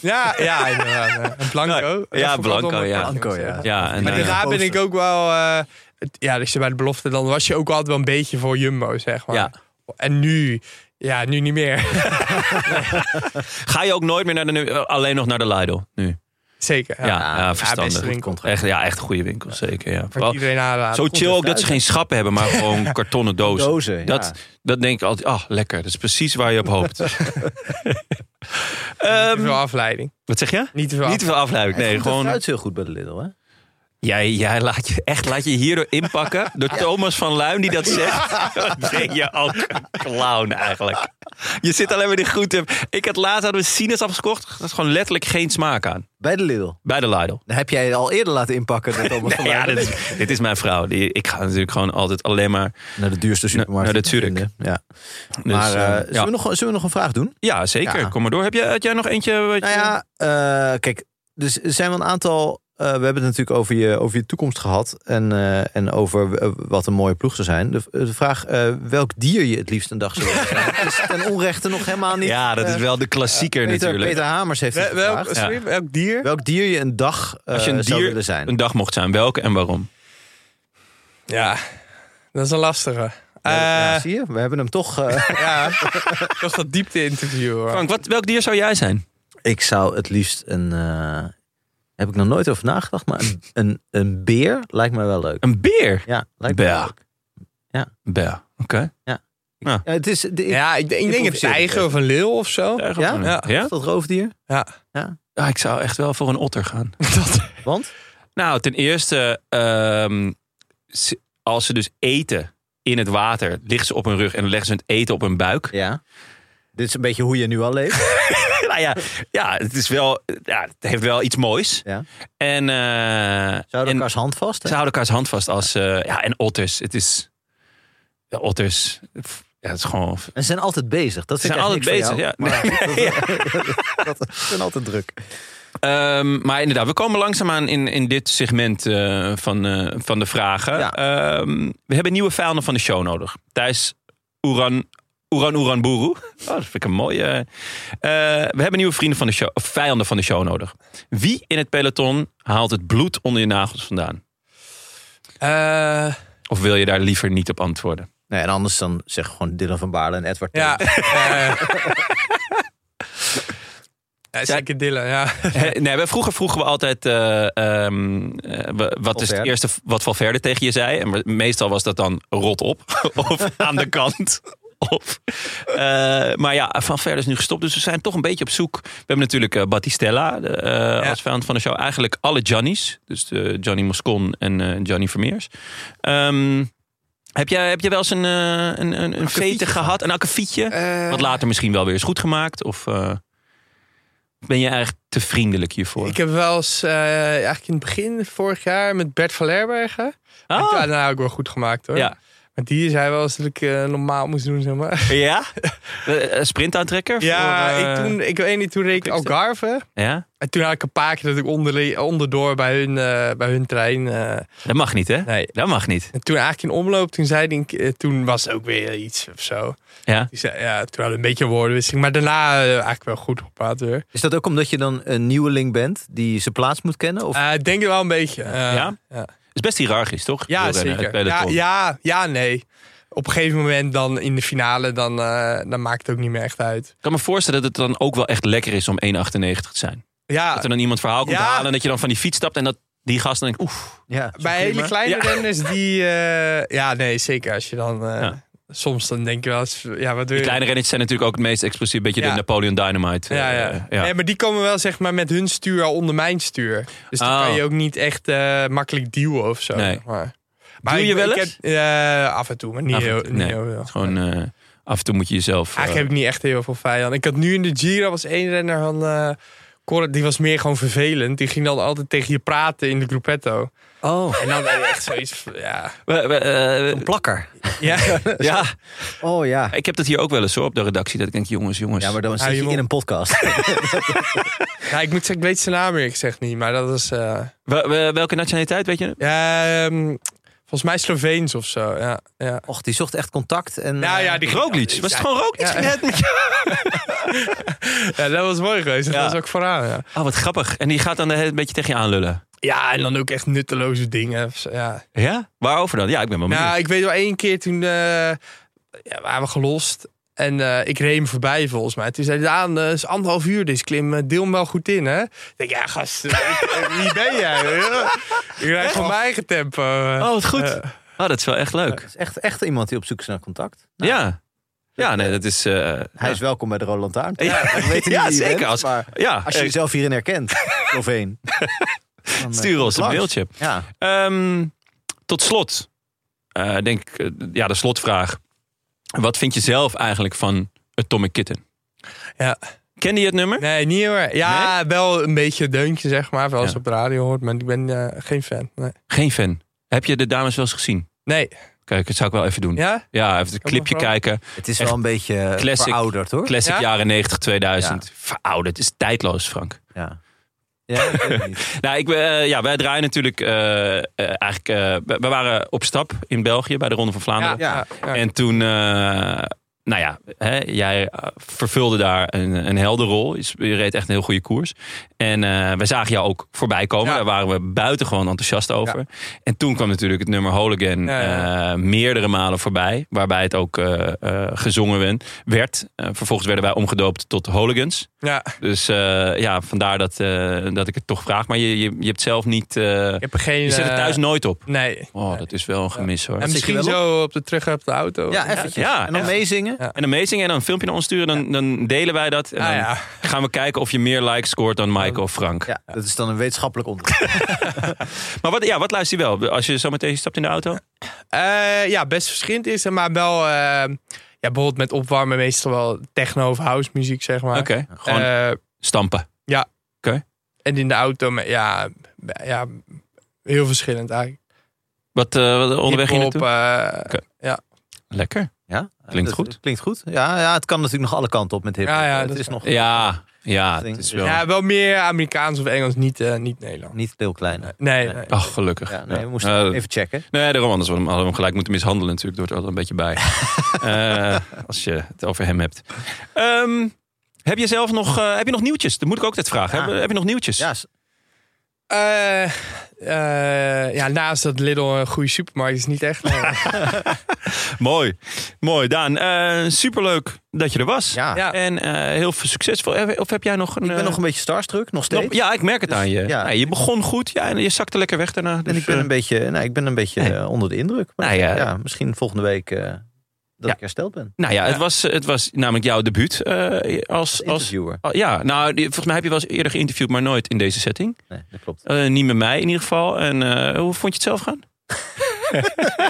Ja. Ja, ja, inderdaad. ja. En Blanco.
Ja,
Dat vond ik wel
Blanco,
mooi.
ja.
Blanco, ja.
en
Maar
eh,
daarna ben ik
Poster.
ook wel... eh, het- ja, dus bij de belofte, dan was je ook altijd wel een beetje voor Jumbo, zeg maar.
Ja.
En nu... Ja, nu niet meer.
ga je ook nooit meer naar de, nu- eh, alleen nog naar de Lidl nu?
Zeker.
Ja, ja, verstandig.
beste winkel.
Echt, ja, echt een goede winkel, zeker. Ja.
Voor
Vooral-
iedereen aanraden.
zo chill ook dat ze
uit.
geen schappen hebben, maar gewoon kartonnen dozen.
Dozen, ja.
dat, dat denk ik altijd, ah, lekker. Dat is precies waar je op hoopt. Ehm,
Niet te veel afleiding.
wat zeg je?
Niet te veel
Niet te veel afleiding. Nee,
Het
gewoon.
fruit is heel goed bij de Lidl, hè?
Jij, jij laat je echt laat je hierdoor inpakken door Thomas van Luin die dat zegt. Dan ben je ook een clown eigenlijk. Je zit alleen maar in de groente. Ik had laatst hadden we sinaasappels gekocht. Dat is gewoon letterlijk geen smaak aan.
Bij de Lidl.
Bij de Lidl.
Dan heb jij je al eerder laten inpakken. Dan Thomas van
Nee, ja,
Leiden.
dit is, dit is mijn vrouw. Die, ik ga natuurlijk gewoon altijd alleen maar.
Naar de duurste supermarkt.
naar de
die je
Zurich.
kunt vinden. Ja.
Dus,
maar eh,
eh,
zullen,
ja.
we nog, zullen we nog een vraag doen?
Ja, zeker.
Ja.
Kom maar door. Heb jij, had jij nog eentje? Wat
Nou
je-
ja, eh, kijk, dus er zijn wel een aantal. eh, we hebben het natuurlijk over je, over je toekomst gehad. En, eh, en over eh, wat een mooie ploeg zou zijn. De, de vraag eh, welk dier je het liefst een dag zou willen zijn. is ten onrechte nog helemaal niet. eh,
ja, dat is wel de klassieker
Peter,
natuurlijk.
Peter Hamers heeft het
Wel- welk-
gevraagd.
sorry, welk dier?
Welk dier je een dag eh,
Als je een
zou
dier
willen zijn.
een dag mocht zijn, welke en waarom?
Ja, dat is een lastige.
Ja,
Eh,
zie je, we hebben hem toch. eh,
ja, toch dat diepte interview. hoor.
Frank, wat, welk dier zou jij zijn?
Ik zou het liefst een. eh, heb ik nog nooit over nagedacht, maar een, een, een beer lijkt me wel leuk.
Een beer?
Ja, lijkt me
Beer.
wel leuk.
Een beer, oké.
Ja, het is. De,
Ja, ik, denk- ik denk een
Improviseer
tijger
even.
of een leeuw of zo.
Ja?
Ja.
Is dat roofdier?
Ja.
Ah, ik zou echt wel voor een otter gaan.
Want?
Nou, ten eerste, ehm, ze- als ze dus eten in het water, liggen ze op hun rug en dan leggen ze het eten op hun buik.
Ja. Dit is een beetje hoe je nu al leeft.
nou ja, ja, het is wel, ja, het heeft wel iets moois.
Ja.
En, eh,
Zouden
en
elkaars hand vast?
ze
hè?
houden elkaars hand vast als, eh, ja, en otters. Het is, ja, otters, het- ja, het is gewoon,
En ze zijn altijd bezig. Dat
Ze
vind ik
zijn
eigenlijk
altijd
niks
bezig,
voor jou, Maar, dat, dat- ze zijn altijd druk.
Ehm, maar inderdaad, we komen langzaamaan in, in dit segment eh, van, eh, van de vragen.
Ja.
Ehm, we hebben nieuwe vijanden van de show nodig. Thijs Oeran, Oeran Oeran Boeroe. Oh, dat vind ik een mooie. eh. Eh, we hebben nieuwe vrienden van de show, of vijanden van de show nodig. Wie in het peloton haalt het bloed onder je nagels vandaan?
Eh,
Of wil je daar liever niet op antwoorden?
Nee, en anders dan zeg gewoon Dylan van Baarle en Edward.
ja.
Teun.
eh. ja, zeker Dylan, ja.
Hè, nee, we- vroeger vroegen we altijd eh, ehm, eh, wa- wat is het
Valverde.
eerste v- wat Valverde tegen je zei. En we- meestal was dat dan rot op of aan de kant. Of, eh, maar ja, Valverde is nu gestopt, dus we zijn toch een beetje op zoek. We hebben natuurlijk eh, Battistella de, eh,
Ja.
als vijand van de show. Eigenlijk alle Johnny's, dus de Johnny Moscon en eh, Johnny Vermeers. Ehm, heb, jij, heb jij wel eens een, eh, een, een, een vete gehad, een akkefietje?
Eh,
Wat later misschien wel weer is goed gemaakt? Of eh, ben je eigenlijk te vriendelijk hiervoor?
Ik heb wel eens, eh, eigenlijk in het begin vorig jaar, met Bert van Lerbergen.
Ah,
Ja, daarna ook wel goed gemaakt hoor.
Ja.
Maar Maar die zei wel eens dat ik eh, normaal moest doen, zeg maar.
Ja? Eh, eh, Sprintaantrekker?
Ja,
voor, eh,
ik, toen, ik weet niet, toen reed ik
Quickstep?
Algarve.
Ja?
En toen had ik een paar keer dat ik onder, onderdoor bij hun, eh, bij hun trein. eh,
Dat mag niet, hè?
nee.
Dat mag niet.
En toen eigenlijk in omloop, toen zei die, eh, toen was het ook weer iets of zo.
Ja.
Die zei, ja, toen hadden we een beetje woordenwisseling. Maar daarna eh, eigenlijk wel goed gepraat weer.
Is dat ook omdat je dan een nieuweling bent die zijn plaats moet kennen? Of
Eh, Ik denk het wel een beetje. eh,
Ja?
ja.
is best hiërarchisch, toch?
Ja,
Wielrennen, het
zeker. Ja,
peloton.
ja, ja, nee. Op een gegeven moment dan in de finale, dan, eh, dan maakt het ook niet meer echt uit.
Ik kan me voorstellen dat het dan ook wel echt lekker is om 1,98 te zijn.
Ja,
Dat er dan iemand verhaal komt
Ja.
halen en dat je dan van die fiets stapt en dat die gast dan denkt, oef.
ja, zo'n
bij hele
klimmer?
kleine
Ja.
renners die... eh, ja, nee, zeker. Als je dan... eh,
Ja.
Soms dan denk je wel eens... Ja, wat doe
Die
je?
kleine rennetjes zijn natuurlijk ook het meest explosief. Beetje
Ja.
de Napoleon Dynamite.
Ja,
eh,
ja.
ja.
Nee, maar die komen wel zeg maar met hun stuur al onder mijn stuur. Dus dan
Oh.
kan je ook niet echt eh, makkelijk duwen of zo.
Nee.
zeg Maar,
Doe je
ik-
wel
ik
eens?
heb- eh, af en toe, maar niet,
Af en
heel,
toe,
niet
nee.
heel veel.
Gewoon eh, af en toe moet je jezelf... eh,
Eigenlijk heb ik niet echt heel veel vijand. Ik had nu in de Giro was één renner van eh Cor- die was meer gewoon vervelend. Die ging dan altijd tegen je praten in de gruppetto.
Oh.
En dan ben je echt zoiets van, ja.
We- we- eh,
Een plakker.
ja.
ja,
Oh ja.
ik heb dat hier ook wel eens hoor, op de redactie. Dat ik denk, jongens, jongens.
Ja, maar dan
Ah,
zit je
joh.
in een podcast.
Ja, ik moet zeggen, ik weet zijn naam weer gezegd niet, maar dat is eh,
We- we- welke nationaliteit, weet je?
ja, ehm, volgens mij Sloveens of zo. Ja, ja.
Och, die zocht echt contact. En, eh,
Nou ja, die
Roglic. Was het gewoon Roglic?
Ja. Ja, dat was mooi geweest.
Ja.
Dat was ook vooraan. Ja.
Oh, wat grappig. En die gaat dan een beetje tegen je aanlullen.
ja, en dan ook echt nutteloze dingen. of zo, Ja.
Ja? Waarover dan? Ja, ik ben wel benieuwd.
Nou, ik weet wel één keer toen eh, ja, waren we gelost. En eh, ik reed hem voorbij volgens mij. Toen zei hij, Daan, eh, is anderhalf uur dus klim. eh, Deel hem wel goed in, hè? Ik denk, ja, gast, eh, ik- eh, wie ben jij? joh? Ik rijd van mijn eigen tempo.
oh, wat goed.
eh.
oh, dat is wel echt leuk.
is echt, echt iemand die op zoek is naar contact.
ja. Ja, nee, dat is... eh,
Hij is welkom bij de Roland Taarn.
Ja.
we weten
Ja,
niet wie je
zeker,
bent,
als-
maar
ja,
als je
eh,
jezelf hierin herkent, Sloveen. dan, eh,
stuur ons een
langs.
mailtje.
Ja,
Ehm, tot slot. Eh, ik denk, eh, ja, de slotvraag. Wat vind je zelf eigenlijk van Atomic Kitten?
Ja.
Kende je het nummer?
Nee, niet hoor. Ja, wel een beetje een deuntje, zeg maar. Wel eens
Ja.
op de radio hoort, maar ik ben eh, geen fan. Nee.
Geen fan. Heb je de dames wel eens gezien?
nee.
Kijk, dat zou ik wel even doen. Ja,
Ja?
even het
Kan
clipje
nog wel.
kijken.
het is
Echt
wel een beetje eh,
classic.
verouderd hoor.
Classic
Ja?
jaren 90, 2000. Verouderd. Het oh, is tijdloos, Frank.
Ja. Ja, ik weet het niet.
Nou, ik, ben, eh, ja, wij draaien natuurlijk eh, eh, eigenlijk... eh, we, we waren op stap in België bij de Ronde van Vlaanderen.
Ja, ja, ja.
En toen, eh, nou ja, hè, jij eh, vervulde daar een, een helder rol. Je s- Je reed echt een heel goede koers. En eh we zagen jou ook voorbij komen.
Ja.
Daar waren we buitengewoon enthousiast over. En toen kwam natuurlijk het nummer Holigan
Ja, ja.
eh, meerdere malen voorbij. Waarbij het ook eh, eh, gezongen wen- werd. Eh, vervolgens werden wij omgedoopt tot Holigans.
ja.
Dus eh, ja, vandaar dat, eh, dat ik het toch vraag. Maar je, je, je hebt zelf niet... eh,
Ik heb er geen...
je zet het
eh,
thuis nooit op.
Nee.
Oh, dat is wel een gemis hoor.
En
zit je
misschien
wel
zo op de terug op de auto.
ja eventjes.
Ja,
en dan
echt.
meezingen.
Ja.
En amazing. En dan een filmpje naar ons sturen. Dan, dan delen wij dat. En
Ah,
dan
ja.
gaan we kijken of je meer likes scoort dan Michael of Frank.
Oh. Ja, dat is dan een wetenschappelijk onderzoek.
Maar wat, ja, wat luister je wel? Als je zo meteen stapt in de auto?
Eh, ja, best verschillend is er, maar wel... eh, ja, bijvoorbeeld met opwarmen meestal wel techno of house muziek, zeg maar.
Oké. Gewoon
Eh,
stampen.
en in de auto, met, ja, b- ja, heel verschillend eigenlijk.
Wat, eh, wat onderweg hier
Hip-hop,
naartoe?
eh,
Oké. Lekker.
Ja?
Klinkt
Dat-
goed.
Klinkt goed. Ja, ja, het kan natuurlijk nog alle kanten op met hip.
Ja, ja,
het
dat
is
is
nog
Ja, ja.
Klinkt-
Het is wel...
ja, wel meer Amerikaans of Engels, niet, eh, niet Nederland.
niet veel kleiner.
Nee,
Nee.
nee.
Ach, gelukkig.
Ja, nee, we
Ja.
moesten
Eh,
even checken.
Nee, daarom anders hadden we hem gelijk moeten mishandelen natuurlijk. Door het altijd een beetje bij. Eh, als je het over hem hebt. Ehm, heb je zelf nog, eh, heb je nog nieuwtjes? Dat moet ik ook net vragen.
Ja.
Heb, heb je nog nieuwtjes?
Ja, s-
Eh, eh, ja, naast dat Lidl een goede supermarkt is, niet echt. nee.
Mooi. Mooi, Daan. Eh, superleuk dat je er was.
ja.
ja.
En eh, heel veel succesvol. Eh, Of heb jij nog een.
Ik ben
eh,
nog een beetje starstruck, nog steeds.
nog- ja, ik merk het aan je.
ja.
Nou, je begon goed ja, en je zakte lekker weg daarna. Dus,
En ik ben
eh,
een beetje, nou, ik ben een beetje
Nee.
eh, onder de indruk. Maar
Nou ja.
ja, misschien volgende week eh, dat
Ja.
ik hersteld ben.
nou ja, het, Was, het was namelijk jouw debuut eh, als. als
Interviewer.
oh, ja, nou, die- volgens mij heb je wel eens eerder geïnterviewd, maar nooit in deze setting.
Nee, dat klopt.
Eh, niet met mij in ieder geval. En eh, hoe vond je het zelf gaan?
Doen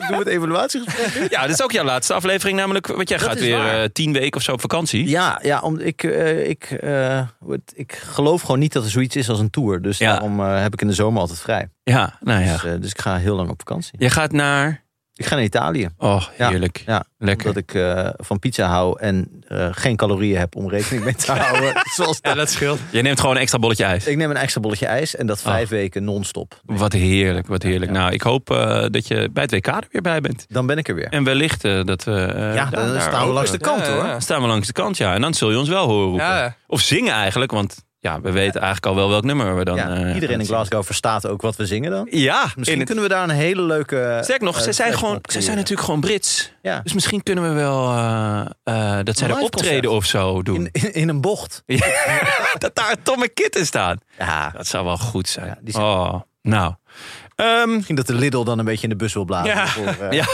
we het evaluatiegesprek?
Ja, dit is ook jouw laatste aflevering, namelijk. Want jij
Dat
gaat
is
weer
waar.
eh, tien weken of zo op vakantie.
Ja, ja om, ik, eh, ik, eh, hoe het- ik geloof gewoon niet dat er zoiets is als een tour. Dus
Ja.
daarom eh, heb ik in de zomer altijd vrij.
Ja, nou ja.
Dus, eh, dus ik ga heel lang op vakantie.
Je gaat naar
Ik ga naar Italië.
Oh, heerlijk.
Ja,
Lekker.
omdat ik eh, van pizza hou en eh, geen calorieën heb om rekening mee te houden. Zoals
Ja,
dat.
dat scheelt.
Je neemt gewoon een extra bolletje ijs.
Ik neem een extra bolletje ijs en
Oh.
dat vijf weken non-stop.
Wat heerlijk, wat heerlijk. Nou, ik hoop eh, dat je bij het WK er weer bij bent.
Dan ben ik er weer.
En wellicht eh, dat we... eh,
Ja,
daar-
dan
daar
staan we
ook,
langs
eh,
de kant
ja,
hoor.
ja.
Dan staan we langs de kant, ja. En dan zul je ons wel horen roepen.
Ja.
Of zingen eigenlijk, want ja, we weten eigenlijk al wel welk nummer we dan...
Ja,
eh,
iedereen in
gaan
Glasgow verstaat ook wat we zingen dan.
zingen. Ja,
Misschien
in het-
kunnen we daar een hele leuke.
Sterk nog,
eh,
ze zijn,
plek
gewoon,
op
ze zijn
creëren.
natuurlijk gewoon Brits.
Ja.
Dus misschien kunnen we wel eh, eh, dat zij
Een
er
live
optreden of zo doen.
In, in, in een bocht.
dat daar Tom en Kitten staan.
Ja.
Dat zou wel goed zijn.
Ja, die zijn-
Oh, nou. Ehm,
Misschien dat de Lidl dan een beetje in de bus wil blazen.
Ja.
Voor, eh,
ja.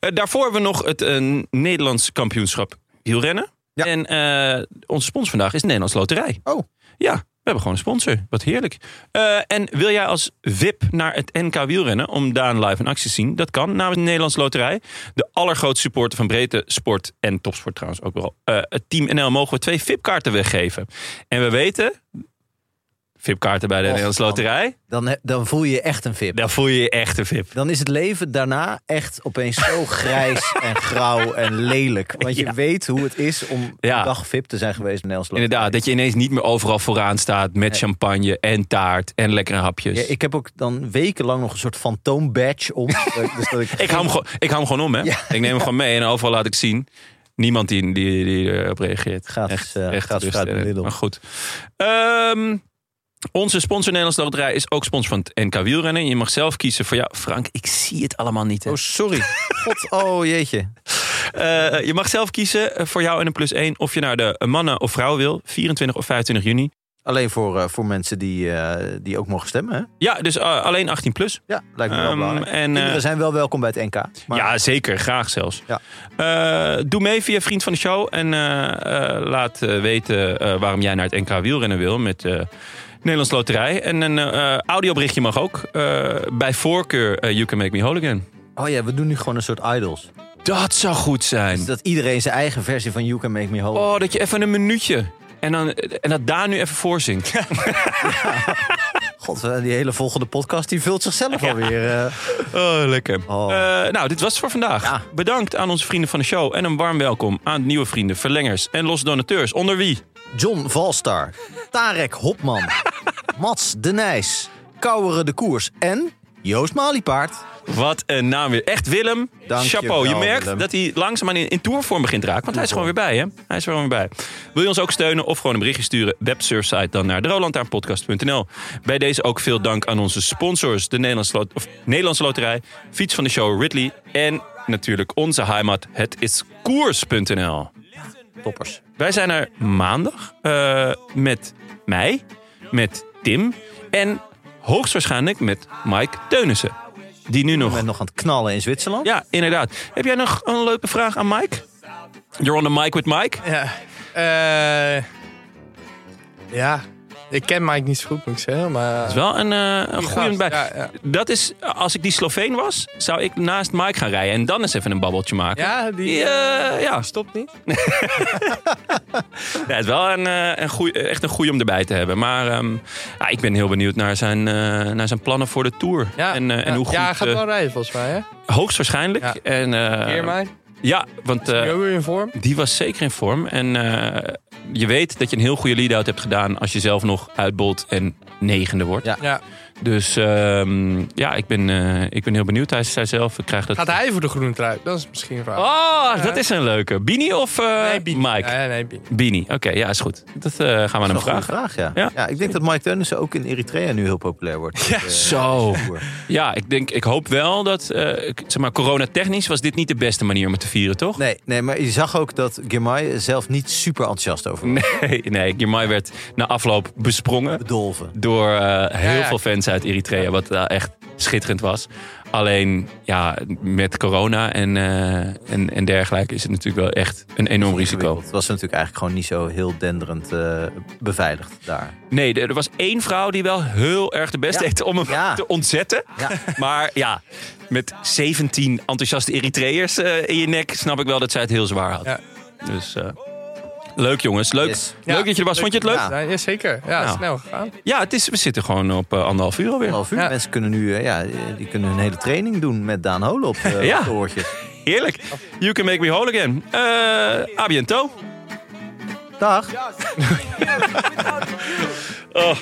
Eh, daarvoor hebben we nog het eh, Nederlands kampioenschap wielrennen.
Ja.
En eh, onze sponsor vandaag is Nederlands Loterij.
Oh.
Ja, we hebben gewoon een sponsor. Wat heerlijk. Eh, en wil jij als VIP naar het NK wielrennen om daar een live een actie te zien? Dat kan namens de Nederlands Loterij. De allergrootste supporter van breedte sport en topsport trouwens ook wel. Eh, het Team NL mogen we twee VIP-kaarten weggeven. En we weten... VIP-kaarten bij de
Och,
Nederlands
man.
Loterij.
Dan, he- dan voel je je echt een VIP.
Daar voel je je echt een VIP.
Dan is het leven daarna echt opeens zo grijs en grauw en lelijk. Want je
Ja.
weet hoe het is om
Ja.
een dag VIP te zijn geweest in Nederland.
Inderdaad, dat je ineens niet meer overal vooraan staat met champagne en taart en lekkere hapjes.
Ja,
ik,
ik heb ook dan wekenlang nog een soort fantoom badge om. dus dat ik,
hou hem gewoon- ik hou hem gewoon om, hè? ik neem hem gewoon mee en overal laat ik zien. Niemand die, die, die erop reageert.
Gratis, eh, gratis
rust,
fruit
eh,
Lidl.
Maar goed. Ehm, onze sponsor Nederlands Loterij is ook sponsor van het NK wielrennen. Je mag zelf kiezen voor jou. Frank, ik zie het allemaal niet. Hè?
Oh, sorry. God, oh jeetje.
Eh, je mag zelf kiezen eh, voor jou en een plus 1 of je naar de mannen of vrouw wil. 24 of 25 juni.
Alleen voor, eh, voor mensen die, eh, die ook mogen stemmen. Hè?
Ja, dus eh, alleen 18 plus.
Ja, lijkt me wel
Ehm,
belangrijk.
en, eh,
Kinderen zijn wel welkom bij het NK. Maar
Ja, zeker. Graag zelfs.
Ja.
Eh, doe mee via Vriend van de Show. En eh, eh, laat eh, weten eh, waarom jij naar het NK wielrennen wil met eh Nederlands Loterij. En een eh, eh, audioberichtje mag ook. Eh, bij voorkeur eh, You Can Make Me Whole Again.
Oh ja, we doen nu gewoon een soort idols.
Dat zou goed zijn.
Dat iedereen zijn eigen versie van You Can Make Me Whole.
Oh, dat je even een minuutje... En, dan, en dat daar nu even voor zingt.
God, eh, die hele volgende podcast die vult zichzelf alweer. eh.
Oh, lekker.
Oh.
Eh, nou, dit was het voor vandaag.
Ja.
Bedankt aan onze vrienden van de show. En een warm welkom aan nieuwe vrienden, verlengers en losse donateurs. Onder wie?
John Valstar, Tarek Hopman, Mats de Nijs, Kouweren de Koers en Joost Maliepaard.
Wat een naam weer. Echt Willem.
Dank je
Chapeau. Je,
wel,
merkt
Willem.
dat hij langzaamaan in, in tourvorm begint te raken. Want hij is gewoon weer bij, hè? Hij is er gewoon weer bij. Wil je ons ook steunen of gewoon een berichtje sturen? Websurfsite dan naar drolantaarnpodcast.nl. Bij deze ook veel dank aan onze sponsors. De Nederlandse, Lot- of Nederlandse Loterij, Fiets van de Show Ridley en natuurlijk onze heimat, het is koers.nl.
Toppers.
Wij zijn er maandag eh, met mij, met Tim en hoogstwaarschijnlijk met Mike Teunissen. Die nu nog
Met nog aan het knallen in Zwitserland.
ja, inderdaad. Heb jij nog een leuke vraag aan Mike? You're on the mic with Mike.
Ja. Eh, ja. Ik ken Mike niet zo goed, moet ik zeggen. Maar...
Dat is wel een, eh een goede
gast,
bij.
ja, ja.
Dat is, als ik die Sloveen was, zou ik naast Mike gaan rijden en dan eens even een babbeltje maken.
Ja, die...
Die, eh, ja.
Stopt niet.
Ja, het is wel een, eh, een goeie, echt een goeie om erbij te hebben. Maar ehm, ja, ik ben heel benieuwd naar zijn, eh, naar zijn plannen voor de Tour.
Ja,
en, eh, en
ja.
hoe goed...
ja, hij gaat
eh,
wel rijden volgens mij, hè?
hoogstwaarschijnlijk.
Ja.
En, eh,
Keer mij.
ja, want eh,
Ben je ook weer in vorm?
Die was zeker in vorm. En eh, je weet dat je een heel goede lead-out hebt gedaan als je zelf nog uitbolt en negende wordt.
Ja.
Ja.
Dus ehm, ja, ik ben, eh, ik ben heel benieuwd. Hij zei zelf, ik krijg dat...
Gaat hij voor de groene trui? Dat is misschien een vraag.
Oh, dat is een leuke. Bini of eh, Mike?
Nee, nee, Bini.
Bini, oké, ja, is goed. Dat eh, gaan we
Dat
hem
is wel
vragen.
een goede vraag, ja.
Ja.
ja. ik denk dat Mike Teunissen ook in Eritrea nu heel populair wordt. Eh,
Zo.
Tour.
Ja, ik, denk, ik hoop wel dat, eh, ik- zeg maar, coronatechnisch was dit niet de beste manier om het te vieren, toch?
Nee, nee, maar je zag ook dat Girmay zelf niet super enthousiast over was.
Nee, nee, Girmay werd na afloop besprongen.
Bedolven.
door eh, heel
ja.
veel fans uit Eritrea, wat daar echt schitterend was. Alleen ja, met corona en, eh, en, en dergelijke is het natuurlijk wel echt een enorm risico.
Het was natuurlijk eigenlijk gewoon niet zo heel denderend eh, beveiligd daar.
Nee, er er was één vrouw die wel heel erg de best
Ja.
deed om hem
Ja.
te ontzetten.
Ja.
Maar ja, met 17 enthousiaste Eritreërs eh, in je nek snap ik wel dat zij het heel zwaar had.
Ja.
Dus eh, Leuk jongens, leuk.
Yes.
Leuk
Ja.
dat je er was. Vond je het leuk? Ja,
Ja, ja, zeker. Ja,
Nou.
snel gegaan.
het is, we zitten gewoon op eh, anderhalf uur alweer.
Half uur.
Ja.
Mensen kunnen nu eh, ja, eh, die kunnen hun hele training doen met Daan Hole op eh,
Ja.
op de oortjes.
Heerlijk. You can make me whole again. Eh a biento.
Dag.
Oh.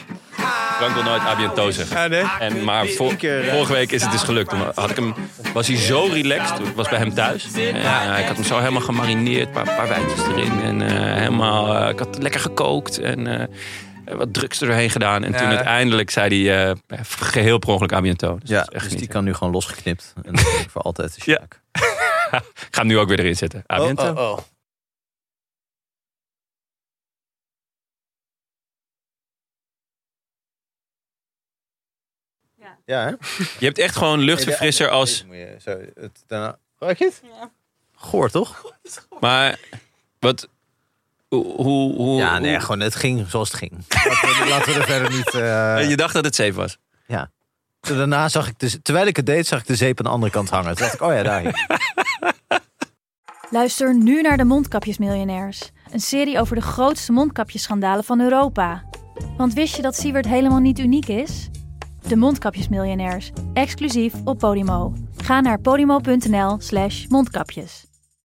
Frank wil nooit a biento zeggen.
Ja, nee.
En, maar vor-
eh,
vorige week is het dus gelukt. Toen Had ik hem, was hij zo relaxed. Ik was bij hem thuis. En, eh, ik had hem zo helemaal gemarineerd. Een paar, paar wijntjes erin. En eh, helemaal, eh, ik had lekker gekookt. En eh, wat drugs er doorheen gedaan. En toen
Ja.
uiteindelijk zei hij eh, geheel per ongeluk a biento. Dus
Ja,
dat is echt
dus die
genieten.
kan nu gewoon losgeknipt. En dat is voor altijd de
Ja. Ah,
Sjaak.
Ik ga hem nu ook weer erin zetten. A biento.
oh.
Ja.
Ja, hè?
Je hebt echt gewoon luchtverfrisser als...
Moet je zo, het, daarna, ruik je het?
Ja.
Goor, toch?
Maar wat... Hoe, hoe, hoe-
Ja, nee,
hoe-
gewoon het ging zoals het ging. Laten we, laten we er verder niet... eh,
Je dacht dat het safe was.
Daarna zag ik, de, terwijl ik het deed, zag ik de zeep aan de andere kant hangen. Toen dacht ik, oh ja, daar hing het.
Luister nu naar de Mondkapjesmiljonairs. Een serie over de grootste mondkapjesschandalen van Europa. Want wist je dat Siewert helemaal niet uniek is? De Mondkapjesmiljonairs, exclusief op Podimo. Ga naar podimo.nl slash mondkapjes.